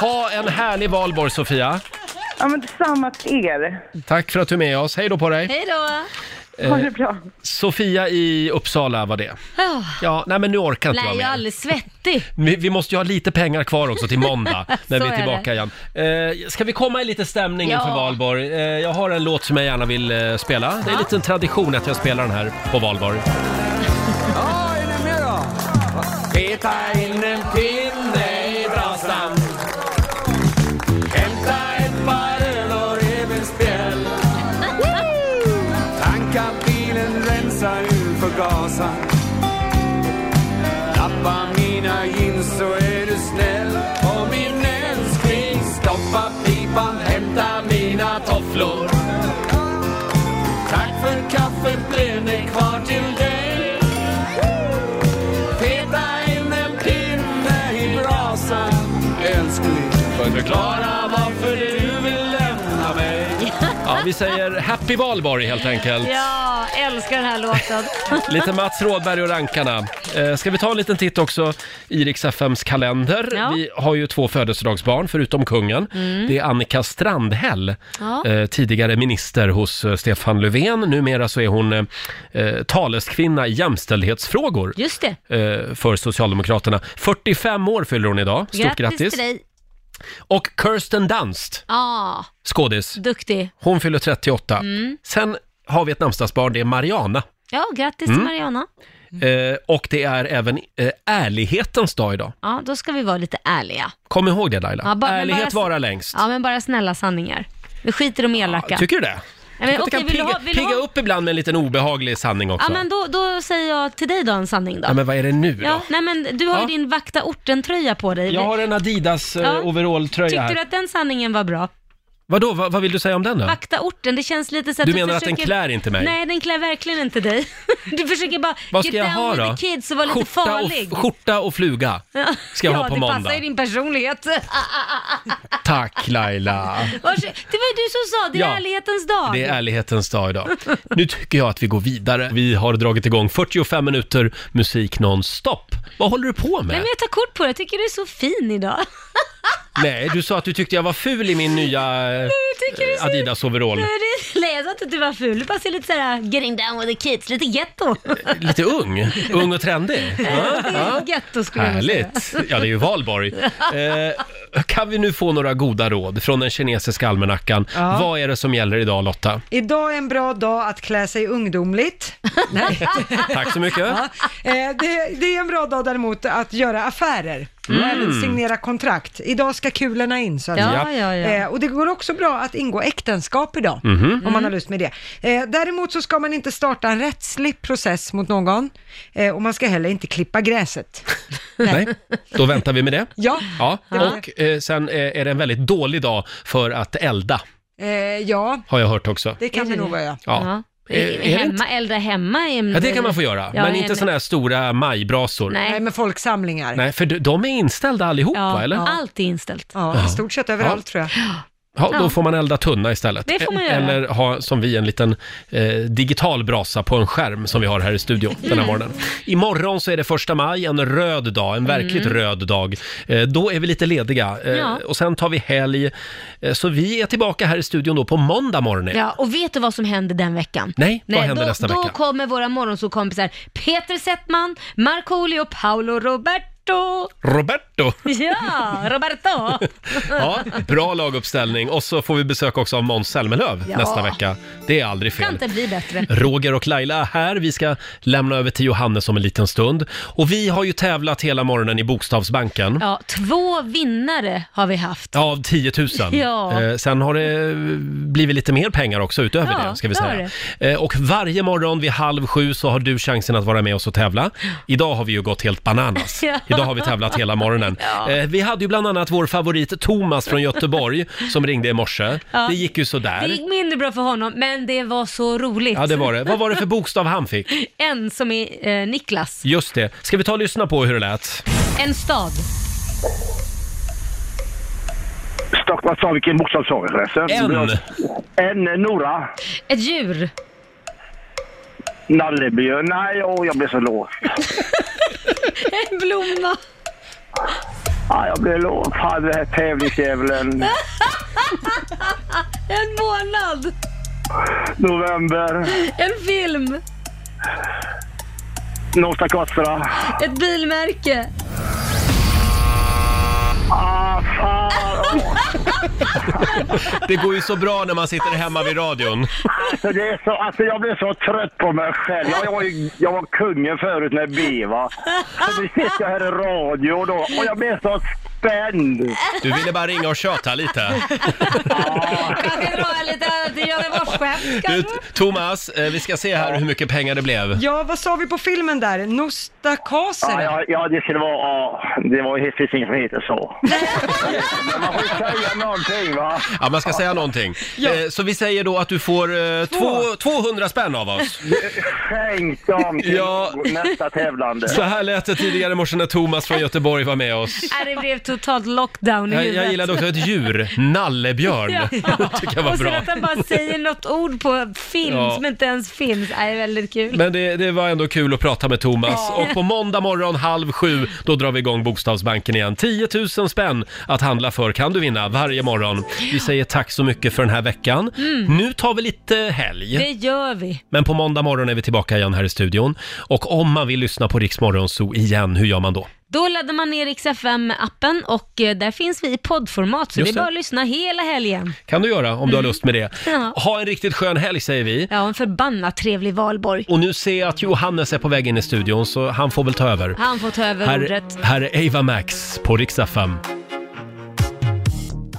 [SPEAKER 1] Ha en härlig valborg Sofia.
[SPEAKER 15] Ja, men detsamma till er.
[SPEAKER 1] Tack för att du är med oss. Hej då på dig.
[SPEAKER 4] Hej då!
[SPEAKER 1] Eh,
[SPEAKER 15] Ha det bra.
[SPEAKER 1] Sofia i Uppsala var det.
[SPEAKER 4] Ah.
[SPEAKER 1] Ja, nej men nu orkar inte
[SPEAKER 4] Nej,
[SPEAKER 1] jag
[SPEAKER 4] jag är
[SPEAKER 1] mer.
[SPEAKER 4] alldeles svettig.
[SPEAKER 1] Vi, vi måste ju ha lite pengar kvar också till måndag när
[SPEAKER 4] Så
[SPEAKER 1] vi är
[SPEAKER 4] är
[SPEAKER 1] tillbaka
[SPEAKER 4] det.
[SPEAKER 1] igen. Eh, ska vi komma i lite stämning
[SPEAKER 4] Ja.
[SPEAKER 1] inför valborg? Eh, jag har en låt som jag gärna vill eh, spela. Det är en liten tradition att jag spelar den här på valborg.
[SPEAKER 11] Ja, är ni med då? Peta in en pinne i brasan. Hämta ett par öl och revbensspjäll. Tanka bilen, rensa ur förgasaren. Lappa mina jeans så är du snäll. Och min älskling, stoppa pipan, hämta mina tofflor. Tack för kaffet, blev det kvar till dig. Peta in en pinne i brasan, älskling. Förklara varför du vill lämna mig.
[SPEAKER 1] Ja, Vi säger happy valborg helt enkelt.
[SPEAKER 4] Ja, älskar den här låten.
[SPEAKER 1] Lite Mats Rådberg och rankarna. Eh, ska vi ta en liten titt också i Rix FMs kalender?
[SPEAKER 4] Ja.
[SPEAKER 1] Vi har ju två födelsedagsbarn förutom kungen.
[SPEAKER 4] Mm.
[SPEAKER 1] Det är Annika Strandhäll,
[SPEAKER 4] Ja.
[SPEAKER 1] eh, tidigare minister hos eh, Stefan Löfven. Numera så är hon eh, eh, taleskvinna i jämställdhetsfrågor
[SPEAKER 4] Just det.
[SPEAKER 1] eh, för Socialdemokraterna. 45 år fyller hon idag. Stort grattis!
[SPEAKER 4] till dig.
[SPEAKER 1] Och Kirsten Dunst,
[SPEAKER 4] Ja,
[SPEAKER 1] skådis.
[SPEAKER 4] duktig.
[SPEAKER 1] Hon fyller 38.
[SPEAKER 4] Mm.
[SPEAKER 1] Sen har vi ett namnsdagsbarn, det är Mariana.
[SPEAKER 4] Ja, grattis
[SPEAKER 1] Mm.
[SPEAKER 4] till Mariana.
[SPEAKER 1] Eh, och det är även eh, ärlighetens dag idag.
[SPEAKER 4] Ja, då ska vi vara lite ärliga.
[SPEAKER 1] Kom ihåg det Laila.
[SPEAKER 4] Ja, ba- men
[SPEAKER 1] Ärlighet
[SPEAKER 4] bara-
[SPEAKER 1] varar längst.
[SPEAKER 4] Ja, men bara snälla sanningar. Vi skiter i de elaka.
[SPEAKER 1] Tycker du det?
[SPEAKER 4] Nej, men
[SPEAKER 1] Tycker att det
[SPEAKER 4] okej, vill
[SPEAKER 1] kan
[SPEAKER 4] du
[SPEAKER 1] pigga,
[SPEAKER 4] ha- vill du
[SPEAKER 1] pigga
[SPEAKER 4] ha-
[SPEAKER 1] upp ibland med en liten obehaglig sanning också.
[SPEAKER 4] Ja, men då, då säger jag till dig då en sanning då.
[SPEAKER 1] Ja, men vad är det nu då?
[SPEAKER 4] Ja, nej men du har ju din vakta orten-tröja på dig.
[SPEAKER 1] Jag har en Adidas-overall-tröja
[SPEAKER 4] Ja.
[SPEAKER 1] eh, overall-tröja
[SPEAKER 4] Tyckte
[SPEAKER 1] här.
[SPEAKER 4] du att den sanningen var bra?
[SPEAKER 1] Vadå, vad, vad vill du säga om den då?
[SPEAKER 4] Vakta orten, det känns lite så att
[SPEAKER 1] Du
[SPEAKER 4] du
[SPEAKER 1] menar att den
[SPEAKER 4] försöker...
[SPEAKER 1] klär inte mig?
[SPEAKER 4] Nej, den klär verkligen inte dig. Du försöker bara
[SPEAKER 1] Vad ska
[SPEAKER 4] get
[SPEAKER 1] jag
[SPEAKER 4] down
[SPEAKER 1] ha
[SPEAKER 4] with
[SPEAKER 1] då?
[SPEAKER 4] the kids och vara lite
[SPEAKER 1] Skjorta och,
[SPEAKER 4] farlig.
[SPEAKER 1] skjorta och fluga ska jag
[SPEAKER 4] ja,
[SPEAKER 1] ha på
[SPEAKER 4] det
[SPEAKER 1] måndag.
[SPEAKER 4] passar ju din personlighet.
[SPEAKER 1] Tack Laila.
[SPEAKER 4] Varså- det var ju du som sa, det är
[SPEAKER 1] Ja,
[SPEAKER 4] ärlighetens dag.
[SPEAKER 1] Det är ärlighetens dag idag. Nu tycker jag att vi går vidare. Vi har dragit igång 45 minuter musik nonstop. Vad håller du på
[SPEAKER 4] Nej
[SPEAKER 1] med?
[SPEAKER 4] men jag tar kort på det, jag tycker du är så fin idag.
[SPEAKER 1] Nej, du sa att du tyckte jag var ful i min nya
[SPEAKER 4] jag tycker det är så-
[SPEAKER 1] Adidas-overall.
[SPEAKER 4] Nej, det- Nej, jag sa inte att du var ful, du bara ser lite såhär getting down with the kids, lite getto.
[SPEAKER 1] Lite ung. Ung och trendig. Ja, ja.
[SPEAKER 4] Getto skulle jag nog säga.
[SPEAKER 1] Härligt. Ja, det är ju valborg. Eh, kan vi nu få några goda råd från den kinesiska almanackan?
[SPEAKER 2] Ja.
[SPEAKER 1] Vad är det som gäller idag Lotta?
[SPEAKER 2] Idag är en bra dag att klä sig ungdomligt. Nej.
[SPEAKER 1] Tack så mycket.
[SPEAKER 2] Ja, eh, det, det är en bra dag däremot att göra affärer.
[SPEAKER 1] Mm.
[SPEAKER 2] Och även signera kontrakt. Idag ska kulorna in så att
[SPEAKER 1] Ja, ja,
[SPEAKER 2] säga.
[SPEAKER 1] ja.
[SPEAKER 2] Eh, Och det går också bra att ingå äktenskap idag,
[SPEAKER 1] Mhm.
[SPEAKER 2] om man har
[SPEAKER 1] Mm.
[SPEAKER 2] lust med det. Eh, Däremot så ska man inte starta en rättslig process mot någon. Eh, Och man ska heller inte klippa gräset.
[SPEAKER 1] Nej, då väntar vi med det.
[SPEAKER 2] Ja.
[SPEAKER 1] ja.
[SPEAKER 2] Det var
[SPEAKER 1] Och eh, sen eh, är det en väldigt dålig dag för att elda,
[SPEAKER 2] Eh, Ja,
[SPEAKER 1] har jag hört också.
[SPEAKER 2] det kan det nog vara ja.
[SPEAKER 1] Ja. Eh, är det
[SPEAKER 4] Hemma, äldre hemma är en-
[SPEAKER 1] Ja, det kan man få göra,
[SPEAKER 4] Ja,
[SPEAKER 1] men
[SPEAKER 4] en-
[SPEAKER 1] inte sådana här stora majbrasor.
[SPEAKER 2] Nej. men folksamlingar.
[SPEAKER 1] Nej, för de- de är inställda allihop,
[SPEAKER 4] Ja,
[SPEAKER 1] va? Eller?
[SPEAKER 4] Allt är inställt.
[SPEAKER 1] Ja.
[SPEAKER 2] Ja, i stort sett överallt tror jag.
[SPEAKER 1] Ja, då
[SPEAKER 4] Ja.
[SPEAKER 1] får man elda tunna istället.
[SPEAKER 4] Det får man göra.
[SPEAKER 1] Eller ha, som vi, en liten eh, digital brasa på en skärm som vi har här i studion den här
[SPEAKER 4] Mm.
[SPEAKER 1] morgonen. Imorgon så är det första maj, en röd dag, en verkligt
[SPEAKER 4] Mm.
[SPEAKER 1] röd dag. Eh, då är vi lite lediga eh,
[SPEAKER 4] Ja.
[SPEAKER 1] och sen tar vi helg. Eh, så vi är tillbaka här i studion då på måndag morgon.
[SPEAKER 4] Ja, och vet du vad som händer den veckan?
[SPEAKER 1] Nej, vad händer
[SPEAKER 4] då,
[SPEAKER 1] nästa
[SPEAKER 4] då
[SPEAKER 1] vecka?
[SPEAKER 4] kommer våra morgonsåkompisar Peter Settman, Markoolio, Paolo Roberto.
[SPEAKER 1] Roberto!
[SPEAKER 4] Ja, Roberto!
[SPEAKER 1] Ja, bra laguppställning. Och så får vi besök också av Måns Zelmerlöw
[SPEAKER 4] Ja.
[SPEAKER 1] nästa vecka. Det är aldrig
[SPEAKER 4] kan
[SPEAKER 1] fel.
[SPEAKER 4] inte bli bättre.
[SPEAKER 1] Roger och Laila är här. Vi ska lämna över till Johannes om en liten stund. Och vi har ju tävlat hela morgonen i Bokstavsbanken.
[SPEAKER 4] Ja, två vinnare har vi haft.
[SPEAKER 1] Ja, Av 10 000.
[SPEAKER 4] Ja.
[SPEAKER 1] Eh, sen har det blivit lite mer pengar också utöver
[SPEAKER 4] Ja,
[SPEAKER 1] det, ska vi
[SPEAKER 4] det har
[SPEAKER 1] säga. Eh, och varje morgon vid halv sju så har du chansen att vara med oss och tävla. Idag har vi ju gått helt bananas.
[SPEAKER 4] Ja.
[SPEAKER 1] Idag har vi tävlat hela morgonen.
[SPEAKER 4] Ja.
[SPEAKER 1] Eh, vi hade ju bland annat vår favorit Thomas från Göteborg som ringde i morse.
[SPEAKER 4] Ja.
[SPEAKER 1] Det gick ju sådär.
[SPEAKER 4] Det gick mindre bra för honom, men det var så roligt.
[SPEAKER 1] Ja, det var det. Vad var det för bokstav han fick?
[SPEAKER 4] En som är eh, Niklas.
[SPEAKER 1] Just det. Ska vi ta och lyssna på hur det lät?
[SPEAKER 4] En stad.
[SPEAKER 9] Stock, vad sa vilken bokstav sa vi förresten?
[SPEAKER 1] En.
[SPEAKER 9] En Nora.
[SPEAKER 4] Ett djur.
[SPEAKER 9] Nallebjörn. Nej, åh, jag blev så låg.
[SPEAKER 4] En blomma.
[SPEAKER 9] Ja, jag blev låg. Fan, den här tävlingsdjävulen.
[SPEAKER 4] En månad.
[SPEAKER 9] November.
[SPEAKER 4] En film.
[SPEAKER 9] Norsta Kostra.
[SPEAKER 4] Ett bilmärke.
[SPEAKER 9] Ah, fan.
[SPEAKER 1] Det går ju så bra när man sitter hemma vid radion.
[SPEAKER 9] Alltså, det är så, alltså, jag blev så trött på mig själv. Jag, jag, var, ju- jag var kungen förut med B, va. Så nu sitter jag här i radio då och jag blev så spänd.
[SPEAKER 1] Du ville bara ringa och tjata lite.
[SPEAKER 4] Jag kan dra lite Göteborgsskämt.
[SPEAKER 1] Du, Thomas, eh, vi ska se här hur mycket pengar det blev.
[SPEAKER 2] Ja, vad sa vi på filmen där?
[SPEAKER 9] Ja,
[SPEAKER 2] Nostakasere?
[SPEAKER 9] ja, ja, det skulle vara... Ja, det var ju finns inget som heter så. Men man får ju säga någonting, va.
[SPEAKER 1] Ja, man ska säga någonting. Eh, Så vi säger då att du får eh, två, 200 spänn av oss.
[SPEAKER 9] Skänk dem till
[SPEAKER 1] Ja.
[SPEAKER 9] nästa tävlande.
[SPEAKER 1] Så här lät det tidigare i morse när Thomas från Göteborg var med oss.
[SPEAKER 4] Nej, Äh, det blev totalt lockdown i
[SPEAKER 1] Jag,
[SPEAKER 4] huvudet.
[SPEAKER 1] jag gillade också ett djur, nallebjörn.
[SPEAKER 4] Ja.
[SPEAKER 1] Det tycker jag var
[SPEAKER 4] Och sen
[SPEAKER 1] bra.
[SPEAKER 4] att han bara säger något ord på film
[SPEAKER 1] Ja.
[SPEAKER 4] som inte ens finns. Nej, väldigt kul.
[SPEAKER 1] Men det, det var ändå kul att prata med Thomas.
[SPEAKER 4] Ja.
[SPEAKER 1] Och på måndag morgon halv sju, då drar vi igång Bokstavsbanken igen. 10 000 spänn att handla för kan du vinna varje morgon. Vi säger tack så mycket för den här veckan.
[SPEAKER 4] Mm.
[SPEAKER 1] Nu tar vi lite helg.
[SPEAKER 4] Det gör vi.
[SPEAKER 1] Men på måndag morgon är vi tillbaka igen här i studion. Och om man vill lyssna på Rix Morgonzoo igen, hur gör man då?
[SPEAKER 4] Då laddar man ner Rix FM-appen och eh, där finns vi i poddformat, så
[SPEAKER 1] Just
[SPEAKER 4] det är bara
[SPEAKER 1] det.
[SPEAKER 4] att lyssna hela helgen.
[SPEAKER 1] Kan du göra om du har lust med det.
[SPEAKER 4] Mm. Ja.
[SPEAKER 1] Ha en riktigt skön helg säger vi.
[SPEAKER 4] Ja, en förbannat trevlig valborg.
[SPEAKER 1] Och nu ser jag att Johannes är på väg in i studion så han får väl ta över.
[SPEAKER 4] Han får ta över ordet.
[SPEAKER 1] Här, här är Ava Max på Rix FM.